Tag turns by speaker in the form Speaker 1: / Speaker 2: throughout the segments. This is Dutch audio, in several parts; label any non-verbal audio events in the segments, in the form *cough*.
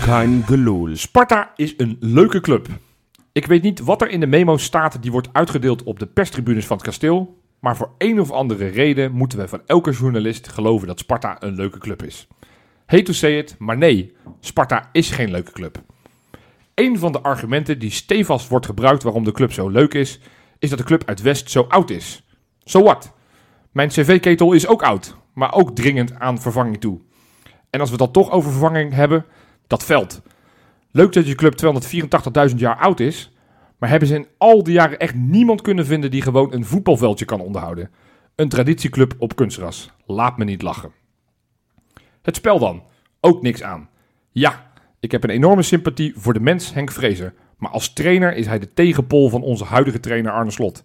Speaker 1: Kein Gelul.
Speaker 2: Sparta is een leuke club. Ik weet niet wat er in de memo staat die wordt uitgedeeld op de perstribunes van het kasteel. Maar voor een of andere reden moeten we van elke journalist geloven dat Sparta een leuke club is. Hate to say it, maar nee, Sparta is geen leuke club. Een van de argumenten die stevast wordt gebruikt waarom de club zo leuk is, is dat de club uit West zo oud is. Zo wat? Mijn cv-ketel is ook oud, maar ook dringend aan vervanging toe. En als we dat toch over vervanging hebben, dat veld. Leuk dat je club 284.000 jaar oud is, maar hebben ze in al die jaren echt niemand kunnen vinden die gewoon een voetbalveldje kan onderhouden. Een traditieclub op kunstras. Laat me niet lachen. Het spel dan. Ook niks aan. Ja, ik heb een enorme sympathie voor de mens Henk Vrezer, maar als trainer is hij de tegenpol van onze huidige trainer Arne Slot.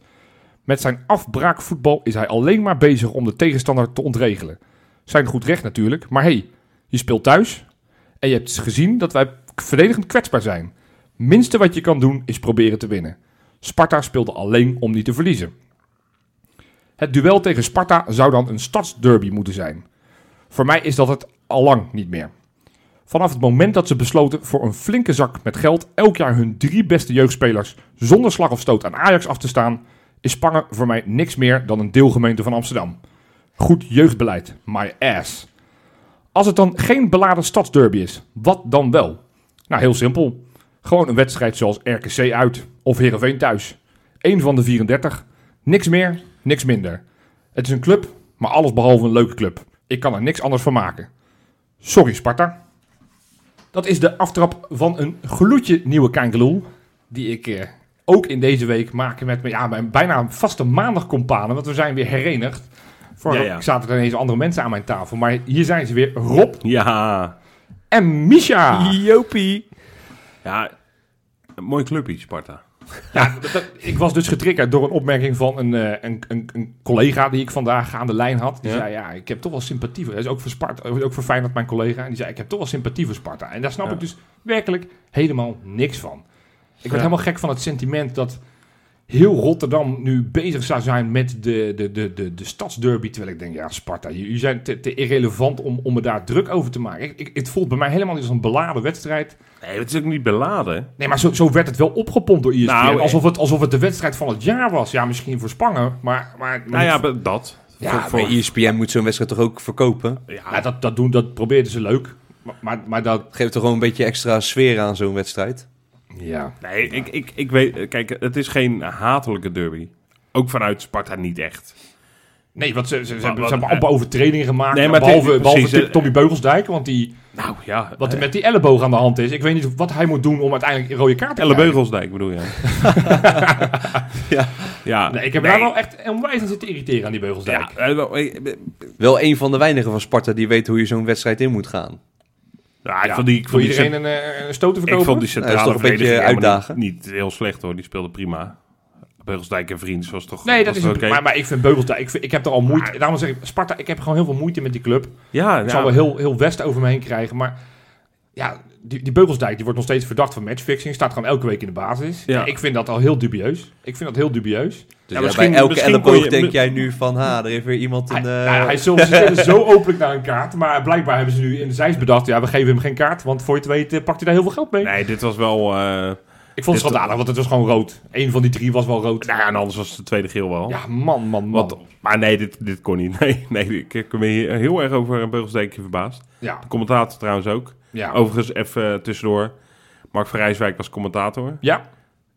Speaker 2: Met zijn afbraakvoetbal is hij alleen maar bezig om de tegenstander te ontregelen. Zijn goed recht natuurlijk, maar hey, je speelt thuis, en je hebt dus gezien dat wij verdedigend kwetsbaar zijn. Minste wat je kan doen is proberen te winnen. Sparta speelde alleen om niet te verliezen. Het duel tegen Sparta zou dan een stadsderby moeten zijn. Voor mij is dat het allang niet meer. Vanaf het moment dat ze besloten voor een flinke zak met geld elk jaar hun drie beste jeugdspelers zonder slag of stoot aan Ajax af te staan, is Spangen voor mij niks meer dan een deelgemeente van Amsterdam. Goed jeugdbeleid, my ass. Als het dan geen beladen stadsderby is, wat dan wel? Nou, heel simpel. Gewoon een wedstrijd zoals RKC uit of Heerenveen thuis. Eén van de 34. Niks meer, niks minder. Het is een club, maar alles behalve een leuke club. Ik kan er niks anders van maken. Sorry Sparta. Dat is de aftrap van een gloedje nieuwe Kankeloel. Die ik eh, ook in deze week maak met mijn, ja, mijn bijna vaste maandagcompanen. Want we zijn weer herenigd. Voor
Speaker 1: Ja, ja.
Speaker 2: zaten er ineens andere mensen aan mijn tafel. Maar hier zijn ze weer. Rob
Speaker 1: Ja.
Speaker 2: en Misha.
Speaker 3: Jopie.
Speaker 1: Ja. Een mooi clubje, Sparta.
Speaker 2: Ja, dat- dat- ik was dus getriggerd door een opmerking van een, eh, een, een, een collega die ik vandaag aan de lijn had. Die
Speaker 1: Ja.
Speaker 2: zei, ja, ik heb toch wel sympathie voor... Dat is ook voor, Sparta, ook voor Feyenoord mijn collega. En die zei, ik heb toch wel sympathie voor Sparta. En daar snap
Speaker 1: Ja.
Speaker 2: ik dus werkelijk helemaal niks van. Ik werd
Speaker 1: Ja.
Speaker 2: helemaal gek van het sentiment dat heel Rotterdam nu bezig zou zijn met de, de, de, de, de stadsderby. Terwijl ik denk, ja, Sparta, jullie zijn te, te irrelevant om, om me daar druk over te maken. Ik, ik, het voelt bij mij helemaal niet als een beladen wedstrijd.
Speaker 1: Nee, het is ook niet beladen.
Speaker 2: Nee, maar zo, zo werd het wel opgepompt door E ESPN.
Speaker 1: Nou,
Speaker 2: alsof, het, alsof het de wedstrijd van het jaar was. Ja, misschien voor Spangen, maar... maar,
Speaker 1: Nou
Speaker 2: maar
Speaker 1: ja, be- dat.
Speaker 2: Ja,
Speaker 1: Voor-
Speaker 2: maar
Speaker 1: voor-
Speaker 3: Maar E ESPN moet zo'n wedstrijd toch ook verkopen?
Speaker 2: ja, dat, dat, doen, dat probeerden ze leuk. Maar, maar, maar dat...
Speaker 3: Geeft toch gewoon een beetje extra sfeer aan zo'n wedstrijd?
Speaker 2: Ja.
Speaker 1: Nee, ik, ik, ik weet... Kijk, het is geen hatelijke derby. Ook vanuit Sparta niet echt.
Speaker 2: Nee, want ze, ze, ze,
Speaker 1: Wat-
Speaker 2: hebben,
Speaker 1: wat-
Speaker 2: ze hebben amper overtredingen gemaakt.
Speaker 1: Nee, maar
Speaker 2: behalve
Speaker 1: het-
Speaker 2: behalve
Speaker 1: precies,
Speaker 2: Tim-
Speaker 1: eh,
Speaker 2: Tommy Beugelsdijk. Want die,
Speaker 1: Nou ja,
Speaker 2: wat er met die elleboog aan de hand is. Ik weet niet wat hij moet doen om uiteindelijk een rode kaart te
Speaker 1: Elle
Speaker 2: krijgen.
Speaker 1: Beugelsdijk bedoel
Speaker 2: *laughs*
Speaker 1: je?
Speaker 3: Ja.
Speaker 1: ja.
Speaker 2: Nee, ik heb daar wel echt onwijs aan zitten irriteren aan die Beugelsdijk.
Speaker 1: Ja, eh, wel, eh, eh,
Speaker 3: Wel een van de weinigen van Sparta die weet hoe je zo'n wedstrijd in moet gaan. Dus
Speaker 1: ja, ik
Speaker 2: Ja,
Speaker 1: vond die, ik
Speaker 2: Voor
Speaker 1: vond die
Speaker 2: iedereen een, eh, een stoot te
Speaker 1: Ik
Speaker 2: verkopen.
Speaker 1: vond die centrale
Speaker 3: Nou, dat is toch een beetje
Speaker 1: verdediging helemaal
Speaker 3: uitdagen.
Speaker 1: Niet, niet heel slecht hoor, die speelde prima. Beugelsdijk en Vriends was toch...
Speaker 2: Nee, dat
Speaker 1: was
Speaker 2: is
Speaker 1: toch
Speaker 2: een,
Speaker 1: oké?
Speaker 2: maar, maar ik vind Beugelsdijk... Ik, vind- ik heb er al moeite... Daarom zeg ik, Sparta, ik heb gewoon heel veel moeite met die club.
Speaker 1: ja, nou,
Speaker 2: Ik
Speaker 1: ja.
Speaker 2: zal wel heel, heel West over me heen krijgen. Maar ja, die, die Beugelsdijk die wordt nog steeds verdacht van matchfixing. Staat gewoon elke week in de basis.
Speaker 1: Ja.
Speaker 2: Ja. Ik vind dat al heel dubieus. Ik vind dat heel dubieus.
Speaker 3: Dus
Speaker 1: Ja,
Speaker 3: ja,
Speaker 1: misschien-
Speaker 3: bij elke
Speaker 1: misschien kon
Speaker 3: elleboog
Speaker 1: je-
Speaker 3: denk jij nu van, ha, er heeft weer iemand
Speaker 2: Hij,
Speaker 3: een... eh,
Speaker 2: nou ja, hij zult- ze stellen
Speaker 1: *laughs*
Speaker 2: zo openlijk naar een kaart. Maar blijkbaar hebben ze nu in de zijs bedacht. Ja, we geven hem geen kaart. Want voor je het weet eh, pakt hij daar heel veel geld mee.
Speaker 1: Nee, dit was wel... eh,
Speaker 2: ik vond
Speaker 1: dit-
Speaker 2: het schandalig, want het was gewoon rood. Eén van die drie was wel rood.
Speaker 1: nou ja, en anders was het de tweede geel wel.
Speaker 2: ja, man, man, man.
Speaker 1: Wat, maar nee, dit, dit kon niet. *laughs* Nee, nee, ik ik ben hier heel erg over Beugelsdijk verbaasd.
Speaker 2: Ja,
Speaker 1: De commentator trouwens ook.
Speaker 2: ja.
Speaker 1: Overigens, even eh, tussendoor. Mark van Rijswijk was commentator.
Speaker 2: Ja,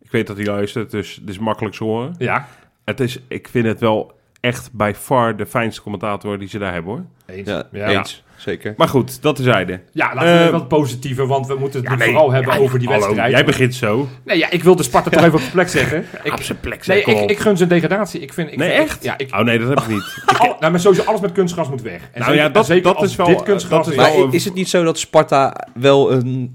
Speaker 1: Ik weet dat hij luistert, dus het is makkelijk te horen.
Speaker 2: ja.
Speaker 1: Het is, ik vind het wel echt by far de fijnste commentator die ze daar hebben, hoor.
Speaker 2: Eens.
Speaker 3: Ja,
Speaker 2: Ja.
Speaker 3: eens. Zeker.
Speaker 1: Maar goed, dat tezijde.
Speaker 2: Ja, laten we
Speaker 1: Eh,
Speaker 2: wat positiever, want we moeten het
Speaker 1: Ja,
Speaker 2: nu
Speaker 1: nee.
Speaker 2: vooral hebben
Speaker 1: Ja, ja,
Speaker 2: over die
Speaker 1: hallo,
Speaker 2: wedstrijd.
Speaker 1: Jij begint zo.
Speaker 2: Nee, ja, ik wil de
Speaker 1: *laughs*
Speaker 2: Sparta toch even op de plek zeggen. Ik,
Speaker 1: Op zijn plek, zeg,
Speaker 2: nee,
Speaker 1: kom
Speaker 2: ik,
Speaker 1: op.
Speaker 2: ik gun ze een degradatie. Ik vind, ik
Speaker 1: nee,
Speaker 2: vind-
Speaker 1: echt?
Speaker 2: Ja, ik,
Speaker 1: Oh nee, dat heb ik
Speaker 2: *laughs*
Speaker 1: niet.
Speaker 2: al- nou, maar sowieso alles met kunstgras moet weg. En
Speaker 1: Nou ja, dat-
Speaker 2: zeker
Speaker 1: dat
Speaker 2: als
Speaker 1: is wel-
Speaker 2: Dit kunstgras
Speaker 1: dat is
Speaker 2: is-
Speaker 1: wel-
Speaker 3: Maar is het niet zo dat Sparta wel een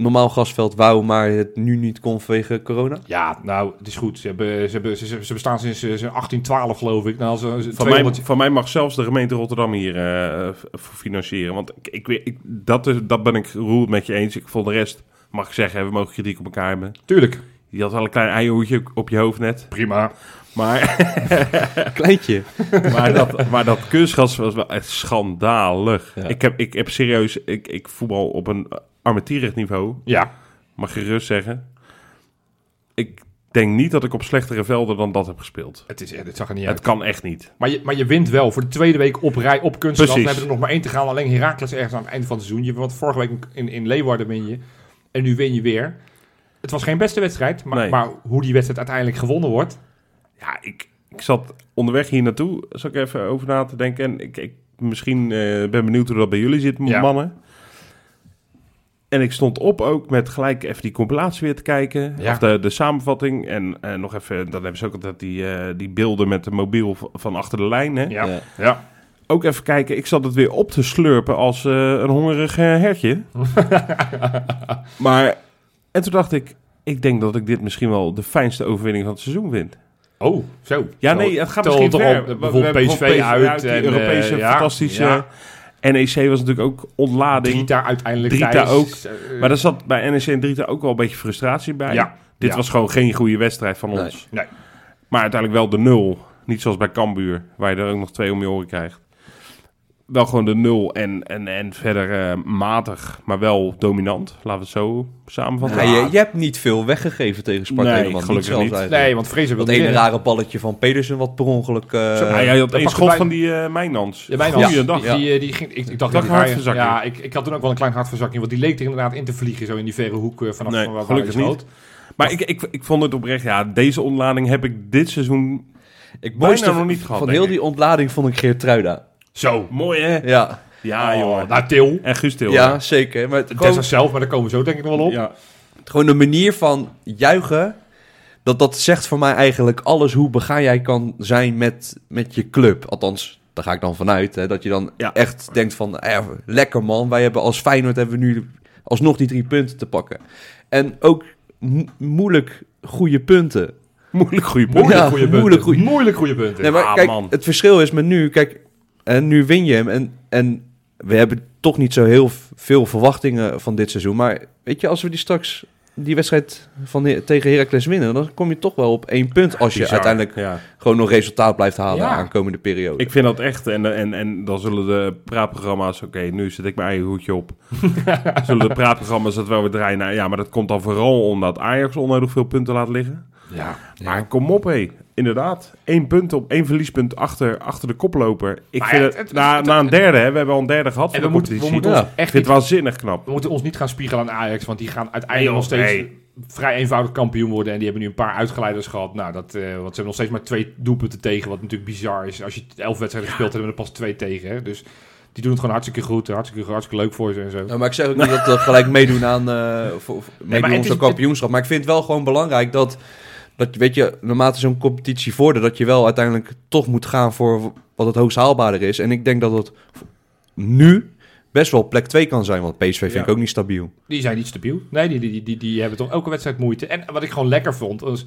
Speaker 3: normaal gasveld wou, maar het nu niet kon vanwege corona?
Speaker 2: Ja, nou, het is goed. Ze, hebben, ze, hebben, ze, ze- ze bestaan sinds eh, sinds 1812, geloof ik. Nou, ze, ze-
Speaker 1: Van mij,
Speaker 2: 200
Speaker 1: van mij mag zelfs de gemeente Rotterdam hier eh, v- voor financieren. Want ik, ik, weet- ik- dat, is, dat ben ik roerend met je eens. Ik vond de rest, mag ik zeggen, we mogen kritiek op elkaar hebben.
Speaker 2: Tuurlijk.
Speaker 1: Je had wel een klein eierhoedje op je hoofd net.
Speaker 2: Prima.
Speaker 1: Maar, *laughs*
Speaker 3: Kleintje.
Speaker 1: maar, dat, maar dat kunstgras was wel echt schandalig. Ik, heb, ik heb serieus, ik, ik voetbal op een armetierig niveau.
Speaker 2: Ja.
Speaker 1: Mag je gerust zeggen. Ik denk niet dat ik op slechtere velden dan dat heb gespeeld.
Speaker 2: Het, is, het zag er niet
Speaker 1: Het
Speaker 2: uit.
Speaker 1: kan echt niet.
Speaker 2: Maar je, maar je wint wel voor de tweede week op rij op kunstgras. Dan
Speaker 1: Precies.
Speaker 2: hebben we er nog maar één te gaan. Alleen Heracles ergens aan het einde van het seizoen. Je, want vorige week in, in Leeuwarden win je. En nu win je weer. Het was geen beste wedstrijd. Maar,
Speaker 1: Nee.
Speaker 2: maar hoe die wedstrijd uiteindelijk gewonnen wordt.
Speaker 1: Ja, ik, ik zat onderweg hier naartoe, zat ik even over na te denken. En ik, ik misschien eh, ben benieuwd hoe dat bij jullie zit,
Speaker 2: Ja.
Speaker 1: mannen. En ik stond op ook met gelijk even die compilatie weer te kijken.
Speaker 2: Ja.
Speaker 1: Of de, de samenvatting. En eh, nog even, dan hebben ze ook altijd die, eh, die beelden met de mobiel v- van achter de lijn. Hè?
Speaker 2: Ja.
Speaker 3: Ja.
Speaker 2: ja.
Speaker 1: Ook even kijken, ik zat het weer op te slurpen als eh, een hongerig eh,
Speaker 2: *laughs*
Speaker 1: hertje. maar, en toen dacht ik, ik denk dat ik dit misschien wel de fijnste overwinning van het seizoen vind.
Speaker 2: Oh, zo.
Speaker 1: Ja, nee, het gaat
Speaker 2: Tel
Speaker 1: misschien
Speaker 2: toch
Speaker 1: ver.
Speaker 2: op,
Speaker 1: We- we
Speaker 2: bijvoorbeeld
Speaker 1: hebben
Speaker 2: PSV uit
Speaker 1: die
Speaker 2: en, eh,
Speaker 1: Europese
Speaker 2: ja,
Speaker 1: fantastische...
Speaker 2: ja.
Speaker 1: NEC was natuurlijk ook ontlading.
Speaker 2: Drita uiteindelijk
Speaker 1: Drita
Speaker 2: thuis.
Speaker 1: ook.
Speaker 2: Eh,
Speaker 1: Maar daar zat bij NEC en Drita ook wel een beetje frustratie bij.
Speaker 2: Ja.
Speaker 1: Dit
Speaker 2: Ja.
Speaker 1: was gewoon geen goede wedstrijd van
Speaker 3: Nee.
Speaker 1: ons.
Speaker 2: Nee.
Speaker 1: Maar uiteindelijk wel de nul. Niet zoals bij Cambuur, waar je er ook nog twee om je oren krijgt. Wel gewoon de nul en, en, en verder eh, matig, maar wel dominant. Laten we het zo samenvatten.
Speaker 3: Ja, je, je hebt niet veel weggegeven tegen Sparta
Speaker 1: Nee,
Speaker 3: helemaal.
Speaker 1: gelukkig
Speaker 3: zelfs
Speaker 1: niet.
Speaker 3: eigenlijk.
Speaker 2: Nee, want Fraser wil
Speaker 3: Dat
Speaker 2: niet
Speaker 3: ene
Speaker 2: winnen.
Speaker 3: rare balletje van Pedersen wat per ongeluk... eh,
Speaker 1: Ja, Ah, jij had
Speaker 2: Dat
Speaker 1: één
Speaker 2: pakt
Speaker 1: schot
Speaker 2: erbij.
Speaker 1: van die eh Mijnans.
Speaker 2: Ja, mijn
Speaker 1: Goeiedag.
Speaker 2: hand. Die,
Speaker 3: Ja.
Speaker 2: die, eh, die ging, ik, ik dacht
Speaker 1: Dat
Speaker 2: die
Speaker 1: een
Speaker 2: raaien-
Speaker 1: hartverzakking.
Speaker 2: Ja, ik, ik had toen ook wel een klein hartverzakking. Want die leek er inderdaad in te vliegen zo in die verre hoek eh, vanaf
Speaker 1: Nee,
Speaker 2: van waar hij
Speaker 1: gelukkig
Speaker 2: schoot.
Speaker 1: niet. Maar ik, ik, ik vond het oprecht, ja, deze onlading heb ik dit seizoen
Speaker 3: ik
Speaker 1: bijna
Speaker 3: mooiste
Speaker 1: nog niet gehad,
Speaker 3: Van
Speaker 1: denk
Speaker 3: heel
Speaker 1: ik.
Speaker 3: die ontlading vond ik Geertruida.
Speaker 2: Zo.
Speaker 1: mooi, hè?
Speaker 3: Ja,
Speaker 1: Ja,
Speaker 2: Oh,
Speaker 1: Ah, joh.
Speaker 2: Nou, Til.
Speaker 1: En Guus Til,
Speaker 3: ja zeker. Maar het-
Speaker 2: Tessa
Speaker 3: gewoon,
Speaker 2: zelf, maar daar komen we zo denk ik nog wel op.
Speaker 1: Ja.
Speaker 3: gewoon de manier van juichen... Dat, dat zegt voor mij eigenlijk alles hoe begaan jij kan zijn met, met je club. Althans, daar ga ik dan vanuit. Hè, dat je dan
Speaker 1: Ja.
Speaker 3: echt denkt van, eh, lekker man. Wij hebben als Feyenoord hebben we nu alsnog die drie punten te pakken. En ook mo- moeilijk goede punten.
Speaker 1: Moeilijk goede punten.
Speaker 2: Moeilijk
Speaker 3: Ja,
Speaker 2: goede punten.
Speaker 3: moeilijk goeie-
Speaker 2: Moeilijk goede punten.
Speaker 3: Nee, maar
Speaker 1: Ah,
Speaker 3: kijk,
Speaker 1: man.
Speaker 3: het verschil is met nu. Kijk, en nu win je hem. En, en we hebben toch niet zo heel v- veel verwachtingen van dit seizoen. Maar weet je, als we die straks die wedstrijd van He- tegen Heracles winnen, dan kom je toch wel op één punt als je
Speaker 1: Bizar.
Speaker 3: uiteindelijk
Speaker 1: Ja.
Speaker 3: gewoon nog resultaat blijft halen
Speaker 2: Ja.
Speaker 3: aan de komende periode.
Speaker 1: Ik vind dat echt, en, en, en dan zullen de praatprogramma's, oké, nu zet ik mijn eigen hoedje
Speaker 3: *laughs*
Speaker 1: op. zullen de praatprogramma's dat wel weer draaien? Nou, ja, maar dat komt dan vooral omdat Ajax onnodig veel punten laat liggen.
Speaker 2: Ja.
Speaker 1: Maar kom op, hé. Inderdaad, één punt op, één verliespunt achter, achter de koploper. Ik
Speaker 2: Maar
Speaker 1: vind
Speaker 2: ja,
Speaker 1: het,
Speaker 2: het- het-
Speaker 1: na,
Speaker 2: het-
Speaker 1: na een derde, hè, we hebben al een derde gehad van
Speaker 2: En we
Speaker 1: de
Speaker 2: moeten, we
Speaker 1: competitie.
Speaker 2: moeten
Speaker 3: Ja.
Speaker 2: ons echt
Speaker 1: Ik vind
Speaker 2: niet,
Speaker 1: het waanzinnig knap.
Speaker 2: we moeten ons niet gaan spiegelen aan Ajax. Want die gaan uiteindelijk
Speaker 1: Nee,
Speaker 2: nog steeds
Speaker 1: nee.
Speaker 2: vrij eenvoudig kampioen worden. En die hebben nu een paar uitgeleiders gehad. Nou, dat, eh, want ze hebben nog steeds maar twee doelpunten tegen. Wat natuurlijk bizar is. Als je elf wedstrijden gespeeld hebt, hebben we er pas twee tegen. Hè. Dus die doen het gewoon hartstikke goed. Hartstikke, hartstikke leuk voor ze en zo.
Speaker 3: Nou, maar ik zeg ook niet dat we gelijk meedoen aan eh voor, voor- meedoen
Speaker 2: maar
Speaker 3: aan
Speaker 2: het is-
Speaker 3: zo'n kampioenschap. Maar ik vind het wel gewoon belangrijk dat, dat weet je, naarmate zo'n competitie vordert, dat je wel uiteindelijk toch moet gaan voor wat het hoogst haalbaarder is. En ik denk dat het nu best wel plek 2 kan zijn, want PSV vind
Speaker 1: Ja.
Speaker 3: ik ook niet stabiel.
Speaker 2: Die zijn niet stabiel. Nee, die, die, die, die, die hebben toch elke wedstrijd moeite. En wat ik gewoon lekker vond, was...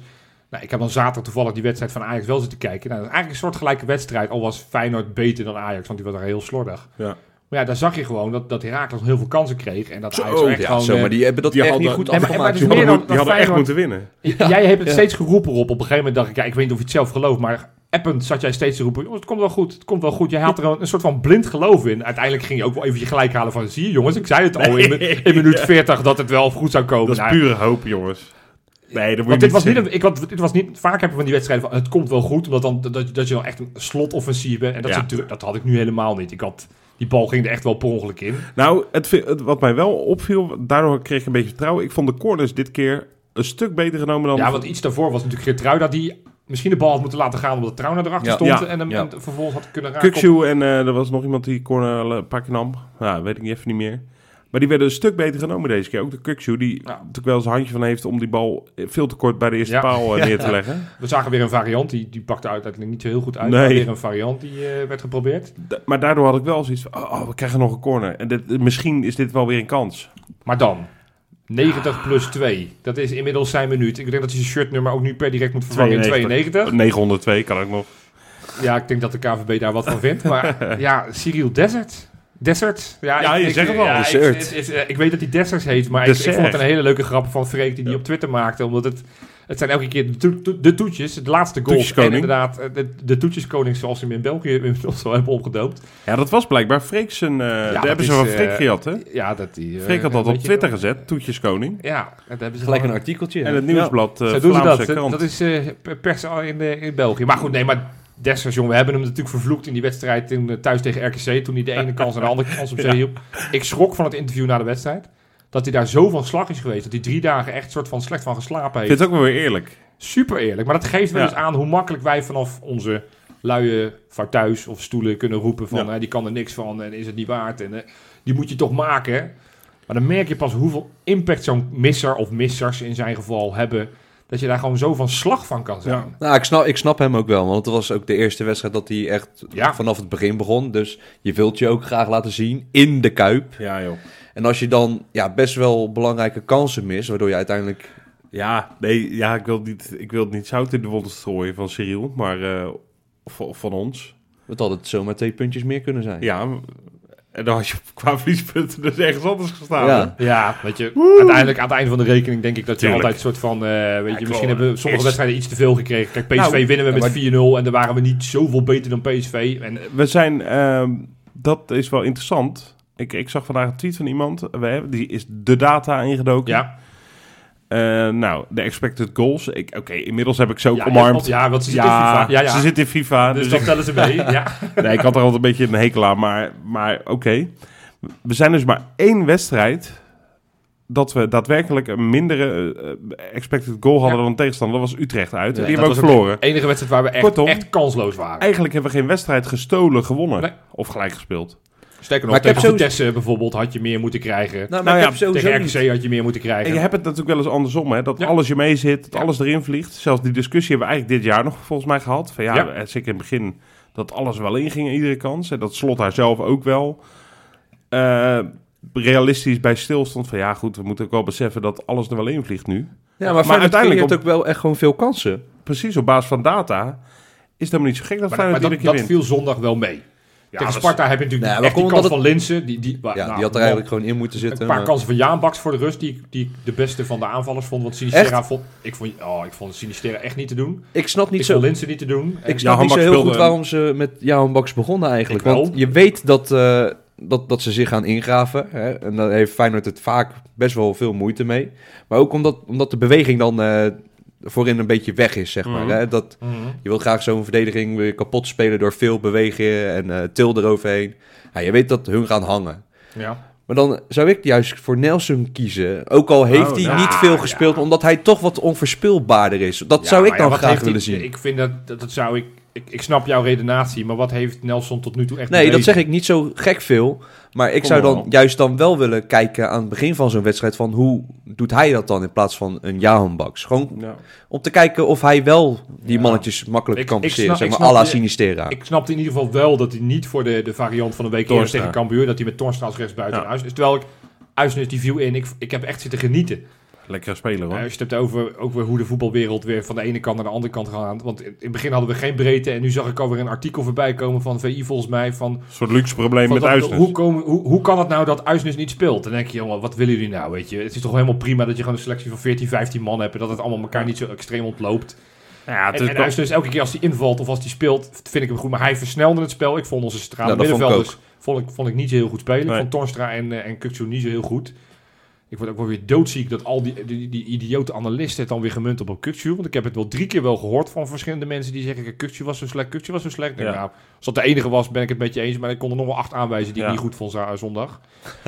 Speaker 2: Nou, ik heb dan zaterdag toevallig die wedstrijd van Ajax wel zitten kijken. Nou, dat is eigenlijk een soortgelijke wedstrijd. Al was Feyenoord beter dan Ajax, want die was er heel slordig.
Speaker 1: Ja.
Speaker 2: Maar ja, daar zag je gewoon dat, dat Herakles heel veel kansen kreeg. En dat Ajax
Speaker 1: Zo,
Speaker 2: echt gewoon...
Speaker 3: zo,
Speaker 2: eh,
Speaker 3: maar die hebben dat
Speaker 1: die
Speaker 3: echt
Speaker 1: hadden-
Speaker 3: niet goed
Speaker 2: Nee, maar- maar
Speaker 3: afgemaakt.
Speaker 2: het is
Speaker 3: joh.
Speaker 1: Die hadden,
Speaker 2: Meer dan-
Speaker 1: moet-
Speaker 2: dan
Speaker 1: die hadden echt
Speaker 2: Feyenoord.
Speaker 1: moeten winnen.
Speaker 2: J- Jij hebt het steeds geroepen op. Op een gegeven moment dacht ik, ja, ik weet niet of je het zelf gelooft, maar append zat jij steeds te roepen, jongens, het komt wel goed, het komt wel goed. Jij had er een, een soort van blind geloof in. Uiteindelijk ging je ook wel even je gelijk halen van, zie je jongens, ik zei het al in, mi- in minuut 40 dat het wel goed zou komen.
Speaker 1: Dat is
Speaker 2: Nou,
Speaker 1: pure hoop, jongens. Nee, dat moet je
Speaker 2: Want dit
Speaker 1: niet
Speaker 2: was, niet
Speaker 1: zeggen.
Speaker 2: een, ik, want dit was niet... Vaak heb je van die wedstrijden van, het komt wel goed, omdat dan, dat, dat je dan echt een slotoffensief bent. En dat,
Speaker 1: Ja.
Speaker 2: soort druk- dat had ik nu helemaal niet. Ik had, die bal ging er echt wel per ongeluk in.
Speaker 1: Nou, het, vi- het- wat mij wel opviel, daardoor kreeg ik een beetje vertrouwen. Ik vond de corners dit keer een stuk beter genomen dan...
Speaker 2: Ja, want iets daarvoor was natuurlijk Gertruida die misschien de bal had moeten laten gaan omdat Trouwner erachter
Speaker 3: Ja.
Speaker 2: stond.
Speaker 1: Ja,
Speaker 2: En hem
Speaker 1: ja.
Speaker 2: en vervolgens had kunnen raken.
Speaker 1: Kukzu en eh, er was nog iemand die corner een pakje nam. Nou, weet ik even niet meer. Maar die werden een stuk beter genomen deze keer. Ook de Kukzu, die
Speaker 2: Ja.
Speaker 1: natuurlijk wel eens een handje van heeft om die bal eh, veel te kort bij de eerste
Speaker 2: *laughs* Ja.
Speaker 1: paal eh, neer te leggen.
Speaker 2: We zagen weer een variant, die, die pakte uiteindelijk niet zo heel goed uit.
Speaker 1: Nee.
Speaker 2: Maar weer een variant die eh, werd geprobeerd.
Speaker 1: Da- maar daardoor had ik wel zoiets van, oh, oh, we krijgen nog een corner. En dit, misschien is dit wel weer een kans.
Speaker 2: Maar dan, 90 plus 2. Dat is inmiddels zijn minuut. Ik denk dat hij zijn shirtnummer ook nu per direct moet vervangen in 92.
Speaker 1: 902 kan ook nog.
Speaker 2: Ja, ik denk dat de KVB daar wat van
Speaker 1: *laughs*
Speaker 2: vindt. Maar ja, Cyril Desert. Desert?
Speaker 1: Ja,
Speaker 2: ik-
Speaker 1: je
Speaker 2: ik-
Speaker 1: zegt het al,
Speaker 2: ja, ik-
Speaker 3: Desert.
Speaker 2: het is, eh, ik weet dat hij Desert heet, maar ik, ik
Speaker 1: Desert.
Speaker 2: vond het een hele leuke grap van Freek die die op Twitter maakte. Omdat het, het zijn elke keer de, to- to- de toetjes, de laatste goals. En
Speaker 1: Toetjeskoning.
Speaker 2: inderdaad, eh, de, de toetjeskoning zoals ze hem in België inmiddels al hebben opgedoopt.
Speaker 1: Ja, dat was blijkbaar Freek zijn... eh daar
Speaker 2: dat
Speaker 1: hebben ze
Speaker 2: is,
Speaker 1: van Freek
Speaker 2: eh,
Speaker 1: gejat, hè?
Speaker 2: Ja, dat die... eh,
Speaker 1: Freek had dat
Speaker 2: weet
Speaker 1: op
Speaker 2: je
Speaker 1: Twitter
Speaker 2: wel.
Speaker 1: gezet, toetjeskoning.
Speaker 2: Ja, dat hebben ze
Speaker 3: Gelijk een
Speaker 2: gewoon-
Speaker 3: artikeltje.
Speaker 1: En het nieuwsblad eh
Speaker 2: Zo doen ze
Speaker 1: Vlaamse
Speaker 2: dat.
Speaker 1: krant.
Speaker 2: Dat is eh, per- pers al in, eh, in België. Maar goed, nee, maar Dessers, jongen, we hebben hem natuurlijk vervloekt in die wedstrijd toen, eh, thuis tegen RKC. Toen hij de ene kans en de
Speaker 1: *laughs*
Speaker 2: andere kans op zee hielp. Ik schrok van het interview na de wedstrijd. Dat hij daar zo van slag is geweest. Dat hij drie dagen echt soort van slecht van geslapen
Speaker 1: Ik
Speaker 2: heeft.
Speaker 1: vind het ook wel weer eerlijk.
Speaker 2: Super eerlijk. Maar dat geeft wel
Speaker 1: Ja.
Speaker 2: eens aan hoe makkelijk wij vanaf onze luie thuis of stoelen kunnen roepen van...
Speaker 1: Ja.
Speaker 2: hè, die kan er niks van en is het niet waard. En eh, die moet je toch maken. Maar dan merk je pas hoeveel impact zo'n misser of missers in zijn geval hebben... dat je daar gewoon zo van slag van kan zijn.
Speaker 1: Ja.
Speaker 3: Nou, ik snap, ik snap hem ook wel, want het was ook de eerste wedstrijd dat hij echt
Speaker 2: Ja.
Speaker 3: vanaf het begin begon. Dus je wilt je ook graag laten zien in de Kuip.
Speaker 1: Ja, joh.
Speaker 3: En als je dan ja, best wel belangrijke kansen mist, waardoor je uiteindelijk...
Speaker 1: Ja, nee, ja ik, wil niet, ik wil het niet zout in de wonden strooien van Cyril, maar eh, van, van ons.
Speaker 3: Het had het zomaar twee puntjes meer kunnen zijn.
Speaker 1: Ja, en dan had je qua verliespunten dus ergens anders gestaan.
Speaker 3: Ja.
Speaker 1: hè?
Speaker 2: Ja, weet je, uiteindelijk aan het einde van de rekening denk ik dat je
Speaker 1: Tuurlijk.
Speaker 2: altijd een soort van, eh, weet je,
Speaker 1: klopt.
Speaker 2: misschien hebben we sommige
Speaker 1: Eerst-
Speaker 2: wedstrijden iets te veel gekregen. Kijk, PSV
Speaker 1: Nou,
Speaker 2: winnen we
Speaker 3: ja,
Speaker 2: met
Speaker 3: maar-
Speaker 2: 4-0 en daar waren we niet zoveel beter dan PSV. En eh,
Speaker 1: We zijn, ehm, dat is wel interessant. Ik, ik zag vandaag een tweet van iemand, eh, we hebben, die is de data ingedoken.
Speaker 2: ja,
Speaker 1: Eh, nou, de expected goals. Ik- Oké, inmiddels heb ik ze ook
Speaker 2: ja,
Speaker 1: omarmd.
Speaker 2: Ja, want ze
Speaker 1: Ja,
Speaker 2: zitten in FIFA. Ja, ja.
Speaker 1: ze zit in FIFA.
Speaker 2: dus
Speaker 1: Dus
Speaker 2: dat tellen ze mee. *laughs* Ja.
Speaker 1: ik, nee, ik had er altijd een beetje een hekel aan, maar, maar oké. We zijn dus maar één wedstrijd dat we daadwerkelijk een mindere eh, expected goal hadden
Speaker 2: Ja.
Speaker 1: dan tegenstander. Dat was Utrecht uit.
Speaker 3: Ja,
Speaker 1: die hebben
Speaker 2: dat
Speaker 1: we ook
Speaker 2: was ook-
Speaker 1: verloren.
Speaker 2: enige wedstrijd waar we echt,
Speaker 1: Kortom.
Speaker 2: echt kansloos waren.
Speaker 1: Eigenlijk hebben we geen wedstrijd gestolen, gewonnen
Speaker 2: Nee.
Speaker 1: of gelijk gespeeld.
Speaker 2: Sterker
Speaker 3: Maar
Speaker 2: nog,
Speaker 3: ik heb
Speaker 2: tegen
Speaker 3: sowieso-
Speaker 2: Vitesse bijvoorbeeld had je meer moeten krijgen.
Speaker 3: Nou, maar
Speaker 1: Nou
Speaker 3: ik
Speaker 1: ja,
Speaker 3: heb sowieso
Speaker 2: tegen
Speaker 3: niet-
Speaker 2: RKC had je meer moeten
Speaker 1: En
Speaker 2: krijgen.
Speaker 1: je hebt het natuurlijk wel eens andersom, hè? Dat
Speaker 2: Ja.
Speaker 1: alles je mee zit, dat
Speaker 2: Ja.
Speaker 1: alles erin vliegt. Zelfs die discussie hebben we eigenlijk dit jaar nog volgens mij gehad. Van ja,
Speaker 2: Ja.
Speaker 1: eh, zeker in het begin dat alles wel inging aan iedere kans. En dat slot daar zelf ook wel eh, realistisch bij stilstond. Van ja, goed, we moeten ook wel beseffen dat alles er wel in vliegt nu.
Speaker 3: Ja,
Speaker 1: Maar
Speaker 3: maar,
Speaker 1: uiteindelijk
Speaker 3: uiteindelijk heeft
Speaker 1: op-
Speaker 3: ook wel echt gewoon veel kansen.
Speaker 1: Precies op basis van data is het helemaal niet zo gek dat
Speaker 2: maar
Speaker 1: Feyenoord
Speaker 2: maar
Speaker 1: iedere
Speaker 2: dat,
Speaker 1: keer
Speaker 2: dat
Speaker 1: wint.
Speaker 2: viel zondag wel mee. tegen
Speaker 1: was-
Speaker 2: Sparta heb je natuurlijk
Speaker 3: Nee, maar
Speaker 2: echt die
Speaker 3: komt
Speaker 2: kans
Speaker 3: omdat
Speaker 2: van Linsen. Die, die, wa-
Speaker 3: Ja,
Speaker 2: nou,
Speaker 3: die had
Speaker 2: man,
Speaker 3: er eigenlijk eh. gewoon in moeten zitten.
Speaker 2: Een paar
Speaker 3: maar-
Speaker 2: kansen van Jaan Baks voor de rust, die, ik- die ik de beste van de aanvallers vond. Want Sinistera
Speaker 3: Echt?
Speaker 2: vond... Ik vond, oh, ik vond Sinistera echt niet te doen.
Speaker 3: Ik snap niet
Speaker 2: ik
Speaker 3: zo...
Speaker 2: vond Linsen niet te doen. En-
Speaker 3: Ik snap niet
Speaker 1: Baks
Speaker 3: zo heel
Speaker 1: speelde
Speaker 3: goed
Speaker 1: een-
Speaker 3: waarom ze met Johan Baks begonnen eigenlijk.
Speaker 2: Ik wel.
Speaker 3: Want je weet dat, eh, dat, dat ze zich gaan ingraven. Hè? En daar heeft Feyenoord het vaak best wel veel moeite mee. Maar ook omdat, omdat de beweging dan eh, voorin een beetje weg is, zeg maar.
Speaker 1: Mhm.
Speaker 3: Hè? Dat,
Speaker 2: Mhm.
Speaker 3: je wil graag zo'n verdediging weer kapot spelen door veel bewegen en eh, til eroverheen. Ja, je weet dat hun gaan hangen.
Speaker 2: Ja.
Speaker 3: Maar dan zou ik juist voor Nelson kiezen. Ook al heeft
Speaker 1: Oh,
Speaker 3: hij
Speaker 1: ja.
Speaker 3: niet veel gespeeld,
Speaker 2: nou, Ja.
Speaker 3: omdat hij toch wat onvoorspelbaarder is. Dat zou
Speaker 2: Ja, maar
Speaker 3: ik
Speaker 2: ja,
Speaker 3: dan
Speaker 2: wat
Speaker 3: graag
Speaker 2: heeft
Speaker 3: willen
Speaker 2: hij-
Speaker 3: zien.
Speaker 2: Ik vind dat, dat, dat zou ik, ik... Ik snap jouw redenatie, maar wat heeft Nelson tot nu toe echt
Speaker 3: Nee, dat
Speaker 2: bewezen?
Speaker 3: zeg ik niet zo gek veel. Maar ik
Speaker 1: Kom
Speaker 3: zou
Speaker 1: maar
Speaker 3: dan
Speaker 1: op.
Speaker 3: juist dan wel willen kijken aan het begin van zo'n wedstrijd... van hoe doet hij dat dan in plaats van een Jahan Baks? Gewoon
Speaker 1: Ja.
Speaker 3: om te kijken of hij wel die
Speaker 2: Ja.
Speaker 3: mannetjes makkelijk
Speaker 2: Ik-
Speaker 3: kan
Speaker 2: ik
Speaker 3: passeren.
Speaker 2: snap-
Speaker 3: Zeg
Speaker 2: ik
Speaker 3: maar à
Speaker 2: snap
Speaker 3: la
Speaker 2: je-
Speaker 3: Sinistera.
Speaker 2: Ik snapte in ieder geval wel dat hij niet voor de, de variant van de week eerder
Speaker 1: Torstra.
Speaker 2: tegen Cambuur... dat hij met Torstra als rechtsbuiten
Speaker 1: Ja.
Speaker 2: en Uisnes. Terwijl ik... Uisnes die viel in. Ik, ik heb echt zitten genieten.
Speaker 1: Lekkere speler, hoor.
Speaker 2: Ja, als je het hebt over ook weer hoe de voetbalwereld weer van de ene kant naar de andere kant gaat. Want in in het begin hadden we geen breedte. En nu zag ik alweer een artikel voorbij komen van VI volgens mij. Van,
Speaker 1: Een soort luxe probleem
Speaker 2: van
Speaker 1: met
Speaker 2: dat-
Speaker 1: Uisnes.
Speaker 2: hoe, komen, hoe, hoe kan het nou dat Uisnes niet speelt? Dan denk je, jongen, wat willen jullie nou? Weet je? Het is toch helemaal prima dat je gewoon een selectie van 14, 15 man hebt. En dat het allemaal elkaar niet zo extreem ontloopt.
Speaker 1: Ja, het
Speaker 2: En,
Speaker 1: is
Speaker 2: en
Speaker 1: wel-
Speaker 2: Uisnes, elke keer als hij invalt of als hij speelt, vind ik hem goed. Maar hij versnelde het spel. Ik vond onze stralen
Speaker 3: Nou, dat vond ik
Speaker 2: middenvelders vond ik, vond ik niet zo heel goed spelen.
Speaker 1: Nee.
Speaker 2: Ik vond Torstra en, eh, en Kukçu niet zo heel goed. Ik word ook wel weer doodziek dat al die, die, die idiote analisten het dan weer gemunt op een kutje. Want ik heb het wel drie keer wel gehoord van verschillende mensen die zeggen... Kutje was zo slecht, kutje was zo slecht. Ik denk,
Speaker 1: Ja.
Speaker 2: nou, als dat de enige was, ben ik het met je eens. Maar ik kon er nog wel acht aanwijzen die
Speaker 1: Ja.
Speaker 2: ik niet goed vond za- zondag.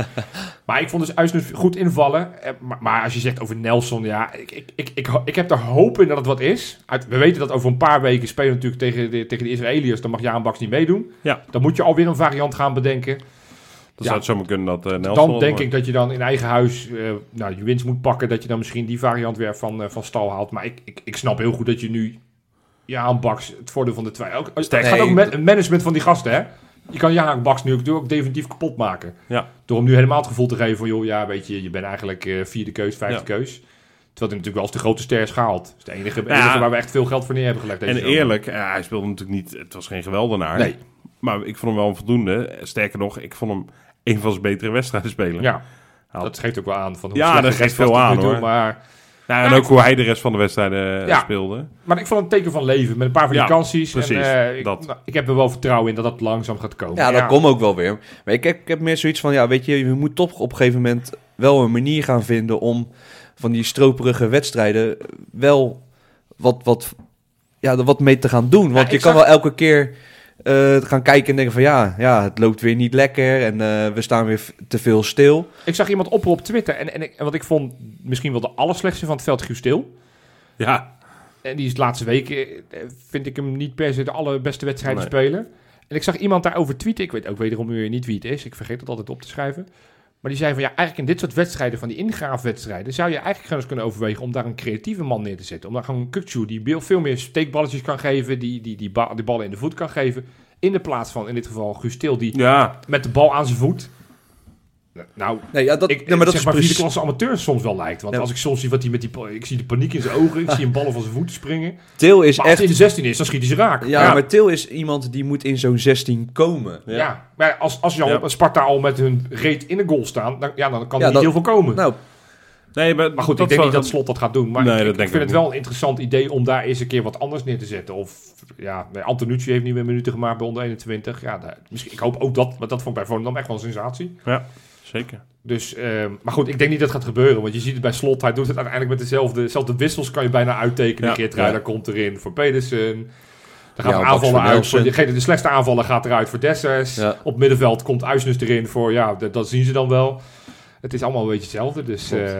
Speaker 2: *laughs* maar ik vond dus Uisnes goed invallen. Eh, Maar, maar als je zegt over Nelson, ja, ik, ik, ik, ik, ho- ik heb er hoop in dat het wat is. Uit- we weten dat over een paar weken spelen we natuurlijk tegen de, tegen de Israëliërs. Dan mag Jaan Baks niet meedoen.
Speaker 1: Ja.
Speaker 2: Dan moet je alweer een variant gaan bedenken.
Speaker 1: Dan
Speaker 2: Ja.
Speaker 1: zou het zomaar kunnen dat eh, Nelson...
Speaker 2: Dan
Speaker 1: dat
Speaker 2: denk
Speaker 1: wordt.
Speaker 2: ik dat je dan in eigen huis eh, nou, je winst moet pakken. Dat je dan misschien die variant weer van, eh, van stal haalt. Maar ik, ik, ik snap heel goed dat je nu Jaan Baks het voordeel van de twijfel... Ook, het
Speaker 3: Nee,
Speaker 2: gaat ook
Speaker 3: dat-
Speaker 2: met management van die gasten, hè? Je kan Jaan Baks nu ook, ook definitief kapot maken.
Speaker 1: Ja.
Speaker 2: Door hem nu helemaal het gevoel te geven van... joh, ja, weet je, je bent eigenlijk eh, vierde keus, vijfde
Speaker 1: Ja.
Speaker 2: keus. Terwijl hij natuurlijk wel als de grote ster is gehaald. Dat is de enige,
Speaker 1: Ja.
Speaker 2: enige waar we echt veel geld voor neer hebben gelegd. deze
Speaker 1: En
Speaker 2: zomer.
Speaker 1: eerlijk, eh, hij speelde natuurlijk niet... Het was geen geweldenaar.
Speaker 2: Nee.
Speaker 1: Maar ik vond hem wel een voldoende. Eh, Sterker nog, ik vond hem een van zijn betere wedstrijden spelen.
Speaker 2: Ja,
Speaker 1: Haalt.
Speaker 2: dat geeft ook wel aan. Van hoe
Speaker 1: Ja,
Speaker 2: slecht
Speaker 1: dat
Speaker 2: de rest
Speaker 1: geeft
Speaker 2: was
Speaker 1: veel
Speaker 2: tot nu
Speaker 1: aan,
Speaker 2: toe,
Speaker 1: hoor.
Speaker 2: Maar
Speaker 1: Nou, en
Speaker 2: Ja,
Speaker 1: ook hoe hij de rest van de wedstrijden eh,
Speaker 2: Ja.
Speaker 1: speelde.
Speaker 2: Maar ik vond het een teken van leven met een paar van die
Speaker 1: Ja,
Speaker 2: vakanties.
Speaker 1: precies,
Speaker 2: en, eh, ik,
Speaker 1: dat.
Speaker 2: nou, ik heb er wel vertrouwen in dat dat langzaam gaat komen.
Speaker 3: Ja, dat komt ook wel weer. Maar ik heb, ik heb meer zoiets van, ja, weet je, je moet toch op een gegeven moment wel een manier gaan vinden om van die stroperige wedstrijden wel wat, wat, ja, er wat mee te gaan doen. Want
Speaker 2: ik
Speaker 3: je
Speaker 2: zag-
Speaker 3: kan wel elke keer eh, gaan kijken en denken van, ja, ja, het loopt weer niet lekker en eh, we staan weer f- te veel stil.
Speaker 2: Ik zag iemand opperen op Twitter. En, en, ik- en wat ik vond misschien wel de allerslechtste van het veld, Guus Til.
Speaker 1: Ja.
Speaker 2: En die is de laatste weken, eh, vind ik hem niet per se de allerbeste wedstrijden
Speaker 1: Nee.
Speaker 2: spelen. En ik zag iemand daarover tweeten. Ik weet ook wederom weer niet wie het is. Ik vergeet het altijd op te schrijven. Maar die zei van ja, eigenlijk in dit soort wedstrijden, van die ingraafwedstrijden, zou je eigenlijk gewoon eens kunnen overwegen om daar een creatieve man neer te zetten. Om daar gewoon een Kukçu die veel- veel meer steekballetjes kan geven, die, die, die, ba- die ballen in de voet kan geven. In de plaats van in dit geval Guus Til, die
Speaker 1: Ja.
Speaker 2: met de bal aan zijn voet. Nou,
Speaker 3: Nee, ja, dat,
Speaker 2: ik,
Speaker 3: nee, maar dat
Speaker 2: zeg
Speaker 3: is
Speaker 2: maar vierde
Speaker 3: precies...
Speaker 2: klasse amateur soms wel lijkt. Want
Speaker 3: Ja.
Speaker 2: als ik soms zie wat hij met die... pa- Ik zie de paniek in zijn ogen.
Speaker 3: *laughs*
Speaker 2: Ik zie hem ballen van zijn voeten springen.
Speaker 3: Til is
Speaker 2: maar als hij
Speaker 3: echt...
Speaker 2: in de 16 is, dan schiet hij ze raak.
Speaker 3: Ja, maar Til is iemand die moet in zo'n 16 komen.
Speaker 2: ja. maar als, als je al
Speaker 1: Ja.
Speaker 2: Sparta al met hun reet in de goal staan... Dan, ja, dan kan er
Speaker 3: Ja,
Speaker 2: niet
Speaker 3: dat-
Speaker 2: heel veel komen.
Speaker 3: Nou,
Speaker 1: Nee, maar,
Speaker 2: maar goed, ik denk niet dat Slot dat gaat doen. Maar
Speaker 1: Nee,
Speaker 2: ik-
Speaker 1: dat
Speaker 2: ik,
Speaker 1: denk ik
Speaker 2: vind het
Speaker 1: ook
Speaker 2: wel een interessant idee om daar eens een keer wat anders neer te zetten. Of ja, nee, Antonucci heeft nu weer minuten gemaakt bij onder 21. Ja, daar, misschien, ik hoop ook dat. Maar dat vond ik bij Volendam echt wel een sensatie.
Speaker 1: Zeker.
Speaker 2: Dus, ehm, maar goed, ik denk niet dat het gaat gebeuren. Want je ziet het bij Slot. Hij doet het uiteindelijk met dezelfde... Zelfs de wissels kan je bijna uittekenen.
Speaker 1: Ja,
Speaker 2: Ja, Geert Ruijder
Speaker 1: ja.
Speaker 2: komt erin voor Pedersen. Dan
Speaker 3: Ja,
Speaker 2: gaat
Speaker 3: Max
Speaker 2: aanvallen
Speaker 3: van
Speaker 2: uit. Voor
Speaker 3: Nelson.
Speaker 2: degene, de slechtste aanvaller gaat eruit voor Dessers.
Speaker 3: Ja.
Speaker 2: Op middenveld komt Uisnes erin voor... Ja, dat, dat zien ze dan wel. Het is allemaal een beetje hetzelfde. Dus,
Speaker 3: Klopt.
Speaker 2: eh,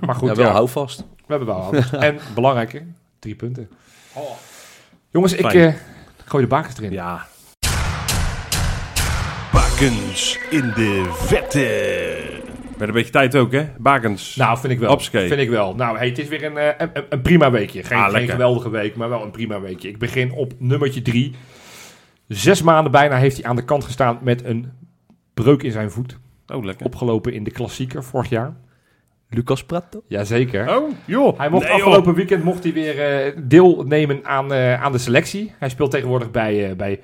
Speaker 2: maar goed,
Speaker 3: ja, nou, wel
Speaker 2: ja,
Speaker 3: hou vast.
Speaker 2: we hebben
Speaker 3: *laughs*
Speaker 2: wel wat. En belangrijker, drie punten. Jongens, ik
Speaker 1: Fijn.
Speaker 2: eh, gooi de bakens erin.
Speaker 1: Ja.
Speaker 4: Bakens in de vette.
Speaker 1: Met een beetje tijd ook, hè? Bakens.
Speaker 2: Nou, vind ik wel.
Speaker 1: Hopsakee.
Speaker 2: Vind ik wel. Nou, hey, het is weer een, eh, een, een- een prima weekje. Geen,
Speaker 1: Ah,
Speaker 2: geen
Speaker 1: lekker.
Speaker 2: geweldige week, maar wel een prima weekje. Ik begin op nummertje drie. Zes maanden bijna heeft hij aan de kant gestaan met een breuk in zijn voet.
Speaker 1: oh, lekker.
Speaker 2: Opgelopen in de klassieker vorig jaar.
Speaker 3: Lucas Prato.
Speaker 2: Jazeker.
Speaker 1: Oh, joh.
Speaker 2: Hij mocht
Speaker 1: Nee, joh.
Speaker 2: afgelopen weekend mocht hij weer eh, deelnemen aan, eh, aan de selectie. Hij speelt tegenwoordig bij, eh, bij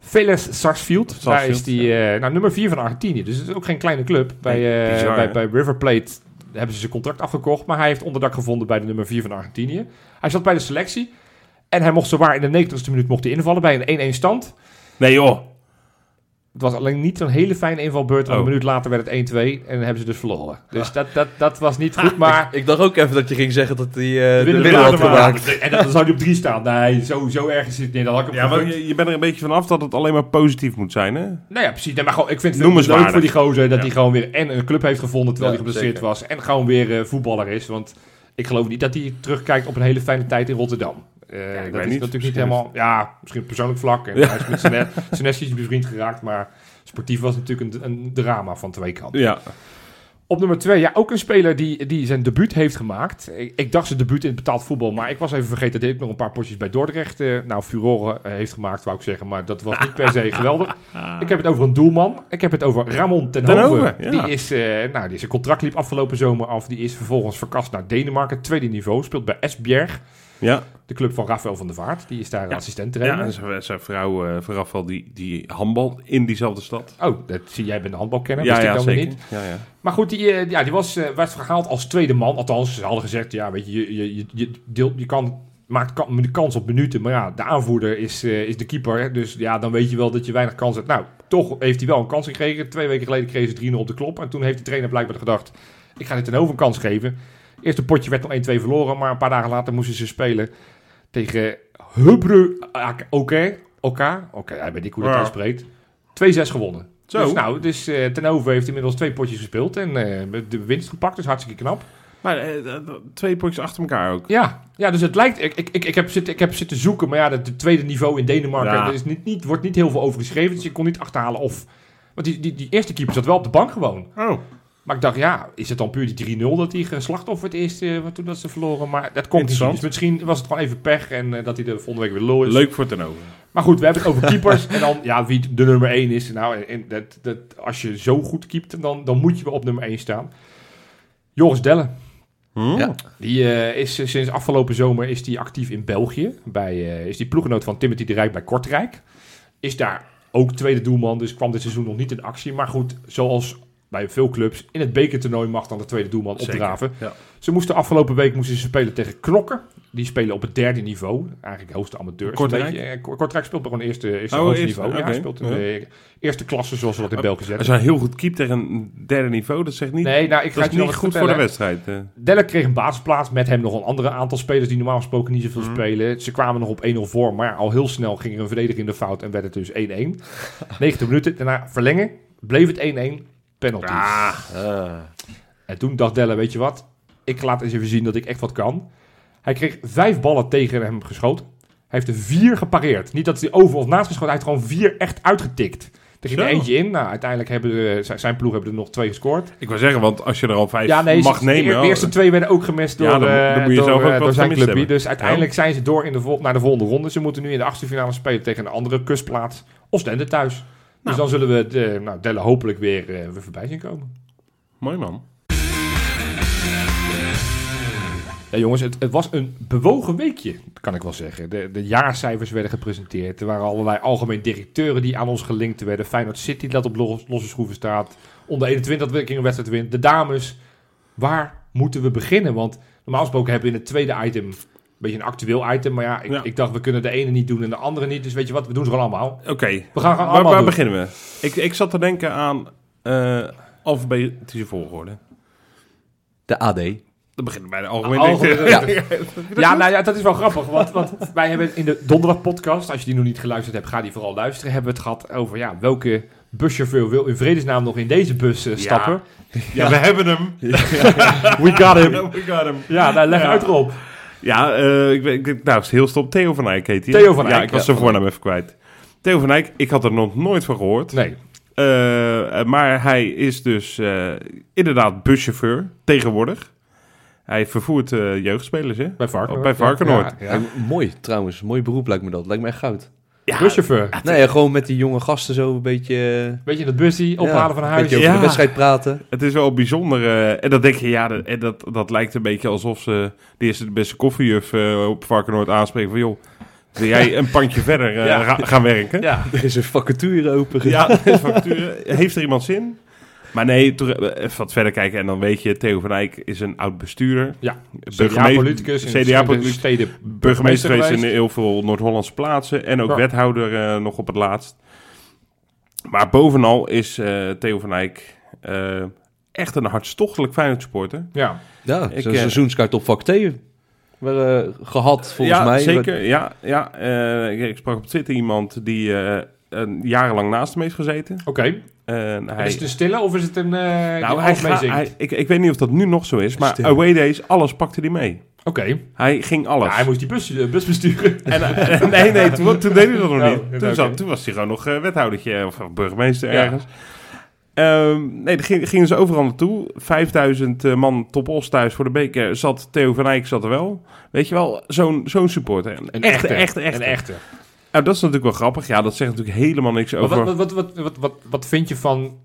Speaker 2: Vélez Sarsfield. Daar
Speaker 1: Sarsfield,
Speaker 2: is hij eh, nou, nummer 4 van Argentinië. Dus het is ook geen kleine club. Bij, eh,
Speaker 1: bizar, hè?
Speaker 2: bij, bij River Plate hebben ze zijn contract afgekocht. Maar hij heeft onderdak gevonden bij de nummer 4 van Argentinië. Hij zat bij de selectie. En hij mocht zowaar in de 90ste minuut mocht hij invallen bij een 1-1 stand.
Speaker 1: Nee, joh.
Speaker 2: Het was alleen niet zo'n hele fijne invalbeurt. want
Speaker 1: Oh. Ah.
Speaker 2: Een minuut later werd het 1-2 en hebben ze dus verloren. Dus dat, dat, dat was niet goed. Maar
Speaker 3: Ik dacht ook even dat je ging zeggen dat hij eh, de
Speaker 2: Winnen
Speaker 3: winnaar had
Speaker 2: Adema.
Speaker 3: gemaakt.
Speaker 2: En dan zou hij op drie staan. Nee, zo, zo erg is het niet. Dan had ik hem
Speaker 1: Ja, maar
Speaker 2: gegund.
Speaker 1: je, je bent er een beetje vanaf dat het alleen maar positief moet zijn, hè?
Speaker 2: Nou ja, precies. Nee, maar gewoon, ik vind het
Speaker 1: Noem eens
Speaker 2: leuk
Speaker 1: waardig.
Speaker 2: voor die gozer dat
Speaker 1: Ja.
Speaker 2: hij gewoon weer en een club heeft gevonden terwijl
Speaker 3: Ja,
Speaker 2: hij geblesseerd
Speaker 3: zeker.
Speaker 2: was. En gewoon weer eh, voetballer is. Want ik geloof niet dat hij terugkijkt op een hele fijne tijd in Rotterdam. Eh, dat is
Speaker 1: weet niet.
Speaker 2: natuurlijk niet
Speaker 1: Misschien
Speaker 2: helemaal... Ja, misschien op persoonlijk vlak. En Hij is met *laughs* Sene- Senesi's bevriend geraakt, maar sportief was het natuurlijk een, een drama van twee kanten.
Speaker 1: Ja.
Speaker 2: Op nummer twee, ja, ook een speler die, die zijn debuut heeft gemaakt. Ik, ik dacht zijn debuut in het betaald voetbal, maar ik was even vergeten dat hij ook nog een paar potjes bij Dordrecht, eh, nou, furoren eh, heeft gemaakt, wou ik zeggen. Maar dat was niet per
Speaker 1: *laughs*
Speaker 2: se geweldig. Ik heb het over een doelman. Ik heb het over Ramon ten
Speaker 1: Ten
Speaker 2: Hove.
Speaker 1: Hove, ja.
Speaker 2: Die is, eh, nou, die zijn contract liep afgelopen zomer af. Die is vervolgens verkast naar Denemarken, tweede niveau. Speelt bij Esbjerg,
Speaker 1: Ja.
Speaker 2: de club van Rafael van der Vaart. Die is daar
Speaker 1: Ja.
Speaker 2: assistent
Speaker 1: ja
Speaker 2: trainer.
Speaker 1: en zijn, zijn vrouw eh, vooraf al die, die handbal in diezelfde stad.
Speaker 2: Oh, dat zie jij bent een handbalkenner,
Speaker 1: ja,
Speaker 2: wist ik
Speaker 1: ja,
Speaker 2: dan weer
Speaker 1: zeker.
Speaker 2: niet.
Speaker 1: Ja, ja.
Speaker 2: Maar goed, die, eh, ja, die was, eh, werd gehaald als tweede man. Althans, ze hadden gezegd, ja, weet je, je, je, je- je, deel, je kan, maakt kan, de kans op minuten. Maar ja, de aanvoerder is, eh, is de keeper. hè. Dus ja, dan weet je wel dat je weinig kans hebt. Nou, toch heeft hij wel een kans gekregen. Twee weken geleden kregen ze 3-0 op de klop. En toen heeft de trainer blijkbaar gedacht, ik ga dit ten over een kans geven. Eerste potje werd nog 1-2 verloren, maar een paar dagen later moesten ze spelen tegen Hubru Ak- Oké. Oké, oké, hij weet ik hoe dat
Speaker 1: Ja.
Speaker 2: uitspreekt. 2-6 gewonnen.
Speaker 1: Zo.
Speaker 2: Dus nou, dus eh ten over heeft inmiddels twee potjes gespeeld en eh, de winst gepakt, dus hartstikke knap.
Speaker 1: Maar eh, eh, twee potjes achter elkaar ook.
Speaker 2: Ja, ja dus het lijkt. Ik, ik, ik, ik, heb zitten, ik heb zitten zoeken, maar ja, het het tweede niveau in Denemarken.
Speaker 1: Ja.
Speaker 2: Er is niet, niet, wordt niet heel veel over geschreven, dus ik kon niet achterhalen of. Want die, die, die eerste keeper zat wel op de bank gewoon.
Speaker 1: Oh,
Speaker 2: Maar ik dacht, ja, is het dan puur die 3-0 dat hij geslachtofferd is eh, wat toen dat ze verloren? Maar dat komt niet.
Speaker 1: Interessant.
Speaker 2: Dus misschien was het gewoon even pech en eh, dat hij de volgende week weer lul is.
Speaker 1: leuk voor ten over.
Speaker 2: Maar goed, we hebben het over keepers. en dan, ja, wie de nummer 1 is. Nou, en, en dat, dat, als je zo goed keept, dan, dan moet je wel op nummer 1 staan. Joris Dellen. Hm?
Speaker 3: Ja.
Speaker 2: Die eh, is eh, sinds afgelopen zomer is die actief in België. Bij, eh, is die ploeggenoot van Timothy de Rijk bij Kortrijk. Is daar ook tweede doelman, dus kwam dit seizoen nog niet in actie. Maar goed, zoals bij veel clubs, in het bekertoernooi mag dan de tweede doelman
Speaker 1: Zeker,
Speaker 2: opdraven.
Speaker 1: ja.
Speaker 2: Ze moesten afgelopen week moesten ze spelen tegen Knokken. Die spelen op het derde niveau. Eigenlijk hoogste amateurs.
Speaker 1: Kortrijk?
Speaker 2: Een beetje, eh, Ko- Kortrijk speelt op een eerste, eerste
Speaker 1: Oh,
Speaker 2: hoogste
Speaker 1: eerste,
Speaker 2: niveau. Ja,
Speaker 1: oké.
Speaker 2: hij speelt in de eerste klasse, zoals we dat in België
Speaker 1: Als
Speaker 2: zeggen.
Speaker 1: hij heel goed keept tegen een derde niveau, dat zegt niet...
Speaker 2: Nee, nou, ik ga
Speaker 1: dat
Speaker 2: het
Speaker 1: is
Speaker 2: je nog
Speaker 1: niet
Speaker 2: wat
Speaker 1: goed voor de
Speaker 2: vertellen.
Speaker 1: wedstrijd. eh.
Speaker 2: Delle kreeg een basisplaats. Met hem nog een andere aantal spelers die normaal gesproken niet zoveel spelen. Ze kwamen nog op 1-0 voor. Maar al heel snel ging er een verdediging in de fout en werd het dus 1-1. 90 minuten. Daarna verlengen. Bleef het 1-1.
Speaker 1: eh.
Speaker 2: Penalties.
Speaker 1: Ah.
Speaker 3: Ah.
Speaker 2: En toen dacht Delle, weet je wat? Ik laat eens even zien dat ik echt wat kan. Hij kreeg vijf ballen tegen hem geschoten. Hij heeft er vier gepareerd. Niet dat hij over of naast geschoten. Hij heeft gewoon vier echt uitgetikt. Er ging er
Speaker 1: Zo.
Speaker 2: eentje in. Nou, uiteindelijk hebben eh, zijn- zijn ploeg hebben er nog twee gescoord.
Speaker 1: Ik wil zeggen, want als je er al vijf
Speaker 2: Ja, nee,
Speaker 1: mag
Speaker 2: ze-
Speaker 1: nemen...
Speaker 2: De, eer- de
Speaker 1: oh,
Speaker 2: eerste twee werden ook gemist door,
Speaker 1: Ja, dan-
Speaker 2: eh,
Speaker 1: dan moet je
Speaker 2: door,
Speaker 1: zelf ook
Speaker 2: eh,
Speaker 1: wat
Speaker 2: door zijn
Speaker 1: gemist
Speaker 2: clubje.
Speaker 1: hebben.
Speaker 2: Dus uiteindelijk zijn ze door in de vol- naar de volgende ronde. Ze moeten nu in de achtste finale spelen tegen een andere kustplaats. Oostende thuis. Dus dan zullen we de, nou, Delle hopelijk weer, eh, weer voorbij zien komen.
Speaker 1: Mooi man.
Speaker 2: Ja, jongens, het, het was een bewogen weekje, kan ik wel zeggen. De, de jaarcijfers werden gepresenteerd. Er waren allerlei algemeen directeuren die aan ons gelinkt werden. Feyenoord City dat op los- losse schroeven staat. Onder 21 dat een wedstrijd wint. De dames, waar moeten we beginnen? Want normaal gesproken hebben we in het tweede item een beetje een actueel item. Maar ja ik,
Speaker 1: Ja.
Speaker 2: ik dacht, we kunnen de ene niet doen en de andere niet. Dus weet je wat, we doen ze gewoon allemaal.
Speaker 1: Oké,
Speaker 2: We gaan gewoon
Speaker 1: waar,
Speaker 2: allemaal
Speaker 1: waar
Speaker 2: doen.
Speaker 1: beginnen we? Ik, ik zat te denken aan eh alfabetische volgorde.
Speaker 3: De AD.
Speaker 1: Dan beginnen we bij de algemene
Speaker 2: Algemene
Speaker 1: directeur. Ja.
Speaker 2: *laughs* Ja, nou ja, dat is wel grappig. Want, want wij hebben in de donderdag podcast, als je die nog niet geluisterd hebt, ga die vooral luisteren. Hebben we het gehad over ja, welke buschauffeur wil in vredesnaam nog in deze bus
Speaker 1: *laughs*
Speaker 2: eh, stappen.
Speaker 1: Ja, we hebben hem. Oh
Speaker 2: We got him.
Speaker 1: We got him.
Speaker 2: Ja, nou, leg uit Rob.
Speaker 1: Ja, eh, ik, ben- ik, nou, is heel stom. Theo van Eyck heet hij.
Speaker 2: Theo van
Speaker 1: Ja,
Speaker 2: Eyck,
Speaker 1: ik was
Speaker 2: ja.
Speaker 1: zijn voornaam even kwijt. Theo van Eyck, ik had er nog nooit van gehoord.
Speaker 2: Nee,
Speaker 1: Eh, eh, maar hij is dus eh, inderdaad buschauffeur, tegenwoordig. Hij vervoert eh, jeugdspelers, hè?
Speaker 2: bij Varkenoord.
Speaker 1: Oh, bij Varkenoord.
Speaker 2: Ja, ja.
Speaker 3: Eh, mooi trouwens, mooi beroep lijkt me dat. Lijkt me echt goud.
Speaker 2: Buschauffeur.
Speaker 3: Nee, ja, gewoon met die jonge gasten zo een beetje... eh,
Speaker 2: Weet je, dat busje
Speaker 3: ja,
Speaker 2: ophalen van
Speaker 3: Een
Speaker 2: huis.
Speaker 3: beetje over
Speaker 1: Ja.
Speaker 3: de wedstrijd praten. *laughs*
Speaker 1: Het is wel bijzonder. eh, en dan denk je, ja, dat, en dat, dat lijkt een beetje alsof ze de eerste de beste koffiejuf eh, op Varkenoord aanspreken van... joh, wil jij een pandje *laughs* verder eh,
Speaker 2: Ja.
Speaker 1: ga- gaan werken?
Speaker 2: Ja.
Speaker 3: Er is een vacature open.
Speaker 1: Ja, facturen. Heeft er iemand zin? Maar nee, toen even wat verder kijken en dan weet je, Theo van Eyck is een oud bestuurder.
Speaker 2: Ja.
Speaker 1: Burgemeester-
Speaker 2: CDA-politicus.
Speaker 1: CDA-politicus.
Speaker 2: Steden.
Speaker 1: Burgemeester geweest in
Speaker 2: geweest.
Speaker 1: heel veel Noord-Hollandse plaatsen en ook
Speaker 2: Ja.
Speaker 1: wethouder eh, nog op het laatst. Maar bovenal is eh, Theo van Eyck eh, echt een hartstochtelijk Feyenoord supporter.
Speaker 2: Ja.
Speaker 3: Ja,
Speaker 1: Ik,
Speaker 3: zo'n
Speaker 1: eh,
Speaker 3: seizoenskaart op vak T. Werd, eh, gehad volgens
Speaker 1: ja,
Speaker 3: mij.
Speaker 1: Zeker, ja, ja. eh, ik sprak op Twitter iemand die eh, een jarenlang naast hem heeft gezeten.
Speaker 2: Oké.
Speaker 1: En hij,
Speaker 2: Is het een stille of is het een... eh
Speaker 1: nou,
Speaker 2: nou,
Speaker 1: hij
Speaker 2: hij
Speaker 1: ga- hij- ik, ik weet niet of dat nu nog zo is, maar Away Days, alles pakte hij mee.
Speaker 2: Oké.
Speaker 1: Hij ging alles.
Speaker 2: Ja, hij moest die bus, eh, bus
Speaker 1: *laughs*
Speaker 2: besturen.
Speaker 1: En, eh, nee, nee, toen, toen deed hij dat nog
Speaker 2: Oh,
Speaker 1: niet. Toen,
Speaker 2: oké.
Speaker 1: zat, toen was hij gewoon nog eh, wethoudertje of burgemeester
Speaker 2: Ja.
Speaker 1: ergens. Ehm, nee, dan ging- gingen ze overal naartoe. 5000 eh, man top os thuis voor de beker. Zat Theo van Eyck zat er wel. Weet je wel, zo'n zo'n supporter. Een, echte, echte, echte.
Speaker 2: Een echte.
Speaker 1: Nou, dat is natuurlijk wel grappig. Ja, dat zegt natuurlijk helemaal niks
Speaker 2: Maar
Speaker 1: over...
Speaker 2: Wat, wat, wat, wat, wat, wat, wat vind je van...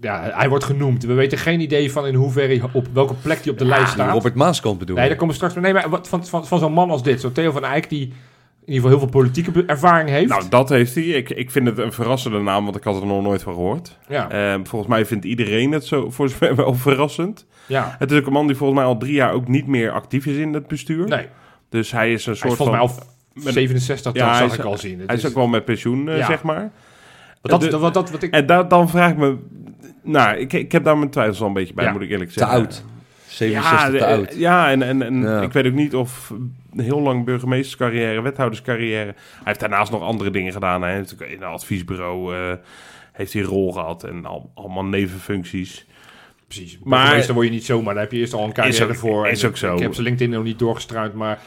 Speaker 2: Ja, hij wordt genoemd. We weten geen idee van in hoeverre hij op welke plek hij op de lijst
Speaker 3: Die
Speaker 2: staat.
Speaker 3: Robert Maaskant bedoel
Speaker 2: Nee,
Speaker 3: ik.
Speaker 2: daar komen we straks... Nee, maar wat, van, van, van zo'n man als dit. Zo'n Theo van Eyck die in ieder geval heel veel politieke be- ervaring heeft.
Speaker 1: Nou, dat heeft hij. Ik, ik vind het een verrassende naam, want ik had er nog nooit van gehoord.
Speaker 2: ja,
Speaker 1: Ehm, volgens mij vindt iedereen het zo, voor zover *laughs* wel verrassend.
Speaker 2: ja.
Speaker 1: Het is ook een man die volgens mij al drie jaar ook niet meer actief is in het bestuur.
Speaker 2: Nee,
Speaker 1: Dus hij is een
Speaker 2: hij
Speaker 1: soort
Speaker 2: is volgens mij
Speaker 1: van...
Speaker 2: al 67,
Speaker 1: Ja,
Speaker 2: dat
Speaker 1: hij
Speaker 2: zag
Speaker 1: is-
Speaker 2: ik al zien. Het
Speaker 1: Hij is
Speaker 2: is-
Speaker 1: ook wel met pensioen, eh,
Speaker 2: Ja.
Speaker 1: zeg maar.
Speaker 2: Want dat,
Speaker 1: de-
Speaker 2: want dat, wat ik,
Speaker 1: En daar, dan vraag ik me... Nou, ik, ik heb daar mijn twijfels al een beetje bij,
Speaker 2: Ja.
Speaker 1: moet ik eerlijk
Speaker 3: Te
Speaker 1: zeggen.
Speaker 3: oud. 67
Speaker 1: ja,
Speaker 3: te
Speaker 1: de-
Speaker 3: oud.
Speaker 1: Ja, en, en, en
Speaker 3: Ja.
Speaker 1: ik weet ook niet of een heel lang burgemeesterscarrière, wethouderscarrière. Hij heeft daarnaast nog andere dingen gedaan. Hij heeft ook in een adviesbureau eh, heeft hij een rol gehad en al, allemaal nevenfuncties.
Speaker 2: precies.
Speaker 1: Maar-
Speaker 2: Maar dan word je niet zomaar. Daar heb je eerst al een carrière
Speaker 1: ook-
Speaker 2: voor. En
Speaker 1: is ook zo.
Speaker 2: Ik heb zijn LinkedIn nog niet doorgestruind. Maar,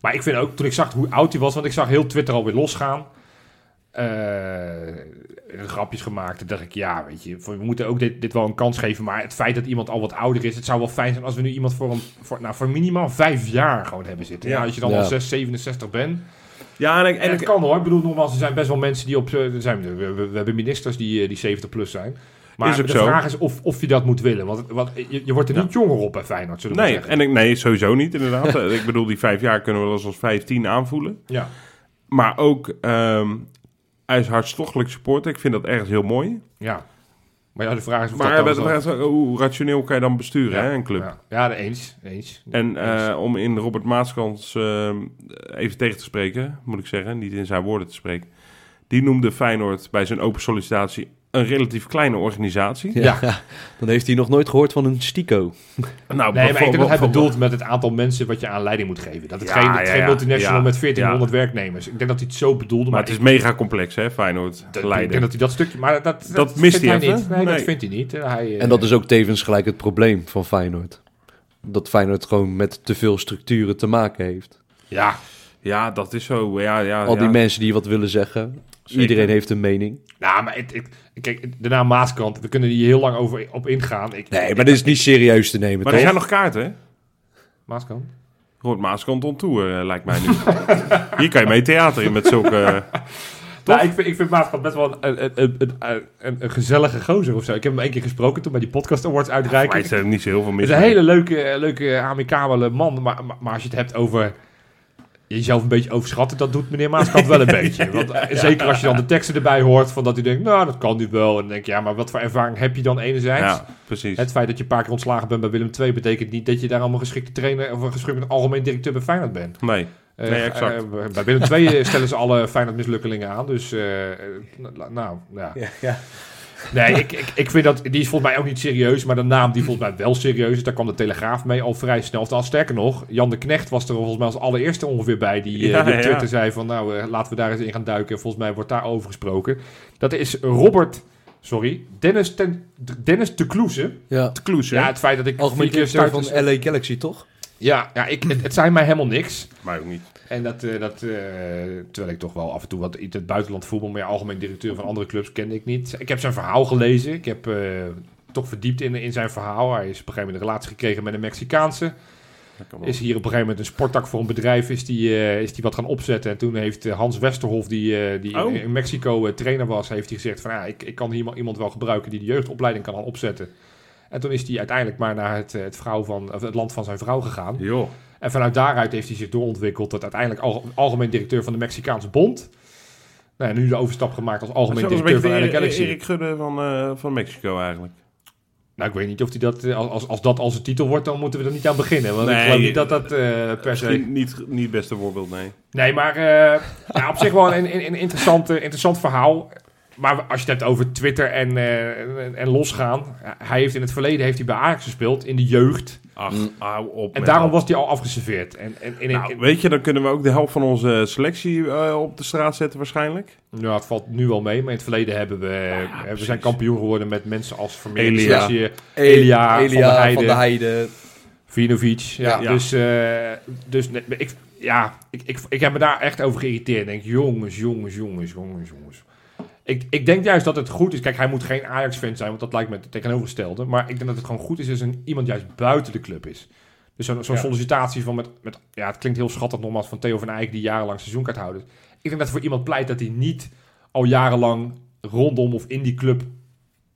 Speaker 2: maar ik vind ook, toen ik zag hoe oud hij was, want ik zag heel Twitter alweer losgaan. eh, grapjes gemaakt. Toen dacht ik, ja, weet je, voor- we moeten ook dit, dit wel een kans geven. Maar het feit dat iemand al wat ouder is, het zou wel fijn zijn als we nu iemand voor, een, voor, nou, voor minimaal vijf jaar gewoon hebben zitten. Ja,
Speaker 1: Ja.
Speaker 2: als je dan
Speaker 3: Ja.
Speaker 2: al 6, 67 bent.
Speaker 1: Ja, en, ik- en
Speaker 2: En het
Speaker 1: ik,
Speaker 2: kan hoor. Ik bedoel, nogmaals, er zijn best wel mensen die op... eh, Er zijn, we, we- we hebben ministers die, eh, die 70 plus zijn. Maar
Speaker 1: Is ook
Speaker 2: de
Speaker 1: zo.
Speaker 2: vraag is of, of je dat moet willen. Want het- wat, je, je wordt er niet jonger op bij Feyenoord, zullen we
Speaker 1: nee,
Speaker 2: maar zeggen.
Speaker 1: en ik, nee, sowieso niet
Speaker 2: *laughs*
Speaker 1: inderdaad. Eh, ik bedoel, die vijf jaar kunnen we wel eens als vijftien aanvoelen.
Speaker 2: ja.
Speaker 1: Maar ook, ehm, hij is hartstochtelijk supporter. Ik vind dat ergens heel mooi.
Speaker 2: ja. Maar ja, de vraag is of
Speaker 1: Maar
Speaker 2: dat dan
Speaker 1: bij de
Speaker 2: zo-
Speaker 1: vraag is ook, hoe rationeel kan je dan besturen,
Speaker 2: Ja,
Speaker 1: hè, een club?
Speaker 2: Ja, ja eens. eens.
Speaker 1: En eh, om in Robert Maaskans eh, even tegen te spreken, moet ik zeggen, niet in zijn woorden te spreken. Die noemde Feyenoord bij zijn open sollicitatie een relatief kleine organisatie.
Speaker 3: Ja. *laughs* Dan heeft hij nog nooit gehoord van een stico.
Speaker 1: Nou,
Speaker 2: Nee, maar ik denk dat hij
Speaker 1: voor-
Speaker 2: bedoelt met het aantal mensen wat je aan leiding moet geven. Dat het
Speaker 1: Ja,
Speaker 2: geen, het
Speaker 1: ja,
Speaker 2: geen
Speaker 1: ja.
Speaker 2: multinational
Speaker 1: Ja.
Speaker 2: met 1400 werknemers. Ik denk dat hij het zo bedoelde.
Speaker 1: Maar het is
Speaker 2: ik-
Speaker 1: mega complex, hè, Feyenoord
Speaker 2: ik denk
Speaker 1: leiden.
Speaker 2: dat hij dat stukje... Maar dat, dat,
Speaker 1: mist
Speaker 2: vindt
Speaker 1: hij even.
Speaker 2: niet. Nee, dat
Speaker 1: Nee.
Speaker 2: vindt hij niet. Hij, eh,
Speaker 3: En dat is ook tevens gelijk het probleem van Feyenoord. Dat Feyenoord gewoon met te veel structuren te maken heeft.
Speaker 2: Ja,
Speaker 1: Ja, dat is zo. Ja,
Speaker 2: Ah,
Speaker 1: ja,
Speaker 3: Al die
Speaker 1: ja.
Speaker 3: mensen die wat willen zeggen.
Speaker 1: Zeker.
Speaker 3: Iedereen heeft een mening.
Speaker 2: Nou, maar het, het- kijk, de naam Maaskant, we kunnen hier heel lang over op ingaan. Ik,
Speaker 3: Nee, maar dit is niet serieus te nemen,
Speaker 1: Maar er
Speaker 3: toch?
Speaker 1: zijn nog kaarten, hè?
Speaker 2: Maaskant?
Speaker 1: Robert Maaskant on tour, eh, lijkt mij nu. *laughs* Hier kan je mee theater in met zulke... eh,
Speaker 2: Nou, ik vind, ik vind Maaskant best wel een, een, een, een, een, een gezellige gozer of zo. Ik heb hem één keer gesproken toen bij die Podcast Awards
Speaker 1: maar
Speaker 2: uitreiking.
Speaker 1: is er niet zo heel veel
Speaker 2: Het
Speaker 1: mis.
Speaker 2: is een
Speaker 1: mee.
Speaker 2: hele leuke, eh, leuke amicabele man. Maar, maar, maar als je het hebt over jezelf een beetje overschatten, dat doet meneer Maaskant *laughs* wel een beetje. Want, eh, Zeker als je dan de teksten erbij hoort, van dat hij denkt, nou, dat kan nu wel. En dan denk je, ja, maar wat voor ervaring heb je dan enerzijds?
Speaker 1: Ja, precies.
Speaker 2: Het feit dat je een paar keer ontslagen bent bij Willem II betekent niet dat je daar allemaal geschikte trainer of een geschikte algemeen directeur bij Feyenoord bent.
Speaker 1: Nee.
Speaker 2: Eh,
Speaker 1: Nee, exact.
Speaker 2: eh, bij Willem II stellen ze alle Feyenoord mislukkelingen aan, dus eh, eh, la- nou, ja. Nee, ik, ik, ik vind dat, die is volgens mij ook niet serieus, maar de naam die volgens mij wel serieus is, daar kwam de Telegraaf mee al vrij snel. Of, nou, sterker nog, Jan de Knecht was er volgens mij als allereerste ongeveer bij, die, eh,
Speaker 1: Ja,
Speaker 2: die op
Speaker 1: ja.
Speaker 2: Twitter zei van nou, eh, laten we daar eens in gaan duiken. Volgens mij wordt daar over gesproken. Dat is Robert, sorry, Dennis, ten, Dennis de Kloeze.
Speaker 3: Ja.
Speaker 1: Het kloes, hè?
Speaker 2: Ja, het feit dat ik
Speaker 3: Algemeen
Speaker 2: vier keer
Speaker 3: directeur
Speaker 2: start-
Speaker 3: van LA Galaxy, toch?
Speaker 2: Ja, ja ik, het, het zei mij helemaal niks.
Speaker 1: Maar ook niet.
Speaker 2: En dat, eh, dat eh, terwijl ik toch wel af en toe wat in het buitenland voetbal, maar ja, algemeen directeur van andere clubs kende ik niet. Ik heb zijn verhaal gelezen. Ik heb eh, toch verdiept in, in zijn verhaal. Hij is op een gegeven moment een relatie gekregen met een Mexicaanse.
Speaker 1: Dat kan wel.
Speaker 2: Is hier op een gegeven moment een sporttak voor een bedrijf. Is die, eh, is die wat gaan opzetten. En toen heeft eh, Hans Westerhof, die, eh, die
Speaker 1: Oh.
Speaker 2: in, in Mexico eh, trainer was, heeft hij gezegd van ja, ik, ik kan hier wel- iemand wel gebruiken die de jeugdopleiding kan gaan opzetten. En toen is hij uiteindelijk maar naar het, eh, het, vrouw van, of het land van zijn vrouw gegaan.
Speaker 1: Joh.
Speaker 2: En vanuit daaruit heeft hij zich doorontwikkeld tot uiteindelijk al, algemeen directeur van de Mexicaanse Bond. Nou, en nu de overstap gemaakt als algemeen
Speaker 1: Dat is
Speaker 2: directeur
Speaker 1: wel
Speaker 2: van
Speaker 1: een beetje eh,
Speaker 2: LA
Speaker 1: de Erik-
Speaker 2: Galaxy.
Speaker 1: Erik Gudde van, eh, van Mexico eigenlijk.
Speaker 2: Nou, ik weet niet of hij dat, eh, als, als dat als een titel wordt, dan moeten we er niet aan beginnen. Want ik
Speaker 1: Nee,
Speaker 2: geloof niet dat dat eh, per se...
Speaker 1: Misschien niet, niet het beste voorbeeld, nee.
Speaker 2: Nee, maar eh, ja, op zich wel een, een, een interessant, eh, interessant verhaal. Maar als je het hebt over Twitter en, eh, en, en losgaan. ja, Hij heeft in het verleden heeft hij bij Ajax gespeeld, in de jeugd.
Speaker 1: Ach, hou op.
Speaker 2: En
Speaker 1: met
Speaker 2: daarom
Speaker 1: dat.
Speaker 2: was hij al afgeserveerd. En, en, en, en-
Speaker 1: Nou, weet je, dan kunnen we ook de helft van onze selectie eh, op de straat zetten waarschijnlijk.
Speaker 2: Nou, het valt nu wel mee, maar in het verleden hebben we, hebben we zijn
Speaker 1: precies.
Speaker 2: kampioen geworden met mensen als Vermeer,
Speaker 1: Elia.
Speaker 2: Sessië, Elia, Van der Heijden.
Speaker 3: Van der Heijden.
Speaker 2: Vinovic. Ja,
Speaker 1: Ja.
Speaker 2: Dus, eh, dus nee, maar ik, ja, ik, ik, ik heb me daar echt over geïrriteerd. Ik denk, jongens, jongens, jongens, jongens, jongens. Ik, ik denk juist dat het goed is. Kijk, hij moet geen Ajax-fan zijn, want dat lijkt me het tegenovergestelde. Maar ik denk dat het gewoon goed is als een, iemand juist buiten de club is. Dus zo'n zo'n
Speaker 1: Ja.
Speaker 2: sollicitatie van met, met... Ja, het klinkt heel schattig nogmaals van Theo van Eyck, die jarenlang seizoenkaarthouder. is. Ik denk dat voor iemand pleit dat hij niet al jarenlang rondom of in die club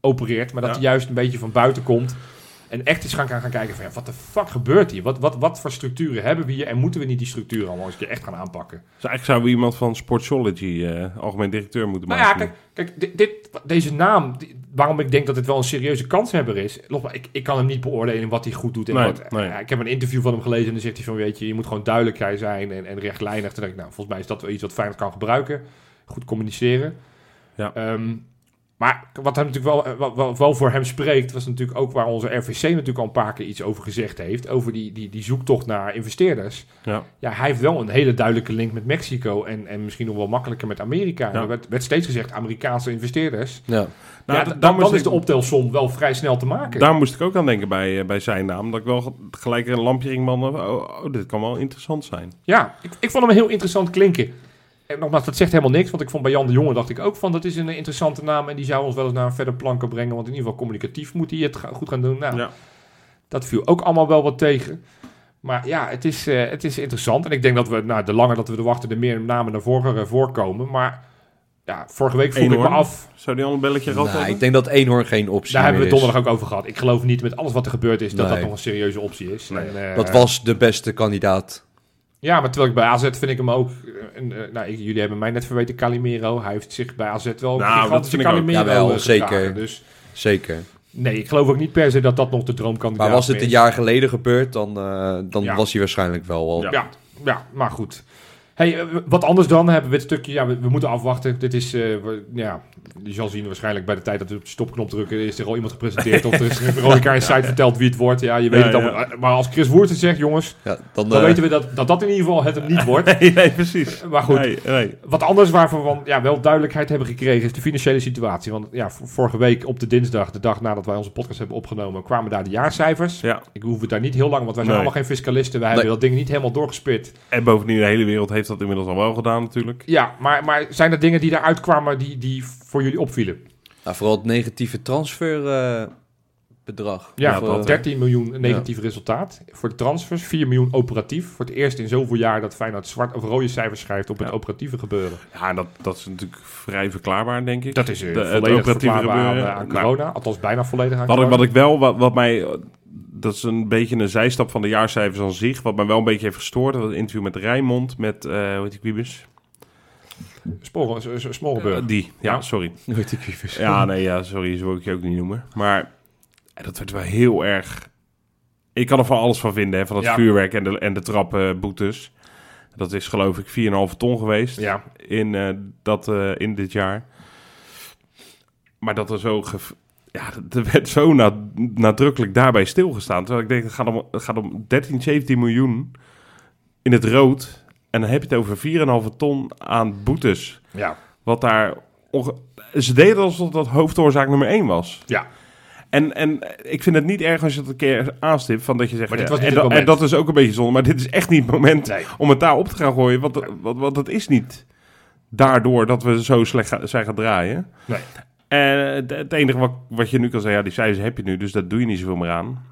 Speaker 2: opereert. Maar dat
Speaker 1: Ja.
Speaker 2: hij juist een beetje van buiten komt. En echt eens gaan, gaan kijken van ja, wat de fuck gebeurt hier? Wat, wat, wat voor structuren hebben we hier? En moeten we niet die structuren allemaal eens een keer echt gaan aanpakken?
Speaker 1: Dus eigenlijk zouden we iemand van Sportsology eh, algemeen directeur moeten
Speaker 2: Nou
Speaker 1: maken.
Speaker 2: ja, kijk, kijk dit, dit- deze naam, die- waarom ik denk dat het wel een serieuze kanshebber is. Nogmaals, Ik, ik kan hem niet beoordelen wat hij goed doet. En
Speaker 1: Nee,
Speaker 2: wat,
Speaker 1: nee.
Speaker 2: ja, ik heb een interview van hem gelezen en dan zegt hij van weet je, je moet gewoon duidelijk zijn en, en rechtlijnig. Toen denk ik, nou, volgens mij is dat wel iets wat Feyenoord kan gebruiken. Goed communiceren.
Speaker 1: Ja.
Speaker 2: Ehm, Maar wat, hem natuurlijk wel, eh, wat, wat wel voor hem spreekt, was natuurlijk ook waar onze RVC natuurlijk al een paar keer iets over gezegd heeft. Over die, die, die zoektocht naar investeerders.
Speaker 1: Ja.
Speaker 2: Ja, hij heeft wel een hele duidelijke link met Mexico en, en misschien nog wel makkelijker met Amerika.
Speaker 1: Ja.
Speaker 2: Er werd, werd steeds gezegd Amerikaanse investeerders.
Speaker 3: Ja.
Speaker 1: Nou,
Speaker 2: ja,
Speaker 1: d-
Speaker 2: d-
Speaker 1: daar
Speaker 2: dan,
Speaker 1: moest
Speaker 2: dan is
Speaker 1: ik-
Speaker 2: de optelsom wel vrij snel te maken.
Speaker 1: Daar moest ik ook aan denken bij, eh, bij zijn naam. Dat ik wel ge- gelijk een lampje ging van, oh, oh, dit kan wel interessant zijn.
Speaker 2: Ja, ik, ik vond hem heel interessant klinken. En nogmaals, dat zegt helemaal niks, want ik vond bij Jan de Jonge dacht ik ook van dat is een eh, interessante naam en die zou ons wel eens naar een verder planken brengen, want in ieder geval communicatief moet hij het ga- goed gaan doen. Nou,
Speaker 1: Ja.
Speaker 2: dat viel ook allemaal wel wat tegen. Maar ja, het is, eh, het is interessant en ik denk dat we, nou, de langer dat we er wachten, de meer namen naar voren eh, voorkomen. Maar ja, vorige week vroeg ik me
Speaker 1: Eenhoorn.
Speaker 2: af,
Speaker 1: Zou die al een belletje gehad
Speaker 3: Nou,
Speaker 1: hebben? *laughs*
Speaker 3: ik denk dat Eenhoorn geen optie
Speaker 2: daar hebben we
Speaker 3: meer
Speaker 2: het
Speaker 3: is.
Speaker 2: donderdag ook over gehad. Ik geloof niet met alles wat er gebeurd is dat
Speaker 3: Nee.
Speaker 2: dat nog een serieuze optie is.
Speaker 1: Nee.
Speaker 2: En, eh,
Speaker 3: Dat was de beste kandidaat.
Speaker 2: Ja, maar terwijl ik bij AZ vind ik hem ook... eh, een, eh, nou, ik- jullie hebben mij net verweten, Calimero. Hij heeft zich bij AZ wel
Speaker 1: Nou, dat
Speaker 2: een gigantische
Speaker 1: vind ik ook.
Speaker 2: Calimero
Speaker 3: Jawel,
Speaker 2: eh, gedragen.
Speaker 3: zeker.
Speaker 2: Dus
Speaker 3: Zeker.
Speaker 2: nee, ik geloof ook niet per se dat dat nog de droomkandidaat
Speaker 3: Maar was dit
Speaker 2: meer
Speaker 3: een
Speaker 2: is.
Speaker 3: jaar geleden gebeurd, dan, eh, dan
Speaker 2: Ja.
Speaker 3: was hij waarschijnlijk wel al.
Speaker 1: Ja.
Speaker 2: Ja, ja maar goed. Hey, eh, wat anders dan hebben we het stukje... Ja, we, we moeten afwachten. Dit is... eh, we- ja, je zal zien waarschijnlijk bij de tijd dat we op de stopknop drukken... is er al iemand gepresenteerd of er
Speaker 1: *laughs*
Speaker 2: is een Veronica Inside verteld wie het wordt. Ja, je weet
Speaker 1: Ja,
Speaker 2: het allemaal.
Speaker 1: ja.
Speaker 2: Maar als Chris Woerten zegt, jongens...
Speaker 3: Ja, dan,
Speaker 2: dan
Speaker 3: eh,
Speaker 2: weten we dat, dat dat in ieder geval het hem niet wordt.
Speaker 1: *laughs* Nee, nee, precies.
Speaker 2: Maar goed,
Speaker 1: Nee, nee.
Speaker 2: Wat anders waarvan we ja, wel duidelijkheid hebben gekregen is de financiële situatie. Want ja, v- vorige week op de dinsdag, de dag nadat wij onze podcast hebben opgenomen, kwamen daar de jaarcijfers.
Speaker 1: Ja,
Speaker 2: Ik hoef het daar niet heel lang, want wij zijn
Speaker 1: Nee.
Speaker 2: allemaal geen fiscalisten. Wij hebben
Speaker 3: Nee.
Speaker 2: dat ding niet helemaal doorgespit.
Speaker 1: en bovendien, de hele wereld heeft dat inmiddels al wel gedaan natuurlijk.
Speaker 2: Ja, maar, maar zijn er dingen die daaruit kwamen die, die voor jullie opvielen?
Speaker 3: nou, vooral het negatieve transferbedrag.
Speaker 2: Ja,
Speaker 1: Ja,
Speaker 3: Of,
Speaker 1: dat-
Speaker 3: eh,
Speaker 2: 13 miljoen negatief resultaat voor de transfers, 4 miljoen operatief. Voor het eerst in zoveel jaar dat Feyenoord zwart of rode cijfers schrijft op het
Speaker 1: Ja.
Speaker 2: operatieve gebeuren.
Speaker 1: Ja, en dat, dat is natuurlijk vrij verklaarbaar, denk ik.
Speaker 2: Dat is eh,
Speaker 1: De- het
Speaker 2: volledig
Speaker 1: operatieve
Speaker 2: verklaarbaar aan,
Speaker 1: gebeuren.
Speaker 2: eh, aan
Speaker 1: Nou,
Speaker 2: corona, althans bijna volledig aan
Speaker 1: Wat ik,
Speaker 2: corona.
Speaker 1: wat ik wel, wat, wat mij, eh, dat is een beetje een zijstap van de jaarcijfers aan zich, wat mij wel een beetje heeft gestoord, dat was het interview met Rijnmond, met, eh hoe heet die Wiebes?
Speaker 2: Sporen- s- s- Smorenburg.
Speaker 1: Eh, die, ja,
Speaker 2: Ja.
Speaker 1: sorry.
Speaker 3: Weet ik wie vers-
Speaker 1: Ja, nee, ja, sorry, zo wil ik je ook niet noemen. Maar eh, dat werd wel heel erg... Ik kan er van alles van vinden, hè, van dat
Speaker 2: Ja.
Speaker 1: vuurwerk en de, en de trappenboetes. dat is geloof ik 4,5 ton geweest.
Speaker 2: ja,
Speaker 1: in, eh, dat, eh, in dit jaar. Maar dat er zo... gev- Ja, er werd zo na- nadrukkelijk daarbij stilgestaan. Terwijl ik denk, het gaat om, het gaat om 13, 17 miljoen in het rood. En dan heb je het over 4,5 ton aan boetes.
Speaker 2: ja.
Speaker 1: Wat daar... onge- Ze deden alsof dat hoofdoorzaak nummer 1 was.
Speaker 2: Ja.
Speaker 1: En, en ik vind het niet erg als je dat een keer aanstipt. Van dat je zegt,
Speaker 2: Maar dit
Speaker 1: ja,
Speaker 2: was niet
Speaker 1: en,
Speaker 2: het
Speaker 1: dat- en
Speaker 2: moment.
Speaker 1: dat is ook een beetje zonde. Maar dit is echt niet het moment
Speaker 2: Nee.
Speaker 1: om het daar op te gaan gooien. Want, want, want het is niet daardoor dat we zo slecht ga- zijn gaan draaien.
Speaker 2: Nee.
Speaker 1: En het- het enige wat, wat je nu kan zeggen, ja, die cijfers heb je nu, dus daar doe je niet zoveel meer aan.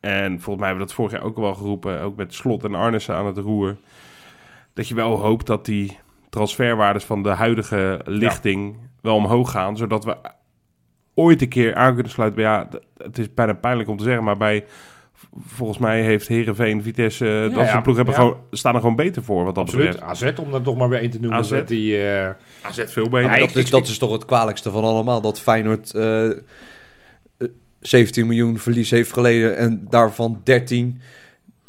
Speaker 1: En volgens mij hebben we dat vorig jaar ook wel geroepen, eh, ook met Slot en Arnissen aan het roer. Dat je wel hoopt dat die transferwaardes van de huidige lichting wel omhoog gaan, zodat we ooit een keer aan kunnen sluiten. bij- Ja, d- het is bijna pijnlijk om te zeggen, maar bij volgens mij heeft Herenveen, Vitesse, eh, dat soort
Speaker 2: ja,
Speaker 1: ploegen hebben
Speaker 2: ja.
Speaker 1: gewoon, staan er gewoon beter voor wat dat
Speaker 2: Absoluut.
Speaker 1: betreft.
Speaker 2: AZ, om dat nog maar weer één te noemen.
Speaker 1: AZ.
Speaker 2: dat Die, eh,
Speaker 1: AZ veel beter.
Speaker 2: Nee,
Speaker 3: dat,
Speaker 2: ik-
Speaker 3: is,
Speaker 2: ik-
Speaker 3: dat is toch het kwalijkste van allemaal. Dat Feyenoord eh, eh, 17 miljoen verlies heeft geleden. En daarvan 13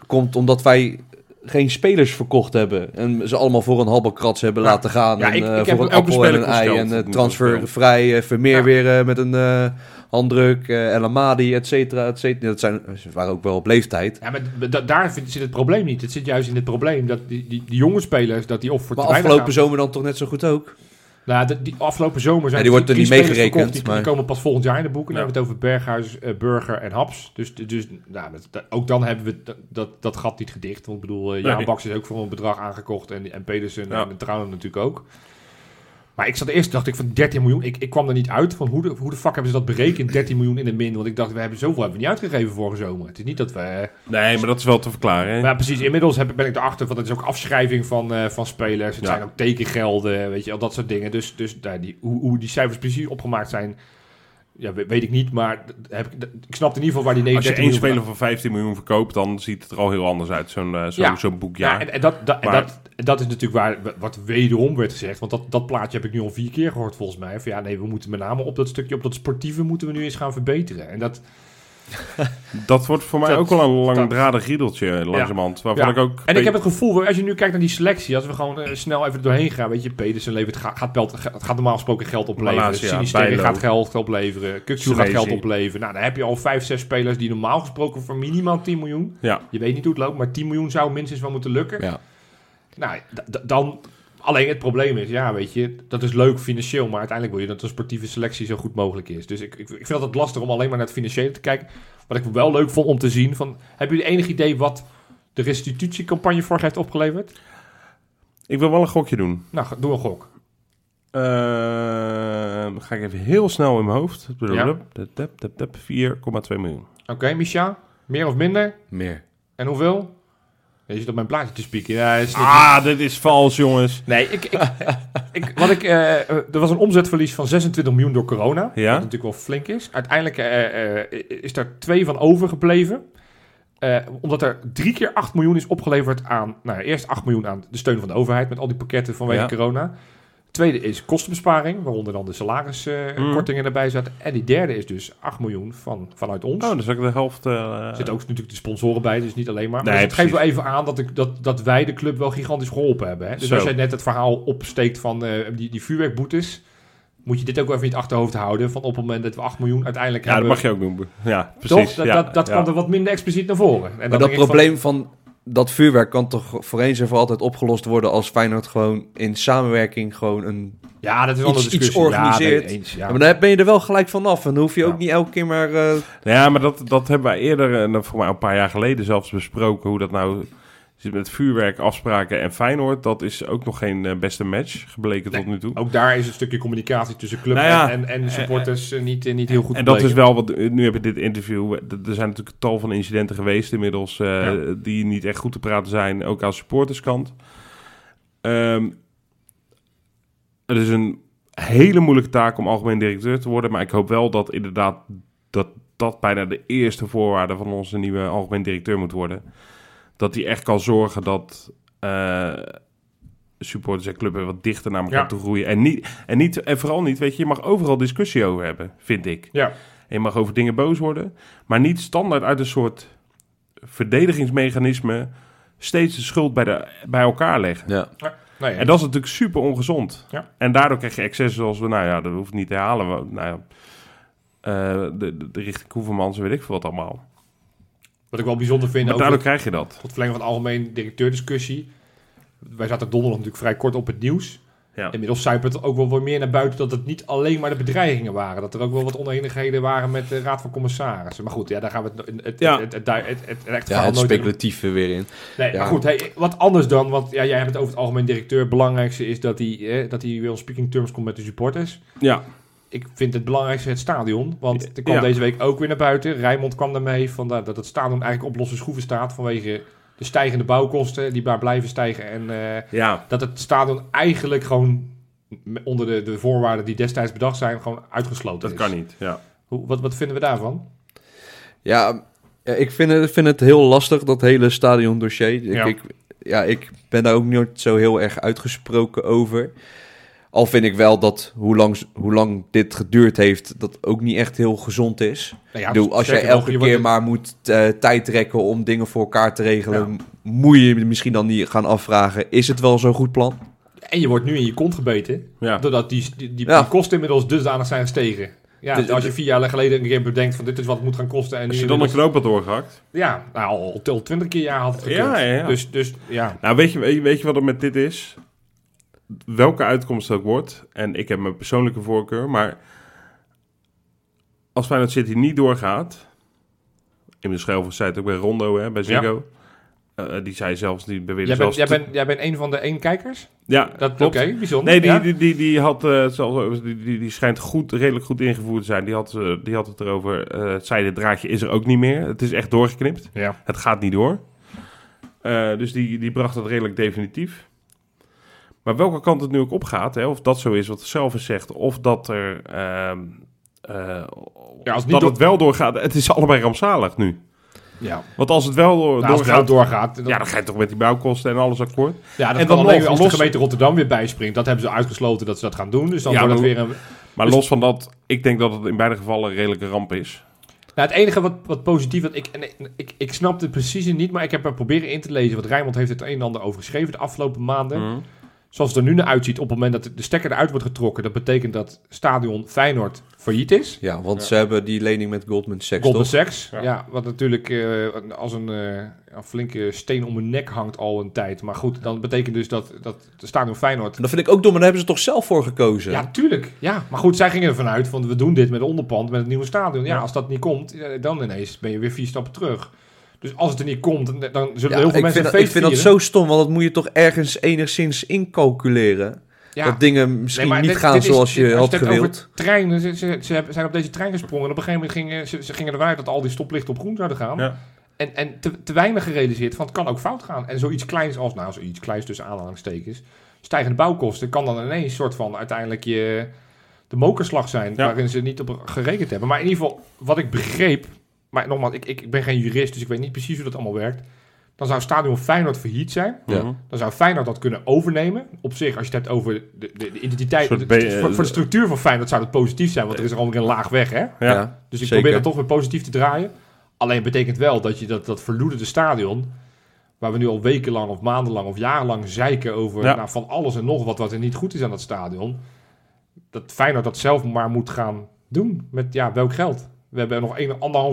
Speaker 3: komt omdat wij geen spelers verkocht hebben. En ze allemaal voor een halbakrat hebben
Speaker 2: Ja.
Speaker 3: laten gaan.
Speaker 2: Ja,
Speaker 3: en,
Speaker 2: ik-
Speaker 3: eh,
Speaker 2: ik heb
Speaker 3: voor een
Speaker 1: elke
Speaker 3: appel en
Speaker 1: speler
Speaker 3: een ei.
Speaker 1: voorspeld.
Speaker 3: En eh,
Speaker 1: Ik moet
Speaker 3: transfervrij. eh, Vermeer
Speaker 2: Ja.
Speaker 3: weer eh, met een eh, handdruk. eh El Amadi, et cetera, et cetera. Dat zijn, ze waren ook wel op leeftijd.
Speaker 2: ja, maar d- d- daar vind- zit het probleem niet. Het zit juist in het probleem dat die, die, die jonge spelers, dat die of voor
Speaker 3: Maar
Speaker 2: te weinig
Speaker 3: afgelopen
Speaker 2: gaan.
Speaker 3: zomer dan toch net zo goed ook?
Speaker 2: Nou, de- die afgelopen zomer zijn
Speaker 3: Ja, die wordt er
Speaker 2: drie
Speaker 3: niet
Speaker 2: spelers
Speaker 3: meegerekend,
Speaker 2: verkocht, Die, die
Speaker 3: maar-
Speaker 2: komen pas volgend jaar in de boeken. Dan
Speaker 1: Ja.
Speaker 2: hebben we het over Berghuis, eh, Burger en Haps. Dus, dus nou, dat- dat- ook dan hebben we dat, dat, dat gat niet gedicht. Want ik bedoel, eh, Jan
Speaker 1: Nee.
Speaker 2: Baks is ook voor een bedrag aangekocht. En, en Pedersen
Speaker 1: Ja.
Speaker 2: en Trouwen natuurlijk ook. Maar ik zat eerst, dacht ik van 13 miljoen. Ik, ik kwam er niet uit van hoe de, hoe de fuck hebben ze dat berekend, 13 miljoen in de min. Want ik dacht, we hebben zoveel hebben we niet uitgegeven vorige zomer. Het is niet dat we... eh,
Speaker 1: Nee, maar dat is wel te verklaren. hè?
Speaker 2: Maar ja, precies, inmiddels heb, ben ik erachter van het is ook afschrijving van, eh, van spelers. Het
Speaker 1: Ja.
Speaker 2: zijn ook tekengelden, weet je, al dat soort dingen. Dus, dus nou, die, hoe, hoe die cijfers precies opgemaakt zijn, ja, we- weet ik niet. Maar d- heb ik, d- ik snap in ieder geval waar die
Speaker 1: Als je
Speaker 2: 39
Speaker 1: één
Speaker 2: miljoen
Speaker 1: speler van 15 miljoen verkoopt, dan ziet het er al heel anders uit, zo'n eh, zo'n
Speaker 2: Ja.
Speaker 1: zo'n boekjaar.
Speaker 2: Ja, en, en dat, dat, en
Speaker 1: Maar-
Speaker 2: dat, en dat is natuurlijk waar, wat wederom werd gezegd. Want dat, dat plaatje heb ik nu al vier keer gehoord volgens mij. Van ja, nee, we moeten met name op dat stukje, op dat sportieve moeten we nu eens gaan verbeteren. En dat,
Speaker 1: Dat wordt voor mij
Speaker 2: Dat-
Speaker 1: ook wel een langdradig riedeltje eh, langzamerhand. Waarvan
Speaker 2: Ja.
Speaker 1: ik ook...
Speaker 2: En ik heb het gevoel, als je nu kijkt naar die selectie, als we gewoon eh, snel even er doorheen gaan, weet je, Pedersen levert, ga- gaat, Pelt, ga- het gaat normaal gesproken geld opleveren.
Speaker 1: Malasia,
Speaker 2: Sinisterre
Speaker 1: Bijlo.
Speaker 2: gaat geld opleveren. Kukzu gaat
Speaker 1: Senesi.
Speaker 2: geld opleveren. Nou, dan heb je al vijf, zes spelers die normaal gesproken voor minimaal 10 miljoen,
Speaker 1: Ja.
Speaker 2: je weet niet hoe het loopt, maar 10 miljoen zou minstens wel moeten lukken.
Speaker 1: Ja.
Speaker 2: Nou, d- d- dan... Alleen het probleem is, ja, weet je, dat is leuk financieel, maar uiteindelijk wil je dat de sportieve selectie zo goed mogelijk is. Dus ik, ik, ik vind dat het lastig om alleen maar naar het financiële te kijken. Wat ik wel leuk vond om te zien, van, hebben jullie enig idee wat de restitutiecampagne vorig jaar heeft opgeleverd?
Speaker 1: Ik wil wel een gokje doen.
Speaker 2: Nou, ga- doe een gok.
Speaker 1: Ehm, ga ik even heel snel in mijn hoofd.
Speaker 2: Ja.
Speaker 1: Ja. 4,2 miljoen.
Speaker 2: Oké, Micha, meer of minder?
Speaker 3: Meer.
Speaker 2: En hoeveel? Je zit op mijn plaatje te spieken. Ja, is niet-
Speaker 1: Ah, dit is vals, jongens.
Speaker 2: Nee, ik, ik, ik, wat ik, eh, eh, er was een omzetverlies van 26 miljoen door corona.
Speaker 1: Ja.
Speaker 2: Wat natuurlijk wel flink is. Uiteindelijk eh, eh, is daar twee van overgebleven. Eh, omdat er drie keer 8 miljoen is opgeleverd aan... Nou, ja, eerst 8 miljoen aan de steun van de overheid... met al die pakketten vanwege
Speaker 1: Ja.
Speaker 2: corona. Tweede is kostenbesparing... waaronder dan de
Speaker 1: Mhm.
Speaker 2: salariskortingen erbij zaten. En die derde is dus 8 miljoen van, vanuit ons.
Speaker 1: Oh, dan is ook de helft... eh,
Speaker 2: Er zitten ook natuurlijk de sponsoren bij, dus niet alleen maar. Maar
Speaker 1: Nee,
Speaker 2: dus het geeft wel
Speaker 1: precies.
Speaker 2: even aan dat, ik, dat, dat wij de club wel gigantisch geholpen hebben. Hè? Dus
Speaker 1: Zo.
Speaker 2: als jij net het verhaal opsteekt van eh, die, die vuurwerkboetes, moet je dit ook wel even in het achterhoofd houden. Van op het moment dat we 8 miljoen uiteindelijk
Speaker 1: ja, dat
Speaker 2: hebben.
Speaker 1: mag je ook noemen. Ja, precies.
Speaker 2: Toch? Dat,
Speaker 1: ja,
Speaker 2: dat, dat
Speaker 1: ja.
Speaker 2: kwam er wat minder expliciet naar voren. En dan
Speaker 3: Maar
Speaker 2: denk
Speaker 3: dat
Speaker 2: ik van-
Speaker 3: probleem van dat vuurwerk kan toch voor eens en voor altijd opgelost worden als Feyenoord gewoon in samenwerking gewoon een...
Speaker 2: ja, dat is wel
Speaker 3: iets-
Speaker 2: een discussie.
Speaker 3: iets organiseert.
Speaker 2: Ja, nee, eens, ja.
Speaker 3: Ja, maar dan ben je er wel gelijk vanaf en dan hoef je
Speaker 2: Ja.
Speaker 3: ook niet elke keer maar... eh,
Speaker 1: Ja, maar dat, dat hebben wij eerder, eh, nou, voor mij een paar jaar geleden zelfs besproken, hoe dat nou zit met vuurwerk, afspraken en Feyenoord. Dat is ook nog geen eh, beste match gebleken tot nu toe.
Speaker 2: Ook daar is een stukje communicatie tussen club
Speaker 1: Nou ja,
Speaker 2: en, en, en supporters eh, niet, eh, niet heel goed
Speaker 1: En dat is
Speaker 2: gebleken.
Speaker 1: wel wat, nu heb je dit interview, eh, d- er zijn natuurlijk tal van incidenten geweest inmiddels, eh,
Speaker 2: Ja.
Speaker 1: die niet echt goed te praten zijn, ook aan supporterskant. Ehm, het is een hele moeilijke taak om algemeen directeur te worden, maar ik hoop wel dat inderdaad dat dat bijna de eerste voorwaarde van onze nieuwe algemeen directeur moet worden. Dat hij echt kan zorgen dat eh, supporters en club weer wat dichter naar elkaar
Speaker 2: Ja.
Speaker 1: toe groeien. En, niet, en, niet, en vooral niet, weet je, je mag overal discussie over hebben, vind ik.
Speaker 2: Ja.
Speaker 1: En je mag over dingen boos worden, maar niet standaard uit een soort verdedigingsmechanisme steeds de schuld bij, de, bij elkaar leggen.
Speaker 2: Nee,
Speaker 1: En dat is natuurlijk super ongezond.
Speaker 2: Ja.
Speaker 1: En daardoor krijg je excessen zoals we, nou ja, dat hoeft niet te halen. we- nou ja, eh, de, de, de richting Koevermans, weet ik veel wat allemaal.
Speaker 2: Wat ik wel bijzonder vind.
Speaker 1: maar
Speaker 2: ook dat-
Speaker 1: daardoor krijg je dat.
Speaker 2: tot verlenging van de algemeen directeurdiscussie. Wij zaten donderdag natuurlijk vrij kort op het nieuws.
Speaker 1: Ja.
Speaker 2: Inmiddels zuipert het ook wel wat meer naar buiten dat het niet alleen maar de bedreigingen waren. Dat er ook wel wat oneenigheden waren met de Raad van Commissarissen. Maar goed, ja, daar gaan we het, het, het,
Speaker 1: Ja.
Speaker 2: het, het, het, het, het echte
Speaker 3: ja,
Speaker 2: verhaal
Speaker 3: het
Speaker 2: nooit in-
Speaker 3: speculatieve weer in.
Speaker 2: Nee,
Speaker 3: Ja.
Speaker 2: maar goed, hey, wat anders dan, want ja, jij hebt het over het algemeen directeur. Het belangrijkste is dat hij, eh, dat hij weer op speaking terms komt met de supporters.
Speaker 1: ja.
Speaker 2: Ik vind het belangrijkste het stadion, want er kwam
Speaker 1: Ja.
Speaker 2: deze week ook weer naar buiten. Rijmond kwam daarmee van dat dat het stadion eigenlijk op losse schroeven staat vanwege de stijgende bouwkosten die maar blijven stijgen en... eh,
Speaker 1: ja.
Speaker 2: dat het stadion eigenlijk gewoon m- onder de, de voorwaarden die destijds bedacht zijn, gewoon uitgesloten
Speaker 1: Dat
Speaker 2: is.
Speaker 1: kan niet. Ja.
Speaker 2: Hoe, wat, wat vinden we daarvan?
Speaker 3: Ja, ja, ik vind het, vind het heel lastig, dat hele stadiondossier. Ik,
Speaker 2: Ja.
Speaker 3: ja. Ik, ja, ik ben daar ook nooit zo heel erg uitgesproken over. Al vind ik wel dat hoe lang, hoe lang dit geduurd heeft, dat ook niet echt heel gezond is.
Speaker 2: Nou ja,
Speaker 3: Ik bedoel, als jij
Speaker 2: sterker nog,
Speaker 3: elke
Speaker 2: je
Speaker 3: keer
Speaker 2: wordt-
Speaker 3: maar moet eh, tijd trekken om dingen voor elkaar te regelen, moet je je misschien dan niet gaan afvragen, is het wel zo'n goed plan?
Speaker 2: En je wordt nu in je kont gebeten,
Speaker 1: Ja.
Speaker 2: doordat die, die, die,
Speaker 3: Ja.
Speaker 2: die kosten inmiddels dusdanig zijn gestegen. Ja,
Speaker 3: Dus-
Speaker 2: als je vier jaar geleden een keer bedenkt van dit is wat het moet gaan kosten. En
Speaker 1: Als
Speaker 2: nu
Speaker 1: je dan een
Speaker 2: inmiddels-
Speaker 1: knoop had doorgehakt.
Speaker 2: Ja, nou, al, al twintig keer jaar had het gekund.
Speaker 1: Ja, ja, ja.
Speaker 2: Dus, dus ja.
Speaker 1: Nou, weet je, weet je- weet je wat er met dit is? Welke uitkomst het ook wordt. En ik heb mijn persoonlijke voorkeur. Maar als Feyenoord City niet doorgaat. In de Schelvers zei het ook bij Rondo, hè, bij Ziggo. Eh, die zei zelfs, die beweerde
Speaker 2: Jij bent,
Speaker 1: zelfs...
Speaker 2: jij,
Speaker 1: te-
Speaker 2: bent, jij bent een van de één kijkers?
Speaker 1: ja,
Speaker 2: Dat
Speaker 1: klopt.
Speaker 2: Oké, bijzonder.
Speaker 1: Nee, die,
Speaker 2: ja.
Speaker 1: die, die, die had eh, zelfs, die, die, die schijnt goed, redelijk goed ingevoerd te zijn. Die had, eh, die had het erover. eh het zijden draadje is er ook niet meer. Het is echt doorgeknipt.
Speaker 2: Ja.
Speaker 1: Het gaat niet door. Eh, dus die, die bracht dat redelijk definitief. Maar welke kant het nu ook opgaat, hè, of dat zo is wat zelf zegt, of dat er. ehm, eh,
Speaker 2: Ja, als het niet
Speaker 1: dat
Speaker 2: door-
Speaker 1: het wel doorgaat. Het is allebei rampzalig nu.
Speaker 2: ja.
Speaker 1: Want als het wel door,
Speaker 2: Nou, als het wel
Speaker 1: doorgaat.
Speaker 2: doorgaat, dan-
Speaker 1: Ja, dan ga je toch met die bouwkosten en alles akkoord.
Speaker 2: Ja, dat
Speaker 1: En
Speaker 2: kan
Speaker 1: dan
Speaker 2: alleen
Speaker 1: nog,
Speaker 2: als de
Speaker 1: los-
Speaker 2: gemeente Rotterdam weer bijspringt. Dat hebben ze uitgesloten dat ze dat gaan doen. Dus dan
Speaker 1: Ja,
Speaker 2: wordt het
Speaker 1: maar-
Speaker 2: weer een...
Speaker 1: Maar
Speaker 2: Dus-
Speaker 1: los van dat, ik denk dat het in beide gevallen een redelijke ramp is.
Speaker 2: Nou, het enige wat, wat positief, want ik, en ik, ik, ik snap het precies niet, maar ik heb er proberen in te lezen. Want Rijnmond heeft het een en ander over geschreven de afgelopen maanden.
Speaker 1: Mhm.
Speaker 2: Zoals het er nu naar uitziet, op het moment dat de stekker eruit wordt getrokken, dat betekent dat stadion Feyenoord failliet is.
Speaker 3: Ja, want ze hebben die lening met Goldman Sachs,
Speaker 2: Goldman
Speaker 3: toch?
Speaker 2: Sachs,
Speaker 1: Ja.
Speaker 2: ja. wat natuurlijk eh, als een, eh, een flinke steen om hun nek hangt al een tijd. Maar goed, dan betekent dus dat, dat de stadion Feyenoord...
Speaker 3: En dat vind ik ook dom, maar daar hebben ze toch zelf voor gekozen?
Speaker 2: Ja, tuurlijk. Ja, maar goed, zij gingen ervan uit van we doen dit met onderpand, met het nieuwe stadion. Ja,
Speaker 1: Ja.
Speaker 2: als dat niet komt, eh, dan ineens ben je weer vier stappen terug. Dus als het er niet komt, dan- dan zullen
Speaker 3: Ja,
Speaker 2: heel veel
Speaker 3: ik,
Speaker 2: mensen
Speaker 3: vind dat,
Speaker 2: een
Speaker 3: ik
Speaker 2: feest
Speaker 3: vind dat
Speaker 2: vieren.
Speaker 3: zo stom, want dat moet je toch ergens enigszins incalculeren.
Speaker 2: Ja.
Speaker 3: Dat dingen misschien
Speaker 2: Nee, maar
Speaker 3: niet
Speaker 2: dit-
Speaker 3: gaan
Speaker 2: dit is-
Speaker 3: zoals je
Speaker 2: dit- als
Speaker 3: had
Speaker 2: je het hebt
Speaker 3: gewild.
Speaker 2: Over treinen, ze, ze, ze hebben- zijn op deze trein gesprongen. En op een gegeven moment gingen ze, ze gingen ervan uit dat al die stoplichten op groen zouden gaan.
Speaker 1: Ja.
Speaker 2: En, en te, te weinig gerealiseerd van het kan ook fout gaan. En zoiets kleins als, nou zoiets kleins tussen aanhalingstekens, stijgende bouwkosten, kan dan ineens een soort van uiteindelijk je, de mokerslag zijn
Speaker 1: Ja.
Speaker 2: waarin ze niet op gerekend hebben. Maar in ieder geval, wat ik begreep, maar nogmaals, ik, ik, ik ben geen jurist, dus ik weet niet precies hoe dat allemaal werkt. Dan zou Stadion Feyenoord failliet zijn.
Speaker 3: Ja.
Speaker 1: Mhm.
Speaker 2: Dan zou Feyenoord dat kunnen overnemen. Op zich, als je het hebt over de, de, de identiteit...
Speaker 1: Een
Speaker 2: de-
Speaker 1: soort
Speaker 2: de-
Speaker 1: B-
Speaker 2: voor, voor de structuur van Feyenoord zou dat positief zijn. Want er is er allemaal een laag weg, hè?
Speaker 1: Ja.
Speaker 2: Dus ik
Speaker 3: Zeker.
Speaker 2: probeer dat toch weer positief te draaien. Alleen betekent wel dat je dat, dat verloederde stadion... waar we nu al wekenlang of maandenlang of jarenlang zeiken over...
Speaker 1: Ja.
Speaker 2: nou, van alles en nog wat wat er niet goed is aan dat stadion... dat Feyenoord dat zelf maar moet gaan doen. Met ja, welk geld? We hebben nog 1,5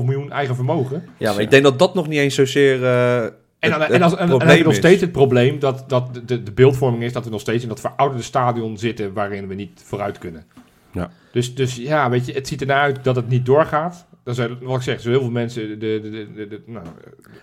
Speaker 2: miljoen eigen vermogen.
Speaker 3: Ja, maar ik denk dat dat nog niet eens zozeer... eh,
Speaker 2: En, dan, en,
Speaker 3: het-
Speaker 2: als, en,
Speaker 3: het
Speaker 2: en dan
Speaker 3: probleem
Speaker 2: heb je nog
Speaker 3: is.
Speaker 2: steeds het probleem dat, dat de- de, de beeldvorming is dat we nog steeds in dat verouderde stadion zitten waarin we niet vooruit kunnen.
Speaker 1: Ja.
Speaker 2: Dus, dus ja, weet je, het ziet ernaar uit dat het niet doorgaat. Dan zijn, er, wat ik zeg, er zijn heel veel mensen. De, de, de, de, de- nou,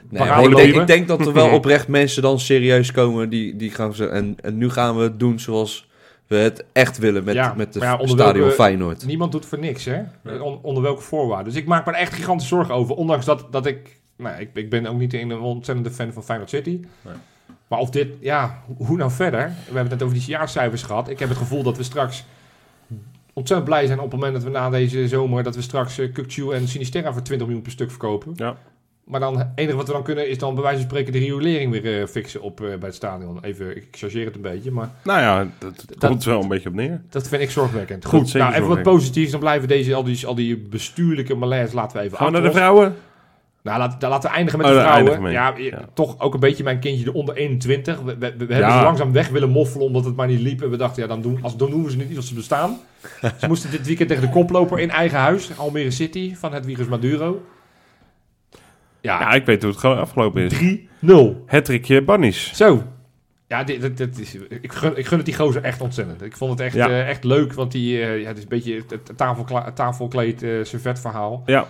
Speaker 3: Nee, maar
Speaker 2: Parade
Speaker 3: ik, denk,
Speaker 2: lopen.
Speaker 3: ik denk dat er wel oprecht mensen dan serieus komen die, die gaan ze en, en nu gaan we het doen zoals we het echt willen met,
Speaker 2: Ja,
Speaker 3: met de
Speaker 2: maar ja, onder
Speaker 3: stadion
Speaker 2: welke-
Speaker 3: Feyenoord.
Speaker 2: niemand doet voor niks, hè? On- onder welke voorwaarden. Dus ik maak me er echt gigantische zorgen over. Ondanks dat, dat ik. Nou, ik, ik ben ook niet een ontzettende fan van Feyenoord City.
Speaker 1: Nee.
Speaker 2: Maar of dit, ja, ho- hoe nou verder? We hebben het net over die jaarcijfers gehad. Ik heb het gevoel dat we straks ontzettend blij zijn op het moment dat we na deze zomer dat we straks eh, Kukçu en Sinisterra voor 20 miljoen per stuk verkopen.
Speaker 1: Ja.
Speaker 2: Maar dan het enige wat we dan kunnen is dan bij wijze van spreken de riolering weer eh, fixen op eh, bij het stadion. Even, ik chargeer het een beetje, maar
Speaker 1: Nou ja, dat, dat
Speaker 2: Dat-
Speaker 1: komt wel een beetje op neer.
Speaker 2: dat vind ik zorgwekkend.
Speaker 1: Goed,
Speaker 2: Goed,
Speaker 1: zeker
Speaker 2: nou, even wat
Speaker 1: zorgwekkend.
Speaker 2: positiefs. Dan blijven deze, al, die, al die bestuurlijke malaise laten we even
Speaker 1: Gaan we naar de
Speaker 2: achter ons.
Speaker 1: vrouwen?
Speaker 2: Nou, laat- dan laten we eindigen met
Speaker 1: Oh,
Speaker 2: de
Speaker 1: daar eindigen
Speaker 2: vrouwen.
Speaker 1: we
Speaker 2: Ja,
Speaker 1: mee.
Speaker 2: je-
Speaker 1: Ja.
Speaker 2: toch ook een beetje mijn kindje de onder 21. We, we, we hebben
Speaker 1: Ja.
Speaker 2: ze langzaam weg willen moffelen omdat het maar niet liep. En we dachten, ja, dan doen, als, dan doen we ze niet als ze
Speaker 1: *laughs*
Speaker 2: bestaan. ze moesten dit weekend tegen de koploper in eigen huis, Almere City, van het Wiegers Maduro.
Speaker 1: Ja,
Speaker 2: Ja,
Speaker 1: ik weet hoe het gewoon afgelopen is.
Speaker 2: 0.
Speaker 1: Het trickje Bannies.
Speaker 2: Zo. Ja, dit, dit, dit is, ik, gun, ik gun het die gozer echt ontzettend. Ik vond het echt,
Speaker 1: Ja.
Speaker 2: eh, echt leuk, want die, eh, ja, het is een beetje het- het tafelkla- het tafelkleed eh servet verhaal.
Speaker 1: Ja,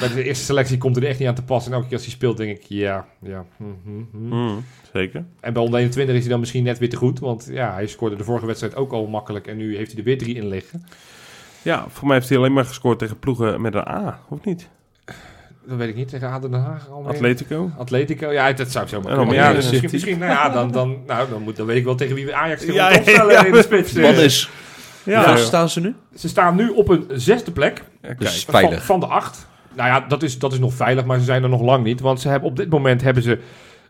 Speaker 2: Bij de eerste selectie komt er echt niet aan te pas. En elke keer als hij speelt, denk ik, ja, ja. hm, hm, hm.
Speaker 1: Mm, zeker.
Speaker 2: En bij onder 21 is hij dan misschien net weer te goed. Want ja, hij scoorde de vorige wedstrijd ook al makkelijk. En nu heeft hij er weer drie in liggen.
Speaker 1: Ja, voor mij heeft hij alleen maar gescoord tegen ploegen met een A, of niet?
Speaker 2: Dat weet ik niet. Tegen ADO Den Haag alweer.
Speaker 1: Atletico.
Speaker 2: Atletico. Ja, dat zou ik zo maar
Speaker 1: En
Speaker 2: kunnen.
Speaker 1: Almere
Speaker 2: Ja, dus
Speaker 1: City.
Speaker 2: misschien, misschien, nou ja, dan, dan, nou, dan, moet, dan weet ik wel tegen wie we Ajax gaan
Speaker 1: Ja, ja,
Speaker 2: opstellen
Speaker 1: ja.
Speaker 2: in de spits. eh.
Speaker 3: Wat is?
Speaker 1: Ja,
Speaker 3: Waar staan ze nu?
Speaker 2: Ze staan nu op een zesde plek.
Speaker 1: Ja,
Speaker 3: Dus
Speaker 1: kijk.
Speaker 3: veilig.
Speaker 2: Van, van de acht. Nou ja, dat is, dat is nog veilig, maar ze zijn er nog lang niet. Want ze hebben, op dit moment hebben ze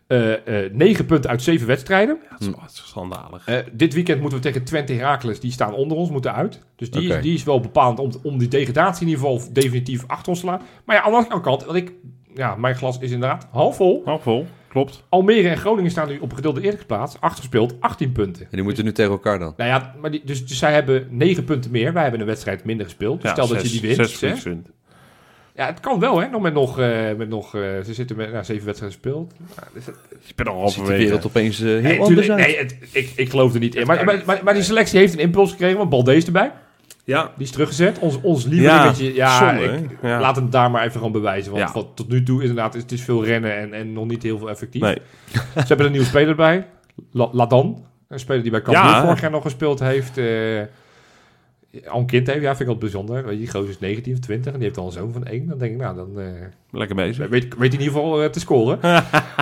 Speaker 2: eh, eh, negen punten uit zeven wedstrijden.
Speaker 1: Dat is wel schandalig.
Speaker 2: Eh, dit weekend moeten we tegen Twente Heracles. Die staan onder ons, moeten uit. Dus die,
Speaker 3: Oké.
Speaker 2: is, die is wel bepalend om, om die degradatie in ieder geval definitief achter ons te laten. Maar ja, aan de andere kant, want ik, ja, mijn glas is inderdaad half vol.
Speaker 1: Nou, vol. Klopt.
Speaker 2: Almere en Groningen staan nu op een gedeelde eerlijke plaats. Acht gespeeld, 18 punten.
Speaker 3: En die moeten nu tegen elkaar dan.
Speaker 2: Nou ja, maar die, dus, dus zij hebben 9 punten meer. Wij hebben een wedstrijd minder gespeeld. Dus
Speaker 1: Ja,
Speaker 2: stel dat
Speaker 1: zes-
Speaker 2: je die wint.
Speaker 1: Zes
Speaker 2: hè?
Speaker 1: punten.
Speaker 2: Ja, het kan wel, hè? Nog met nog, eh, met nog eh, ze zitten met nou, zeven wedstrijden gespeeld.
Speaker 1: Ik ben al
Speaker 3: Ziet de
Speaker 1: halverwege.
Speaker 3: wereld opeens eh, heel
Speaker 2: Nee,
Speaker 3: anders
Speaker 2: tuurlijk-
Speaker 3: uit.
Speaker 2: nee het- ik, ik geloof er niet in. Maar, maar, maar, maar die selectie heeft een impuls gekregen, want Balde is erbij.
Speaker 1: Ja,
Speaker 2: Die is teruggezet. Ons, ons lievelingetje. Ja,
Speaker 1: zonde,
Speaker 2: ik-
Speaker 1: hè? Ja.
Speaker 2: laat hem daar maar even gaan bewijzen. Want
Speaker 1: Ja.
Speaker 2: wat tot nu toe inderdaad, is- het is veel rennen en, en nog niet heel veel effectief.
Speaker 1: nee.
Speaker 2: Ze hebben een nieuwe speler bij. La- Ladan. Een speler die bij Cambuur
Speaker 1: Ja.
Speaker 2: vorig jaar nog gespeeld heeft. eh, al een kind heeft. Ja, vind ik altijd bijzonder. Weet je, die gozer is 19 of 20 en die heeft al een zoon van één. Dan denk ik, nou, dan... eh,
Speaker 1: Lekker bezig.
Speaker 2: Weet, weet in ieder geval eh, te
Speaker 1: *laughs*
Speaker 2: scoren.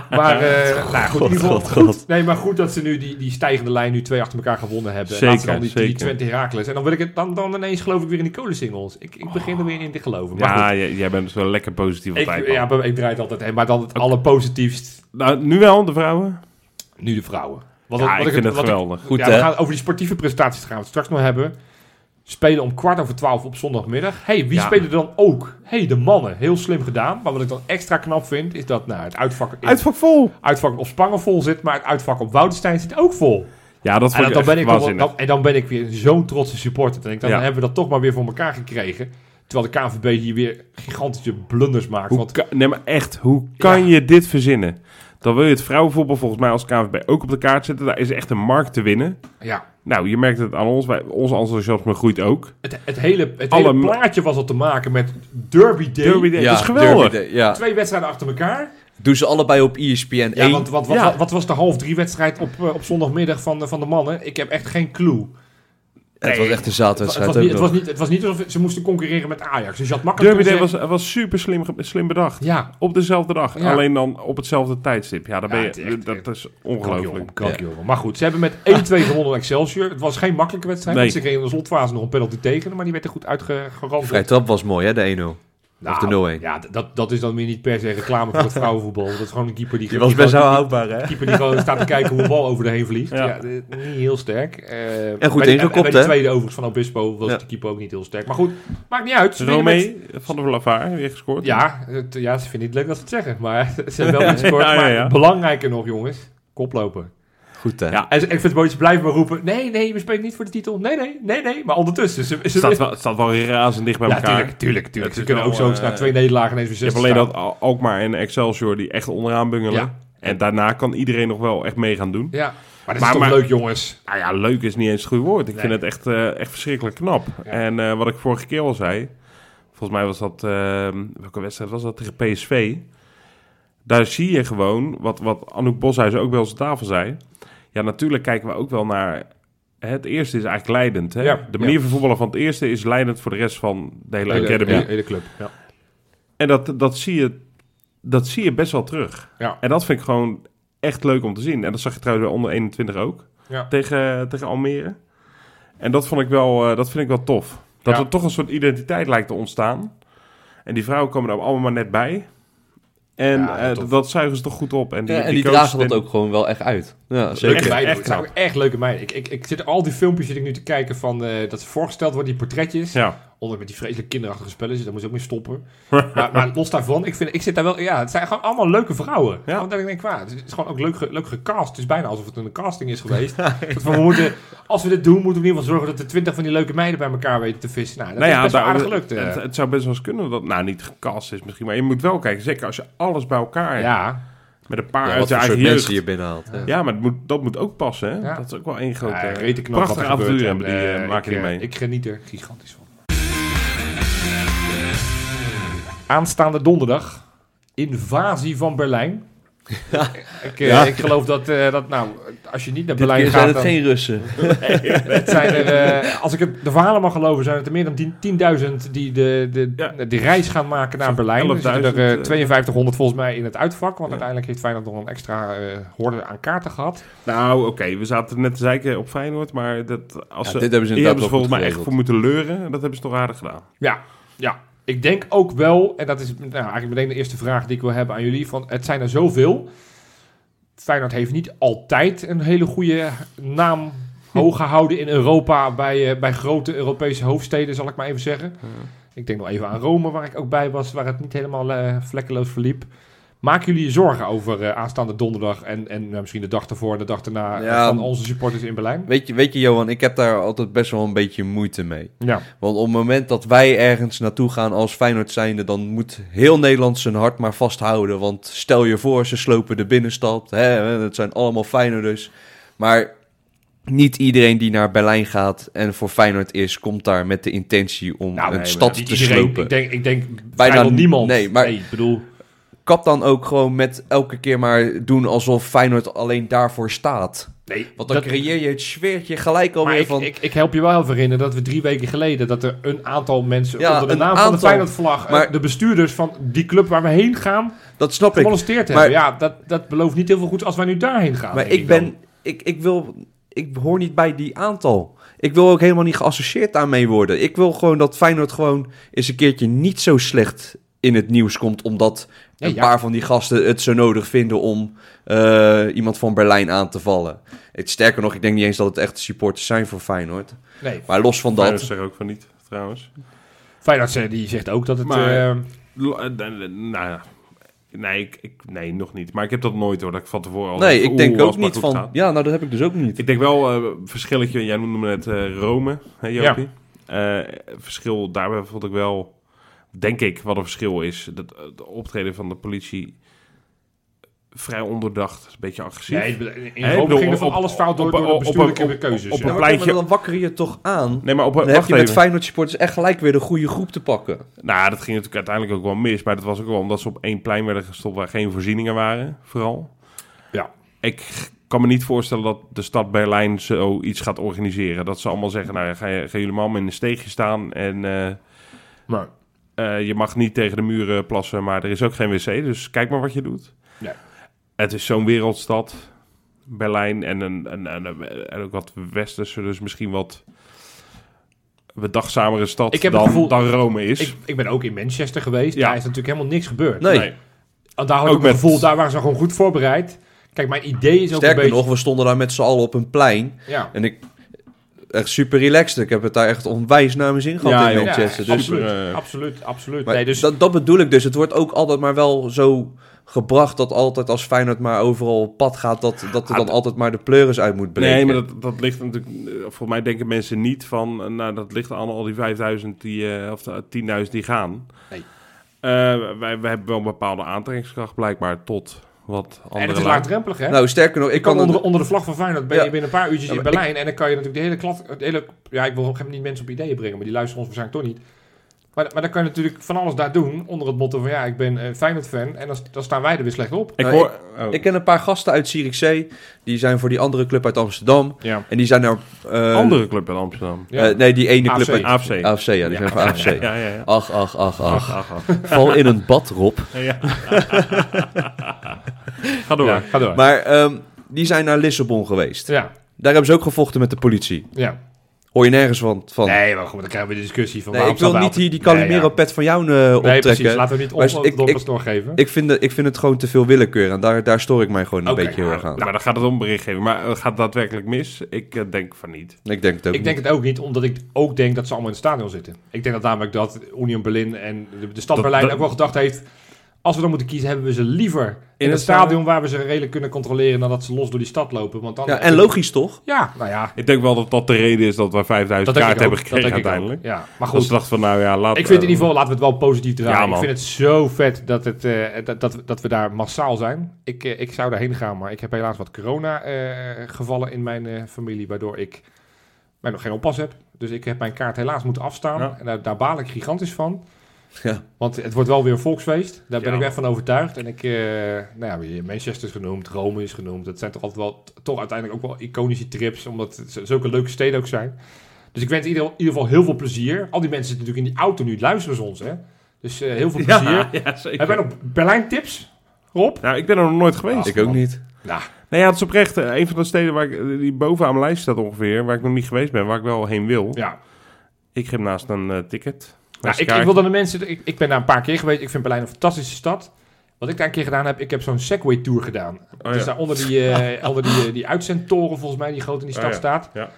Speaker 2: maar eh, nou, goed, in ieder geval, goed. Nee, maar goed dat ze nu die, die stijgende lijn nu twee achter elkaar gewonnen hebben.
Speaker 1: Zeker,
Speaker 2: Laatst dan die, die
Speaker 1: zeker.
Speaker 2: Twente Herakles. En dan, wil ik het, dan, dan ineens geloof ik weer in die kolensingels. Ik, ik begin er weer in te geloven. Maar
Speaker 1: Ja,
Speaker 2: goed,
Speaker 1: jij, jij bent dus wel lekker positief op tijd.
Speaker 2: ik, ja, maar ik draai het altijd heen. Maar dan het allerpositiefst,
Speaker 1: Nou, nu wel, de vrouwen.
Speaker 2: nu de vrouwen. Wat,
Speaker 1: Ja, ik
Speaker 2: het-
Speaker 1: vind het
Speaker 2: wat ik-
Speaker 1: geweldig.
Speaker 3: Goed,
Speaker 2: ja,
Speaker 3: hè?
Speaker 2: we gaan over die sportieve prestaties gaan we het straks nog hebben. spelen om kwart over twaalf op zondagmiddag. hey, wie
Speaker 1: Ja.
Speaker 2: spelen er dan ook? hey, de mannen. Heel slim gedaan. Maar wat ik dan extra knap vind, is dat nou, het uitvak, in-
Speaker 1: Uitvak vol.
Speaker 2: uitvak op Spangen vol zit, maar het uitvak op Woudenstein zit ook vol.
Speaker 1: Ja, dat
Speaker 2: En
Speaker 1: vond
Speaker 2: dan,
Speaker 1: ik
Speaker 2: dan
Speaker 1: echt
Speaker 2: ben ik wel,
Speaker 1: waanzinnig.
Speaker 2: dan, en dan ben ik weer zo'n trotse supporter. Dan, denk ik, dan
Speaker 1: Ja.
Speaker 2: hebben we dat toch maar weer voor elkaar gekregen. Terwijl de KVB hier weer gigantische blunders maakt.
Speaker 1: Hoe
Speaker 2: want
Speaker 1: ka- nee, maar echt, hoe kan je dit verzinnen? Dan wil je het vrouwenvoetbal volgens mij als KVB ook op de kaart zetten. Daar is echt een markt te winnen.
Speaker 2: ja,
Speaker 1: Nou, je merkt het aan ons. Wij, ons enthousiasme groeit ook.
Speaker 2: het, het hele, het
Speaker 1: Alle
Speaker 2: hele
Speaker 1: ma-
Speaker 2: plaatje was al te maken met Derby Day.
Speaker 1: Derby Day,
Speaker 3: ja,
Speaker 1: dat is geweldig.
Speaker 3: Derby Day, ja.
Speaker 2: Twee wedstrijden achter elkaar.
Speaker 3: Doen ze allebei op E ESPN
Speaker 2: Ja,
Speaker 3: 1.
Speaker 2: want wat, wat,
Speaker 1: Ja.
Speaker 2: Wat, wat was de half drie wedstrijd op, eh, op zondagmiddag van de, van de mannen? Ik heb echt geen clue.
Speaker 3: het was echt een
Speaker 2: Het was,
Speaker 3: zaadwedstrijd
Speaker 2: niet,
Speaker 3: ook
Speaker 2: het,
Speaker 3: nog.
Speaker 2: was niet, het was niet alsof ze moesten concurreren met Ajax. Dus je had makkelijk
Speaker 1: Derby Day
Speaker 2: kunnen
Speaker 1: was, was super slim, ge- slim bedacht.
Speaker 2: zeggen- Ja,
Speaker 1: Op dezelfde dag,
Speaker 2: Ja.
Speaker 1: alleen dan op hetzelfde tijdstip. Ja, daar
Speaker 2: Ja,
Speaker 1: ben
Speaker 2: het
Speaker 1: je,
Speaker 2: is echt-
Speaker 1: dat is
Speaker 2: Kampioen,
Speaker 1: ongelooflijk.
Speaker 2: kampioen. Maar goed, ze hebben met 1-2
Speaker 3: *laughs*
Speaker 2: gewonnen van Excelsior. Het was geen makkelijke wedstrijd.
Speaker 1: Nee.
Speaker 2: want Ze kregen in de slotfase nog een penalty tegen, maar die werd er goed uitgerand.
Speaker 3: Vrij trap was mooi, hè, de 1-0.
Speaker 2: Nou,
Speaker 3: of de 0-1.
Speaker 2: Ja, d- dat, dat is dan weer niet per se reclame
Speaker 3: *laughs*
Speaker 2: voor het vrouwenvoetbal. Dat is gewoon een keeper die...
Speaker 3: Die was
Speaker 2: die
Speaker 3: best wel
Speaker 2: gewoon-
Speaker 3: houdbaar, hè?
Speaker 2: die keeper die gewoon staat te kijken hoe een bal over de heen vliegt. Ja.
Speaker 1: Ja.
Speaker 2: eh, niet heel sterk. Eh,
Speaker 3: goed
Speaker 2: bij die-
Speaker 3: ingekopt,
Speaker 2: en Bij de
Speaker 3: hè?
Speaker 2: tweede overigens van Obispo was
Speaker 3: Ja.
Speaker 2: de keeper ook niet heel sterk. Maar goed, maakt niet uit. Ze winnen met-
Speaker 1: Romee van de Vlavaar, weer gescoord.
Speaker 2: Ja, het- ja, ze vinden het leuk dat ze het zeggen. Maar *laughs* ze hebben wel
Speaker 1: *laughs*
Speaker 2: iets kort.
Speaker 1: Ja, ja, ja.
Speaker 2: Maar belangrijker nog, jongens. Koplopen.
Speaker 3: Goed, hè?
Speaker 1: Ja.
Speaker 2: En ze- ik vind het mooi, ze blijven maar roepen... Nee, nee, we spelen niet voor de titel. Nee, nee, nee, nee. Maar ondertussen... Ze, ze,
Speaker 1: staat wel, het staat wel razend dicht bij
Speaker 2: ja,
Speaker 1: elkaar.
Speaker 2: tuurlijk, tuurlijk, tuurlijk.
Speaker 1: Het
Speaker 2: Ze
Speaker 1: is
Speaker 2: kunnen
Speaker 1: wel,
Speaker 2: ook zo
Speaker 1: eh,
Speaker 2: na twee nederlagen ineens weer
Speaker 1: Je hebt
Speaker 2: zes
Speaker 1: alleen dat Al- Alkmaar en Excelsior die echt onderaan bungelen.
Speaker 2: Ja.
Speaker 1: En daarna kan iedereen nog wel echt mee gaan doen.
Speaker 2: Ja, maar dat is
Speaker 1: Maar-
Speaker 2: toch
Speaker 1: maar-
Speaker 2: leuk, jongens.
Speaker 1: Nou ja, leuk is niet eens het goede woord. Ik
Speaker 2: Nee.
Speaker 1: vind het echt, eh, echt verschrikkelijk knap. En eh, wat ik vorige keer al zei, volgens mij was dat, ehm, welke wedstrijd was dat tegen PSV? Daar zie je gewoon, wat, wat Anouk Boshuis ook bij onze tafel zei. Ja, natuurlijk kijken we ook wel naar, hè, het eerste is eigenlijk leidend. Hè?
Speaker 2: Ja,
Speaker 1: de manier van voetballen van het eerste is leidend voor de rest van de hele academy.
Speaker 2: hele, hele club. Ja.
Speaker 1: En dat, dat, zie je, dat zie je best wel terug.
Speaker 2: Ja.
Speaker 1: En dat vind ik gewoon echt leuk om te zien. En dat zag je trouwens bij onder 21 ook.
Speaker 2: Ja.
Speaker 1: Tegen, tegen Almere. En dat, vond ik wel, eh, dat vind ik wel tof. Dat
Speaker 2: Ja.
Speaker 1: er toch een soort identiteit lijkt te ontstaan. En die vrouwen komen er allemaal maar net bij. En
Speaker 2: Ja,
Speaker 1: eh,
Speaker 2: tof.
Speaker 1: dat zuigen ze toch goed op. En die,
Speaker 3: Ja, en die
Speaker 1: coaches
Speaker 3: dragen dat
Speaker 1: en-
Speaker 3: ook gewoon wel echt uit. Ja,
Speaker 2: Echt,
Speaker 3: zeker.
Speaker 1: Leuk.
Speaker 2: meiden,
Speaker 1: echt
Speaker 2: het zijn ook echt leuke meiden. Ik, ik, ik zit al die filmpjes zit ik nu te kijken van eh, dat ze voorgesteld worden, die portretjes.
Speaker 1: Ja,
Speaker 2: Onder met die vreselijke kinderachtige spelletjes, daar moet je ook mee
Speaker 1: *laughs*
Speaker 2: stoppen. maar, maar los daarvan, ik, vind, ik zit daar wel... Ja, het zijn gewoon allemaal leuke vrouwen.
Speaker 1: Ja.
Speaker 2: Want ik denk, qua, het is gewoon ook leuk, ge- leuk gecast. Het is bijna alsof het een casting is
Speaker 1: *laughs*
Speaker 2: geweest. Dat we moeten, als we dit doen, moeten we in ieder geval zorgen dat er twintig van die leuke meiden bij elkaar weten te vissen. Nou, dat
Speaker 1: nou
Speaker 2: is
Speaker 1: ja,
Speaker 2: best wel
Speaker 1: daar-
Speaker 2: aardig gelukt. eh.
Speaker 1: het, het zou best wel eens kunnen dat, nou niet gecast is misschien, maar je moet wel kijken, zeker als je alles bij elkaar hebt,
Speaker 2: ja,
Speaker 1: met een paar
Speaker 3: Ja,
Speaker 1: uit
Speaker 3: wat
Speaker 1: je
Speaker 3: voor
Speaker 1: eigen
Speaker 3: soort
Speaker 1: jeugd.
Speaker 3: mensen je binnenhaalt. Ja.
Speaker 1: Ja, maar het moet, dat moet ook passen. Hè?
Speaker 2: Ja.
Speaker 1: Dat is ook wel één grote
Speaker 2: ja,
Speaker 1: eh,
Speaker 2: rete knap
Speaker 1: prachtige
Speaker 2: wat er gebeurt.
Speaker 1: avontuur hebben die
Speaker 2: En,
Speaker 1: eh,
Speaker 2: eh,
Speaker 1: maken
Speaker 2: ik,
Speaker 1: die
Speaker 2: eh,
Speaker 1: mee.
Speaker 2: Ik geniet er gigantisch van. Aanstaande donderdag. Invasie
Speaker 1: *laughs*
Speaker 2: van Berlijn. ik, eh,
Speaker 3: Ja.
Speaker 2: ik geloof dat, eh, dat, nou, als je niet naar
Speaker 3: Dit
Speaker 2: Berlijn
Speaker 3: keer
Speaker 2: gaat,
Speaker 3: zijn het
Speaker 2: dan
Speaker 3: geen Russen.
Speaker 2: *laughs* het zijn er, eh, als ik het, de verhalen mag geloven, zijn het er meer dan 10 10.000 die de, de,
Speaker 1: Ja.
Speaker 2: de reis gaan maken naar Berlijn. Er zitten er
Speaker 1: 11.000,
Speaker 2: eh,
Speaker 1: eh,
Speaker 2: 5200 volgens mij in het uitvak, want uiteindelijk heeft Feyenoord nog een extra eh horde aan kaarten gehad.
Speaker 1: Nou, oké, we zaten net te zeiken op Feyenoord, maar dat, als
Speaker 3: Ja,
Speaker 1: ze,
Speaker 3: dit hebben ze
Speaker 1: hier
Speaker 3: inderdaad
Speaker 1: hebben ze
Speaker 3: wel goed
Speaker 1: volgens mij echt
Speaker 3: geregeld.
Speaker 1: voor moeten leuren. En dat hebben ze toch aardig gedaan.
Speaker 2: Ja, ja. Ik denk ook wel, en dat is nou, eigenlijk meteen de eerste vraag die ik wil hebben aan jullie. Van, het zijn er zoveel. Feyenoord heeft niet altijd een hele goede naam hoog gehouden in Europa. Bij, eh, bij grote Europese hoofdsteden, zal ik maar even zeggen. Ik denk nog even aan Rome, waar ik ook bij was. Waar het niet helemaal eh, vlekkeloos verliep. Maken jullie je zorgen over eh, aanstaande donderdag en, en nou, misschien de dag ervoor en de dag daarna eh,
Speaker 3: Ja.
Speaker 2: van onze supporters in Berlijn?
Speaker 3: Weet je, weet je, Johan, ik heb daar altijd best wel een beetje moeite mee.
Speaker 2: Ja,
Speaker 3: Want op het moment dat wij ergens naartoe gaan als Feyenoord zijnde, dan moet heel Nederland zijn hart maar vasthouden. Want stel je voor, ze slopen de binnenstad. Hè, het zijn allemaal Feyenoorders. Maar niet iedereen die naar Berlijn gaat en voor Feyenoord is, komt daar met de intentie om
Speaker 2: Nou,
Speaker 3: een
Speaker 1: nee,
Speaker 3: stad
Speaker 2: niet
Speaker 3: te
Speaker 2: iedereen.
Speaker 3: slopen.
Speaker 2: Ik denk, ik denk
Speaker 3: Bijna
Speaker 2: vrijwel niemand.
Speaker 3: nee, maar-
Speaker 2: ik bedoel...
Speaker 3: Kap dan ook gewoon met elke keer maar doen alsof Feyenoord alleen daarvoor staat.
Speaker 2: Nee,
Speaker 3: Want dan
Speaker 2: dat-
Speaker 3: creëer je het sfeertje gelijk alweer
Speaker 2: maar ik,
Speaker 3: van...
Speaker 2: ik, ik help je wel even herinneren dat we drie weken geleden... dat er een aantal mensen
Speaker 3: Ja,
Speaker 2: onder de
Speaker 3: een
Speaker 2: naam van de
Speaker 3: aantal.
Speaker 2: Feyenoord-vlag... eh,
Speaker 3: Maar-
Speaker 2: de bestuurders van die club waar we heen gaan...
Speaker 3: dat snap ik.
Speaker 2: gemolesteerd
Speaker 3: maar-
Speaker 2: hebben. Ja, dat, dat belooft niet heel veel goed als wij nu daarheen
Speaker 1: Ah,
Speaker 2: gaan.
Speaker 3: Maar
Speaker 2: denk
Speaker 3: ik
Speaker 2: dan.
Speaker 3: ben, ik, ik wil, ik hoor niet bij die aantal. Ik wil ook helemaal niet geassocieerd daarmee worden. Ik wil gewoon dat Feyenoord gewoon eens een keertje niet zo slecht in het nieuws komt, omdat een
Speaker 2: ja.
Speaker 3: paar van die gasten het zo nodig vinden om eh, iemand van Berlijn aan te vallen. Het, sterker nog, ik denk niet eens dat het echt supporters zijn voor Feyenoord.
Speaker 2: Nee,
Speaker 3: Maar los van
Speaker 1: Feyenoord
Speaker 3: dat,
Speaker 1: zegt ook van niet, trouwens.
Speaker 2: Feyenoord eh, die zegt ook dat het...
Speaker 1: Maar-
Speaker 2: eh,
Speaker 1: L- eh, d- eh, nou ja. Nee, ik, ik, nee, nog niet. Maar ik heb dat nooit hoor, dat ik van tevoren al...
Speaker 3: nee,
Speaker 1: denk,
Speaker 3: ik denk
Speaker 1: oeh, als
Speaker 3: ook
Speaker 1: het maar
Speaker 3: niet
Speaker 1: goed
Speaker 3: van...
Speaker 1: gaat.
Speaker 3: Ja, nou, dat heb ik dus ook niet.
Speaker 1: Ik denk wel, eh, verschilletje, jij noemde me net eh, Rome, hè Jopie? Eh, verschil, daarbij vond ik wel, denk ik, wat een verschil is. Dat, eh, de optreden van de politie vrij onderdacht, een beetje agressief.
Speaker 2: nee, in- in
Speaker 1: Hè, ik
Speaker 2: Rome
Speaker 1: bedoel,
Speaker 2: ging er van
Speaker 1: op-
Speaker 2: alles fout door,
Speaker 1: op-
Speaker 2: door de
Speaker 1: op- op-
Speaker 2: bestuurlijke
Speaker 1: op- op-
Speaker 2: keuzes.
Speaker 1: op-
Speaker 2: ja.
Speaker 1: een
Speaker 3: Ja, maar,
Speaker 1: pleintje-
Speaker 3: maar dan wakker je toch aan.
Speaker 1: nee, maar op,
Speaker 3: Dan heb
Speaker 1: wacht
Speaker 3: je met
Speaker 1: even.
Speaker 3: Feyenoord supporters echt gelijk weer de goede groep te pakken.
Speaker 1: Nou, dat ging natuurlijk uiteindelijk ook wel mis. Maar dat was ook wel omdat ze op één plein werden gestopt waar geen voorzieningen waren, vooral.
Speaker 2: Ja.
Speaker 1: Ik kan me niet voorstellen dat de stad Berlijn zoiets gaat organiseren. Dat ze allemaal zeggen, nou ja, ga je- gaan jullie maar allemaal in een steegje staan en... eh,
Speaker 2: Maar,
Speaker 1: Eh, je mag niet tegen de muren plassen, maar er is ook geen wc, dus kijk maar wat je doet.
Speaker 2: Nee.
Speaker 1: Het is zo'n wereldstad, Berlijn, en, een, en, en, en ook wat westerse, dus misschien wat bedachtzamere stad
Speaker 2: Ik heb het
Speaker 1: dan,
Speaker 2: gevoel-
Speaker 1: dan Rome is.
Speaker 2: ik, ik ben ook in Manchester geweest.
Speaker 1: Ja.
Speaker 2: Daar is natuurlijk helemaal niks gebeurd.
Speaker 3: Nee,
Speaker 1: Nee.
Speaker 2: Want Daar had ik
Speaker 1: Ook
Speaker 2: ook het
Speaker 1: met-
Speaker 2: gevoel, daar waren ze gewoon goed voorbereid. Kijk, mijn idee is ook
Speaker 3: sterker
Speaker 2: een beetje...
Speaker 3: nog, we stonden daar met z'n allen op een plein.
Speaker 2: Ja.
Speaker 3: En ik... Echt super relaxed. Ik heb het daar echt onwijs naar mijn zin gehad
Speaker 1: Ja,
Speaker 3: in
Speaker 1: joh.
Speaker 3: Manchester.
Speaker 2: Ja,
Speaker 3: dus
Speaker 2: absoluut,
Speaker 1: eh,
Speaker 2: absoluut, absoluut.
Speaker 3: Maar
Speaker 2: Nee, dus
Speaker 3: dat, dat bedoel ik dus. Het wordt ook altijd maar wel zo gebracht dat altijd als Feyenoord maar overal op pad gaat, dat, dat er
Speaker 1: Ah,
Speaker 3: dan
Speaker 1: dat-
Speaker 3: altijd maar de pleuris uit moet breken.
Speaker 1: Nee, maar dat, dat ligt natuurlijk... eh, Volgens mij denken mensen niet van... eh, Nou, dat ligt aan al die 5000 die, eh, of de 10.000 die gaan.
Speaker 2: Nee.
Speaker 1: Eh, wij, wij hebben wel een bepaalde aantrekkingskracht blijkbaar tot wat andere
Speaker 2: en het is
Speaker 1: lui-
Speaker 2: laagdrempelig, hè?
Speaker 3: Nou, sterker nog, ik
Speaker 2: Ik kan
Speaker 3: kan...
Speaker 2: onder,
Speaker 3: Een,
Speaker 2: onder de vlag van Feyenoord ben je
Speaker 3: Ja.
Speaker 2: binnen een paar uurtjes
Speaker 3: Ja,
Speaker 2: in
Speaker 3: maar
Speaker 2: Berlijn. En dan kan je natuurlijk de hele klad... Het hele, ja, ik wil op een gegeven moment niet mensen op ideeën brengen, maar die luisteren ons waarschijnlijk toch niet. Maar, maar dan kan je natuurlijk van alles daar doen onder het motto van... Ja, ik ben eh Feyenoord-fan en dan, dan staan wij er weer slecht op.
Speaker 1: Ik
Speaker 3: Nou,
Speaker 1: hoor... oh.
Speaker 3: ik ken een paar gasten uit Zierikzee, die zijn voor die andere club uit Amsterdam.
Speaker 2: Ja.
Speaker 3: En die zijn naar... eh,
Speaker 1: andere club in Amsterdam.
Speaker 2: ja.
Speaker 3: eh, nee, die ene
Speaker 2: AFC.
Speaker 3: club uit...
Speaker 1: AFC.
Speaker 3: AFC, ja, die zijn van AFC.
Speaker 1: Ja, ja, ja.
Speaker 3: Ach, ach, ach,
Speaker 1: *laughs*
Speaker 3: ach.
Speaker 1: Ach,
Speaker 2: *laughs*
Speaker 1: ach.
Speaker 3: Val in een bad, Rob.
Speaker 1: Ja. *laughs* Ga door.
Speaker 2: Ja, ga door.
Speaker 3: Maar ehm, die zijn naar Lissabon geweest.
Speaker 2: ja,
Speaker 3: Daar hebben ze ook gevochten met de politie.
Speaker 2: ja.
Speaker 3: Hoor je nergens van. van. Nee,
Speaker 2: Nee, maar goed, dan krijgen we de discussie van...
Speaker 3: ik wil niet hier die Calimero-pet van jou eh,
Speaker 2: Nee,
Speaker 3: optrekken.
Speaker 2: precies. Laten we niet
Speaker 3: Maar ik-
Speaker 2: ons
Speaker 3: ik-
Speaker 2: dompers doorgeven.
Speaker 3: Ik vind, het- ik vind het gewoon te veel willekeur en daar, daar stoor ik mij gewoon een
Speaker 2: Oké,
Speaker 3: beetje heel erg aan.
Speaker 1: Nou, dan gaat het om berichtgeving. Maar eh, gaat het daadwerkelijk mis? Ik eh, denk van niet.
Speaker 3: ik denk het ook
Speaker 2: Ik denk het ook niet, omdat ik ook denk dat ze allemaal in het stadion zitten. Ik denk dat namelijk dat Union Berlin en de, de stad
Speaker 1: Dat-
Speaker 2: Berlijn
Speaker 1: dat-
Speaker 2: ook wel gedacht heeft... als we dan moeten kiezen, hebben we ze liever in,
Speaker 1: het
Speaker 2: het stadion... waar we ze redelijk kunnen controleren... dan dat ze los door die stad lopen. Want dan
Speaker 3: ja, en logisch toch?
Speaker 2: Ja, nou ja.
Speaker 1: Ik denk wel dat dat de reden is dat wij 5000
Speaker 2: denk
Speaker 1: kaart
Speaker 2: ik ook.
Speaker 1: hebben gekregen
Speaker 2: denk ik ook.
Speaker 1: uiteindelijk.
Speaker 2: Ja, maar
Speaker 1: Dat ze
Speaker 2: goed.
Speaker 1: dachten van, nou ja, laat...
Speaker 2: Ik vind in ieder geval, laten we het wel positief
Speaker 1: Ja,
Speaker 2: draaien. ik
Speaker 1: man.
Speaker 2: vind het zo vet dat, het, eh, dat, dat, dat we daar massaal zijn. Ik, eh, ik zou daarheen gaan, maar ik heb helaas wat corona-gevallen in mijn eh, familie, waardoor ik mij nog geen oppas heb. Dus ik heb mijn kaart helaas moeten afstaan.
Speaker 1: Ja.
Speaker 2: En daar, daar baal ik gigantisch van.
Speaker 3: Ja.
Speaker 2: Want het wordt wel weer een volksfeest. Daar ben
Speaker 1: Ja.
Speaker 2: ik echt van overtuigd. En ik, eh, nou ja, Manchester is genoemd, Rome is genoemd. Dat zijn toch altijd wel, toch uiteindelijk ook wel iconische trips, omdat het z- zulke leuke steden ook zijn. Dus ik wens in ieder, in ieder geval heel veel plezier. Al die mensen zitten natuurlijk in die auto nu, luisteren ze ons, hè? Dus eh, heel veel plezier.
Speaker 1: *laughs* Ja, ja, zeker.
Speaker 2: Hebben wij nog Berlijn-tips, Rob?
Speaker 1: Nou, ik ben er nog nooit geweest.
Speaker 3: ik ook niet.
Speaker 2: Nou,
Speaker 1: Nee, ja, het is oprecht. eh, Een van de steden waar ik, eh, die bovenaan mijn lijst staat ongeveer, waar ik nog niet geweest ben, waar ik wel heen wil.
Speaker 2: ja.
Speaker 1: Ik geef naast een eh, ticket.
Speaker 2: Nou,
Speaker 1: Naast een
Speaker 2: ik, ik
Speaker 1: kaartje.
Speaker 2: wil dan de mensen... Ik, ik ben daar een paar keer geweest. Ik vind Berlijn een fantastische stad. Wat ik daar een keer gedaan heb, ik heb zo'n Segway-tour gedaan.
Speaker 1: Oh,
Speaker 2: Dus
Speaker 1: ja.
Speaker 2: daar onder
Speaker 1: *laughs*
Speaker 2: die, eh, onder die, eh, die uitzendtoren, volgens mij, die groot in die stad
Speaker 1: Oh, ja.
Speaker 2: staat.
Speaker 1: Ja.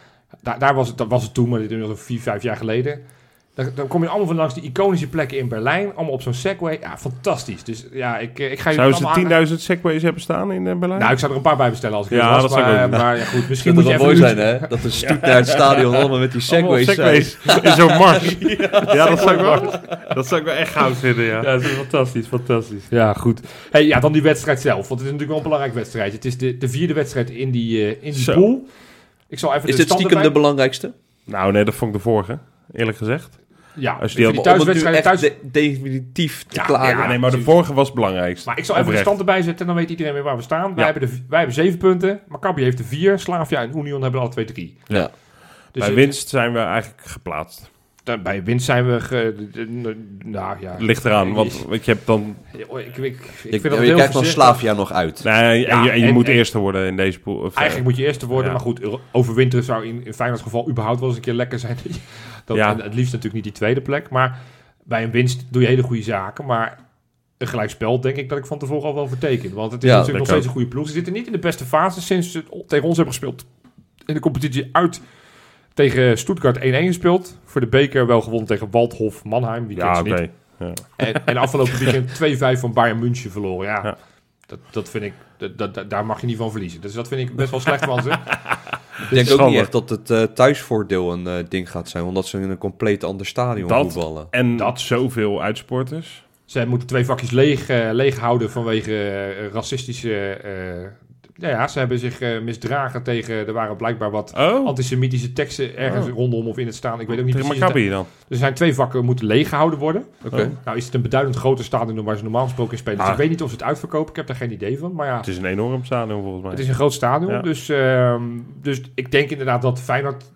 Speaker 2: Daar, daar was het, dat was het toen, maar dit is nog vier, vijf jaar geleden. Dan, dan kom je allemaal van langs die iconische plekken in Berlijn. Allemaal op zo'n Segway. Ja, fantastisch. Dus ja, ik, eh, ik ga je
Speaker 1: Zouden ze 10.000 segways hebben staan in eh, Berlijn?
Speaker 2: Nou, ik zou er een paar bij bestellen als ik
Speaker 1: Ja,
Speaker 2: er was.
Speaker 1: dat zou ik
Speaker 2: maar,
Speaker 1: ook doen.
Speaker 2: maar ja, goed, misschien
Speaker 3: Dat
Speaker 2: moet
Speaker 3: moet
Speaker 2: je
Speaker 3: wel
Speaker 2: even
Speaker 3: mooi
Speaker 2: een
Speaker 3: zijn,
Speaker 2: uurtje-
Speaker 3: hè?
Speaker 2: *laughs*
Speaker 3: Dat een stoet naar het stadion allemaal met die segways
Speaker 1: Allemaal
Speaker 3: zijn.
Speaker 1: segways *laughs* in zo'n mars. ja, dat zou, ik wel, *laughs* dat zou ik wel echt goud vinden, ja.
Speaker 2: dat is fantastisch, fantastisch. Ja, goed. Hey, ja, dan die wedstrijd zelf. Want het is natuurlijk wel een belangrijk wedstrijd. Het is de, de vierde wedstrijd in die, eh, in die
Speaker 1: Zo.
Speaker 2: pool. Ik zal even
Speaker 3: Is
Speaker 2: de
Speaker 3: dit
Speaker 2: standen
Speaker 3: stiekem de
Speaker 2: bij-
Speaker 3: belangrijkste?
Speaker 1: Nou, nee, dat vond ik de vorige, eerlijk gezegd.
Speaker 2: Ja,
Speaker 1: Als je
Speaker 2: ik
Speaker 1: die
Speaker 2: vind die
Speaker 1: allemaal-
Speaker 3: Om het nu
Speaker 2: thuiswedstrijden
Speaker 3: echt
Speaker 2: thuis...
Speaker 3: de- definitief te
Speaker 2: Ja,
Speaker 3: klaren.
Speaker 1: Ja, Ah, nee, maar de
Speaker 2: precies.
Speaker 1: vorige was het belangrijkst.
Speaker 2: Maar ik zal even de
Speaker 1: Oprecht.
Speaker 2: stand erbij zetten en dan weet iedereen weer waar we staan. Wij,
Speaker 1: Ja.
Speaker 2: hebben de, wij hebben zeven punten. Maccabi heeft de vier. Slavia en Union hebben alle twee drie.
Speaker 3: Ja.
Speaker 2: Dus
Speaker 1: Bij
Speaker 2: het-
Speaker 1: winst zijn we eigenlijk geplaatst.
Speaker 2: da- bij winst zijn we... Ge, de- de- de- nou ja...
Speaker 1: Ligt eraan, want, want je hebt dan...
Speaker 2: Ik, ik, ik, ik
Speaker 3: Je,
Speaker 2: vind dat heel
Speaker 3: je kijkt van
Speaker 2: voorzichtig.
Speaker 3: Slavia nog uit.
Speaker 1: Nee, en
Speaker 2: Ja,
Speaker 1: je, en je
Speaker 2: en-
Speaker 1: moet
Speaker 2: en-
Speaker 1: eerste worden in deze pool. Of, eh,
Speaker 2: Eigenlijk moet je eerste worden,
Speaker 1: Ja.
Speaker 2: maar goed, euro- overwinteren zou in, in Feyenoord's geval überhaupt wel eens een keer lekker zijn. *laughs* Dat,
Speaker 1: Ja.
Speaker 2: en Het liefst natuurlijk niet die tweede plek, maar bij een winst doe je hele goede zaken. Maar een gelijkspel denk ik dat ik van tevoren al wel verteken. Want het is
Speaker 3: Ja,
Speaker 2: natuurlijk nog
Speaker 1: dat
Speaker 2: steeds een goede ploeg. Ze zitten niet in de beste fase sinds ze het tegen ons hebben gespeeld. In de competitie uit tegen Stuttgart 1-1 gespeeld. Voor de beker wel gewonnen tegen Waldhof Mannheim. Wie kent
Speaker 1: Ja,
Speaker 2: ze
Speaker 1: oké.
Speaker 2: niet? En, en afgelopen
Speaker 1: *laughs*
Speaker 2: weekend 2-5 van Bayern München verloren. Ja,
Speaker 1: Ja.
Speaker 2: Dat, dat vind ik, dat, dat- dat- daar mag je niet van verliezen. Dus dat vind ik best wel slecht van
Speaker 1: *laughs*
Speaker 2: ze.
Speaker 3: Ik denk ook
Speaker 1: schande.
Speaker 3: niet echt dat het eh, thuisvoordeel een eh, ding gaat zijn, omdat ze in een compleet ander stadion
Speaker 1: Dat-
Speaker 3: voetballen.
Speaker 1: En
Speaker 2: Dat-
Speaker 1: dat zoveel uitsporters.
Speaker 2: Zij moeten twee vakjes leeg, eh, leeg houden vanwege eh, racistische... eh, nou ja, ze hebben zich eh, misdragen tegen... Er waren blijkbaar wat
Speaker 1: Oh,
Speaker 2: antisemitische teksten ergens rondom of in het staan. Ik weet ook niet
Speaker 1: tegen
Speaker 2: precies.
Speaker 1: Oh. Maccabi dan.
Speaker 2: Er zijn twee vakken moeten leeggehouden worden.
Speaker 3: Oké.
Speaker 2: Nou is het een beduidend groter stadion dan waar ze normaal gesproken in spelen. Dus
Speaker 1: Ah.
Speaker 2: ik weet niet of ze het uitverkopen. Ik heb daar geen idee van. Maar ja,
Speaker 1: Het is een enorm stadion volgens mij.
Speaker 2: het is een groot stadion.
Speaker 1: Ja.
Speaker 2: Dus, ehm, dus ik denk inderdaad dat Feyenoord...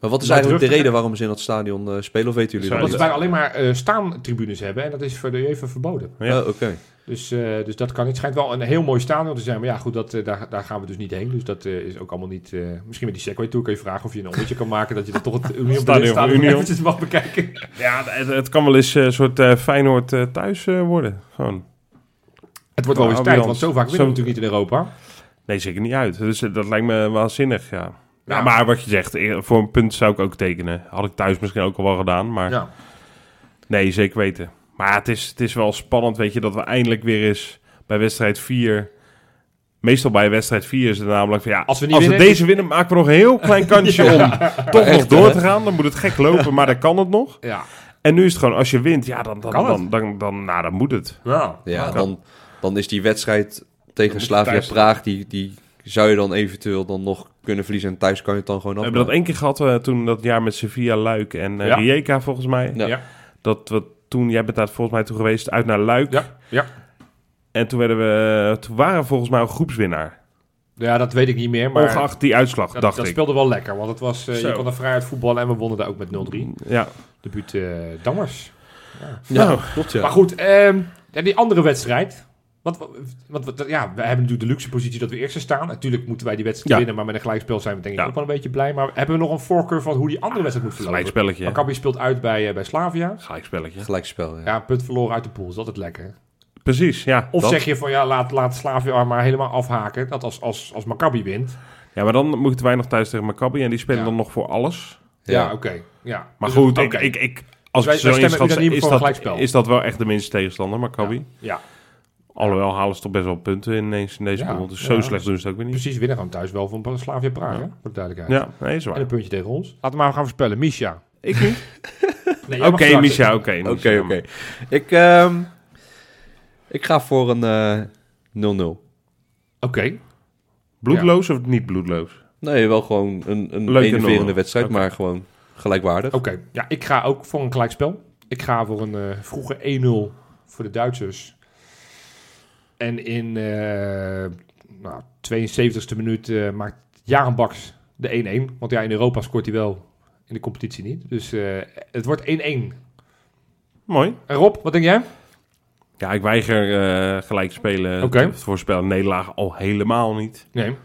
Speaker 3: Maar wat is
Speaker 2: Maar
Speaker 3: eigenlijk de
Speaker 2: terug-
Speaker 3: reden waarom ze in dat stadion eh, spelen, of weten jullie
Speaker 1: Zou
Speaker 3: dat?
Speaker 2: Omdat
Speaker 1: dat-
Speaker 2: ze bijna alleen maar eh, staantribunes hebben. En dat is voor de UEFA verboden.
Speaker 1: Ja.
Speaker 3: Oh, oké.
Speaker 2: Dus, eh, dus dat kan niet. Schijnt wel een heel mooi stadion te zijn. Maar ja, goed, dat, eh, daar, daar gaan we dus niet heen. Dus dat eh, is ook allemaal niet... eh, misschien met die Segway Tour kun je vragen of je een ommetje kan maken... dat je dat toch het Union
Speaker 1: Stadion
Speaker 2: Berlin
Speaker 1: van
Speaker 2: Stadion
Speaker 1: Union.
Speaker 2: eventjes mag bekijken.
Speaker 1: Ja, het, het kan wel eens eh, een soort eh, Feyenoord eh, thuis eh, worden. Gewoon.
Speaker 2: Het wordt wel eens
Speaker 1: Nou,
Speaker 2: tijd,
Speaker 1: Jan,
Speaker 2: want zo vaak winnen we
Speaker 1: zo-
Speaker 2: natuurlijk niet in Europa.
Speaker 1: Nee, zeker niet uit. Dus eh, dat lijkt me waanzinnig, ja.
Speaker 2: Ja.
Speaker 1: Nou, maar wat je zegt, eh, voor een punt zou ik ook tekenen. Had ik thuis misschien ook al wel gedaan, maar
Speaker 2: Ja.
Speaker 1: nee, zeker weten. Maar het is, het is wel spannend, weet je, dat we eindelijk weer eens bij wedstrijd 4... Meestal bij wedstrijd 4 is het namelijk van ja,
Speaker 2: Als we niet winnen,
Speaker 1: deze winnen, maken we nog een heel
Speaker 2: *laughs*
Speaker 1: klein kansje om toch nog door te gaan. Dan moet het gek lopen, maar dan kan het nog.
Speaker 2: Ja.
Speaker 1: En nu is het gewoon, als je wint, ja, dan, dan,
Speaker 2: Kan
Speaker 1: dan,
Speaker 2: het.
Speaker 1: dan, dan, nou, dan moet het.
Speaker 2: Ja.
Speaker 3: Ja,
Speaker 1: Oké.
Speaker 3: dan, dan is die wedstrijd
Speaker 1: moet
Speaker 3: tegen
Speaker 1: je
Speaker 3: Slavia
Speaker 1: thuis-
Speaker 3: Praag, die, die zou je dan eventueel dan nog kunnen verliezen. En thuis kan je het dan gewoon
Speaker 1: We
Speaker 3: af.
Speaker 1: hebben dat één keer gehad eh, toen dat jaar met Sevilla, Luik en eh,
Speaker 2: Ja.
Speaker 1: Rijeka volgens mij.
Speaker 3: Ja.
Speaker 2: Ja.
Speaker 1: Dat we toen, jij bent daar volgens mij toen geweest, uit naar Luik.
Speaker 2: Ja. ja.
Speaker 1: En toen, werden we, eh, toen waren we volgens mij een groepswinnaar.
Speaker 2: Ja, dat weet ik niet meer. Maar
Speaker 1: Ongeacht die uitslag,
Speaker 2: dat,
Speaker 1: dacht
Speaker 2: dat
Speaker 1: ik.
Speaker 2: speelde wel lekker. Want het was, eh, je
Speaker 1: Zo.
Speaker 2: kon er vrij uit voetballen en we wonnen daar ook met 0-3.
Speaker 1: Ja.
Speaker 2: Debuut eh Dammers.
Speaker 3: Ja,
Speaker 1: Nou.
Speaker 3: klopt ja.
Speaker 2: Maar goed, ehm, ja, die andere wedstrijd. Want, want, want, ja, we hebben natuurlijk de luxe positie dat we eerste staan. Natuurlijk moeten wij die wedstrijd
Speaker 1: Ja.
Speaker 2: winnen, maar met een gelijkspel zijn we denk ik
Speaker 1: Ja.
Speaker 2: ook wel een beetje blij. Maar hebben we nog een voorkeur van hoe die andere wedstrijd moet verlopen?
Speaker 1: Gelijk spelletje. hè?
Speaker 2: Maccabi speelt uit bij, eh, bij Slavia.
Speaker 1: Gelijk spelletje.
Speaker 3: Gelijkspel, ja.
Speaker 2: Ja, punt verloren uit de pool. Is altijd lekker.
Speaker 1: Precies, ja.
Speaker 2: Of
Speaker 1: dat.
Speaker 2: zeg je van ja, laat, laat Slavia maar helemaal afhaken. Dat als, als, als Maccabi wint.
Speaker 1: Ja, maar dan moeten wij nog thuis tegen Maccabi. En die spelen
Speaker 2: Ja.
Speaker 1: dan nog voor alles.
Speaker 2: Ja,
Speaker 3: Ja.
Speaker 2: oké. ja.
Speaker 1: Maar
Speaker 2: Dus-
Speaker 1: goed,
Speaker 2: oké.
Speaker 1: ik, ik, ik, als
Speaker 2: wij-
Speaker 1: ik het zo
Speaker 2: wij stemmen
Speaker 1: inschat,
Speaker 2: unaniem
Speaker 1: is
Speaker 2: voor een
Speaker 1: dat,
Speaker 2: gelijkspel.
Speaker 1: is dat wel echt de minste tegenstander, Maccabi.
Speaker 2: Ja,
Speaker 1: Alhoewel halen ze toch best wel punten ineens in deze
Speaker 2: Ja,
Speaker 1: pool. Dus
Speaker 2: ja.
Speaker 1: zo slecht doen ze het ook weer niet.
Speaker 2: precies. Winnen gewoon thuis wel van Slavia Praag, hè? voor de duidelijkheid.
Speaker 1: Ja, nee, is
Speaker 2: En
Speaker 1: waar.
Speaker 2: een puntje tegen ons. Laten we maar gaan voorspellen. Misha.
Speaker 1: Ik niet.
Speaker 2: *laughs*
Speaker 1: Oké,
Speaker 2: Nee, jij mag
Speaker 1: okay,
Speaker 2: straks.
Speaker 1: Misha, oké.
Speaker 3: Oké,
Speaker 1: Misha.
Speaker 3: oké. Ik, ehm, ik ga voor een eh, 0-0.
Speaker 2: Oké.
Speaker 1: Bloedloos of niet bloedloos?
Speaker 3: nee, wel gewoon een, een
Speaker 1: Leuke
Speaker 3: enerverende
Speaker 1: 0-0.
Speaker 3: wedstrijd,
Speaker 1: Oké.
Speaker 3: maar gewoon gelijkwaardig.
Speaker 2: Oké, ja, ik ga ook voor een gelijkspel. Ik ga voor een eh, vroege 1-0 voor de Duitsers. En in eh nou, 72e minuut eh, maakt Jaren Baks de 1-1. Want ja, in Europa scoort hij wel, in de competitie niet. Dus eh, het wordt 1-1. En
Speaker 1: Mooi.
Speaker 2: Rob, wat denk jij?
Speaker 1: Ja, ik weiger eh, gelijk spelen.
Speaker 2: Oké.
Speaker 1: te voorspellen nederlaag al helemaal niet.
Speaker 2: Nee.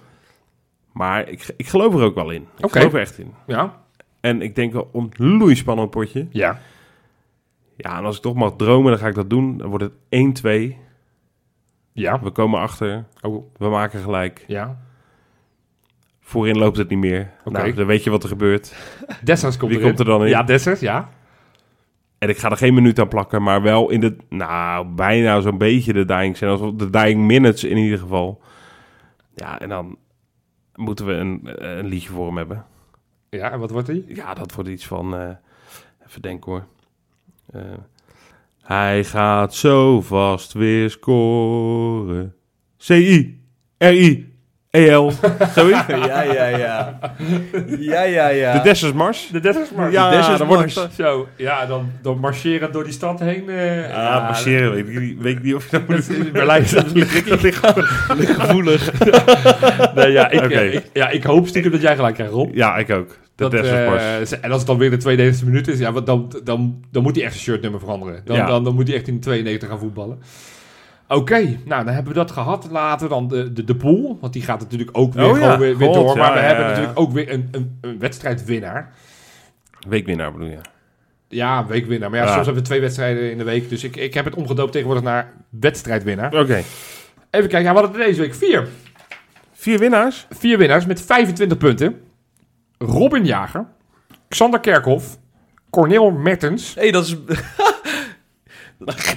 Speaker 1: Maar ik, ik geloof er ook wel in. Ik
Speaker 2: Oké.
Speaker 1: geloof er echt in.
Speaker 2: Ja?
Speaker 1: En ik denk wel een loeispannend potje.
Speaker 2: Ja.
Speaker 1: Ja, en als ik toch mag dromen, dan ga ik dat doen. Dan wordt het 1-2.
Speaker 2: Ja.
Speaker 1: We komen achter.
Speaker 2: Oh,
Speaker 1: We maken gelijk.
Speaker 2: ja.
Speaker 1: Voorin loopt het niet meer.
Speaker 2: Oké.
Speaker 1: Nou, dan weet je wat er gebeurt.
Speaker 2: Dessers komt
Speaker 1: Wie
Speaker 2: erin.
Speaker 1: komt er dan in?
Speaker 2: Ja, Dessers, ja.
Speaker 1: En ik ga er geen minuut aan plakken, maar wel in de... Nou, bijna zo'n beetje de dying zijn. Alsof de dying minutes in ieder geval. Ja, en dan moeten we een, een liedje voor hem hebben.
Speaker 2: Ja, en wat wordt hij?
Speaker 1: Ja, dat wordt iets van... eh, even denken hoor. Eh, hij gaat zo vast weer scoren. C-I-R-I-E-L. *laughs* Zoiets.
Speaker 3: Ja, ja, ja. Ja, ja, ja.
Speaker 1: De Dessers Mars.
Speaker 2: De Dessers maar.
Speaker 1: Ja,
Speaker 3: Dessers
Speaker 1: dan wordt
Speaker 3: Mars.
Speaker 1: het-
Speaker 2: Zo, ja, dan, dan marcheren door die stad heen. eh,
Speaker 1: Ah, marcheren. Weet ik, niet, weet ik niet of je dat moet
Speaker 2: Dat is in Berlijn.
Speaker 1: Dat ligt, dat ligt gevoelig. *laughs*
Speaker 2: Nee, ja, *laughs* ik,
Speaker 1: Oké.
Speaker 2: eh, ik- ja, ik hoop stiekem dat jij gelijk krijgt, Rob.
Speaker 1: Ja, ik ook. De
Speaker 2: Dat,
Speaker 1: Dessers
Speaker 2: eh,
Speaker 1: Mars.
Speaker 2: ze- en als het dan weer de 92e minuut is, ja, wat dan, dan, dan moet hij echt zijn shirtnummer veranderen. Dan,
Speaker 1: Ja.
Speaker 2: dan, dan moet hij echt in de 92 gaan voetballen. Oké, nou dan hebben we dat gehad. Later dan de, de, de pool, want die gaat natuurlijk ook weer,
Speaker 1: Oh ja,
Speaker 2: gewoon weer, weer
Speaker 1: God,
Speaker 2: door. Maar
Speaker 1: ja,
Speaker 2: we
Speaker 1: ja,
Speaker 2: hebben
Speaker 1: ja.
Speaker 2: natuurlijk ook weer een, een, een wedstrijdwinnaar.
Speaker 1: Weekwinnaar bedoel je?
Speaker 2: Ja, weekwinnaar. Maar ja,
Speaker 1: Ja.
Speaker 2: soms hebben we twee wedstrijden in de week. Dus ik, ik heb het omgedoopt tegenwoordig naar wedstrijdwinnaar.
Speaker 1: Oké.
Speaker 2: Even kijken, ja, we hadden er deze week vier.
Speaker 1: Vier winnaars.
Speaker 2: Vier winnaars met 25 punten. Robin Jager, Xander Kerkhoff, Cornel Mertens.
Speaker 3: hey, dat is... *laughs*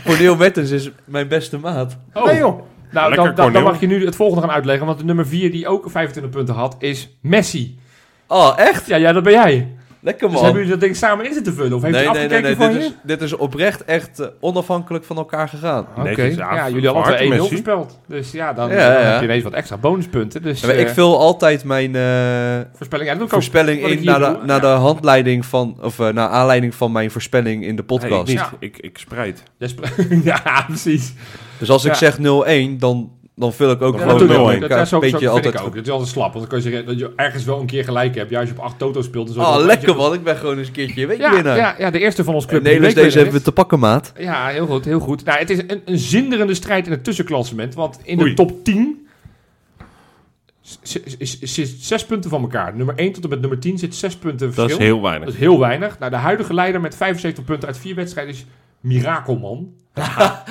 Speaker 3: Cornel Mertens is mijn beste maat.
Speaker 2: Oh.
Speaker 1: Nee, joh.
Speaker 2: Nou,
Speaker 1: Lekker,
Speaker 2: dan, dan, dan
Speaker 1: Cornel.
Speaker 2: mag je nu het volgende gaan uitleggen. Want de nummer 4 die ook 25 punten had, is Messi.
Speaker 3: Oh, echt?
Speaker 2: Ja, ja dat ben jij.
Speaker 3: Lekker
Speaker 2: Dus
Speaker 3: man.
Speaker 2: hebben jullie dat ding samen in zitten vullen? Of heeft u
Speaker 3: nee, nee, nee,
Speaker 2: afgekeken
Speaker 3: nee.
Speaker 2: van
Speaker 3: Dit
Speaker 2: je?
Speaker 3: is, dit is oprecht echt eh, onafhankelijk van elkaar gegaan.
Speaker 2: Oké,
Speaker 1: Netjes, ja,
Speaker 2: ja, jullie hadden
Speaker 1: van harte,
Speaker 2: twee 1-0
Speaker 1: Messi.
Speaker 2: voorspeld. Dus ja, dan,
Speaker 3: Ja, ja,
Speaker 2: dan
Speaker 3: ja.
Speaker 2: heb je ineens wat extra bonuspunten. Dus
Speaker 3: Ja, maar ik
Speaker 2: eh,
Speaker 3: vul altijd mijn eh,
Speaker 2: voorspelling, ja, dat doe ik ook.
Speaker 3: voorspelling
Speaker 2: wat ik
Speaker 3: in
Speaker 2: hier
Speaker 3: naar, de,
Speaker 2: doe,
Speaker 3: naar de
Speaker 2: ja.
Speaker 3: handleiding van... Of eh, naar aanleiding van mijn voorspelling in de
Speaker 1: Nee, ik
Speaker 3: podcast.
Speaker 1: niet.
Speaker 2: Ja.
Speaker 1: Ik, ik spreid.
Speaker 2: Dus- ja, *laughs* precies.
Speaker 3: dus als ik
Speaker 2: Ja.
Speaker 3: zeg 0-1, dan, dan vul ik ook
Speaker 1: Ja,
Speaker 2: Ja,
Speaker 3: gewoon
Speaker 2: dat
Speaker 1: doe
Speaker 2: doe ik
Speaker 1: nul
Speaker 2: ook.
Speaker 3: 0-1.
Speaker 1: één.
Speaker 2: Dat, dat is ook,
Speaker 3: Beetje
Speaker 2: zo vind
Speaker 3: altijd
Speaker 2: ik ook. Dus Het is altijd slap. Want dan kun je zeggen dat je ergens wel een keer gelijk hebt. Ja, als je op acht toto speelt. Dan zul je
Speaker 3: Oh,
Speaker 2: wel-
Speaker 3: lekker man. Ik ben gewoon eens een keertje weet
Speaker 2: Ja,
Speaker 3: winnaar.
Speaker 2: ja, ja, de eerste van ons club.
Speaker 3: nee,
Speaker 2: die
Speaker 3: dus deze
Speaker 2: weekwinnaar
Speaker 3: hebben we te pakken, maat.
Speaker 2: is. Ja, heel goed, heel goed. Nou, het is een, een zinderende strijd in het tussenklassement. Want in de
Speaker 1: Oei.
Speaker 2: top 10 z- z- is- is- is zes punten van elkaar. Nummer 1 tot en met nummer 10 zit zes punten verschil.
Speaker 1: Dat is heel weinig.
Speaker 2: Dat is heel weinig. Nou, de huidige leider met 75 punten uit vier wedstrijden is Mirakelman. ja,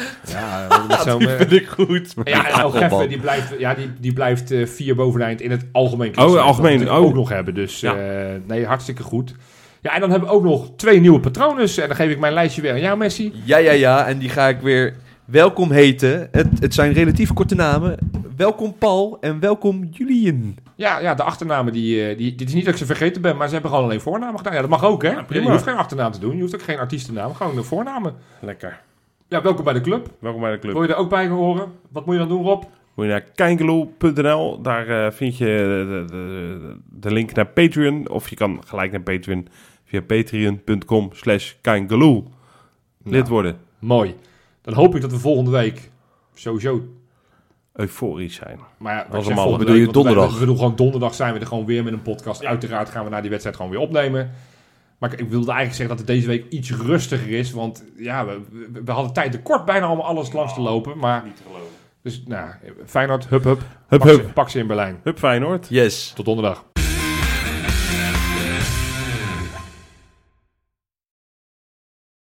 Speaker 2: dat eh, zo
Speaker 3: ik goed.
Speaker 2: ja, nou, en El
Speaker 3: Mirakelman.
Speaker 2: Geffen, die blijft, ja, die, die blijft eh, vier boven de eind in het algemeen
Speaker 1: Oh, algemeen,
Speaker 2: Dat we natuurlijk
Speaker 1: oh.
Speaker 2: ook nog hebben. Dus
Speaker 1: Ja.
Speaker 2: eh, nee, hartstikke goed. Ja, en dan hebben we ook nog twee nieuwe patronen. En dan geef ik mijn lijstje weer aan jou, Messi.
Speaker 3: Ja, ja, ja. En die ga ik weer welkom heten. Het, het zijn relatief korte namen. Welkom Paul en welkom Julian.
Speaker 2: Ja, ja de achternamen, die, eh, die, dit is niet dat ik ze vergeten ben, maar ze hebben gewoon alleen voornamen gedaan. Ja, dat mag ook, hè?
Speaker 1: prima.
Speaker 2: je hoeft geen achternaam te doen, je hoeft ook geen artiestennaam, gewoon de voornamen.
Speaker 1: Lekker.
Speaker 2: Ja, welkom bij de club.
Speaker 1: Welkom bij de club.
Speaker 2: Wil je er ook bij horen? Wat moet je dan doen, Rob?
Speaker 1: Moet je naar kijkeloel.nl. Daar eh, vind je de, de, de link naar Patreon. Of je kan gelijk naar Patreon via patreon.com slash kijkeloel. Lid worden.
Speaker 2: Mooi. Dan hoop ik dat we volgende week sowieso
Speaker 1: Euforisch zijn.
Speaker 2: Maar ja,
Speaker 1: is
Speaker 2: ik zeg
Speaker 1: allemaal.
Speaker 2: volgende
Speaker 3: Bedoel je
Speaker 2: week, want we-
Speaker 3: donderdag?
Speaker 2: We, we doen gewoon donderdag zijn we er gewoon weer met een podcast. Uiteraard gaan we naar die wedstrijd gewoon weer opnemen. Maar ik, ik wilde eigenlijk zeggen dat het deze week iets rustiger is. Want ja, we, we- we hadden tijd tekort bijna om alles langs te lopen. Maar niet geloven. Dus nou, Feyenoord, hup hup.
Speaker 1: Hup,
Speaker 2: pak,
Speaker 1: hup.
Speaker 2: Ze, pak ze in Berlijn.
Speaker 1: Hup Feyenoord.
Speaker 3: Yes.
Speaker 2: Tot donderdag.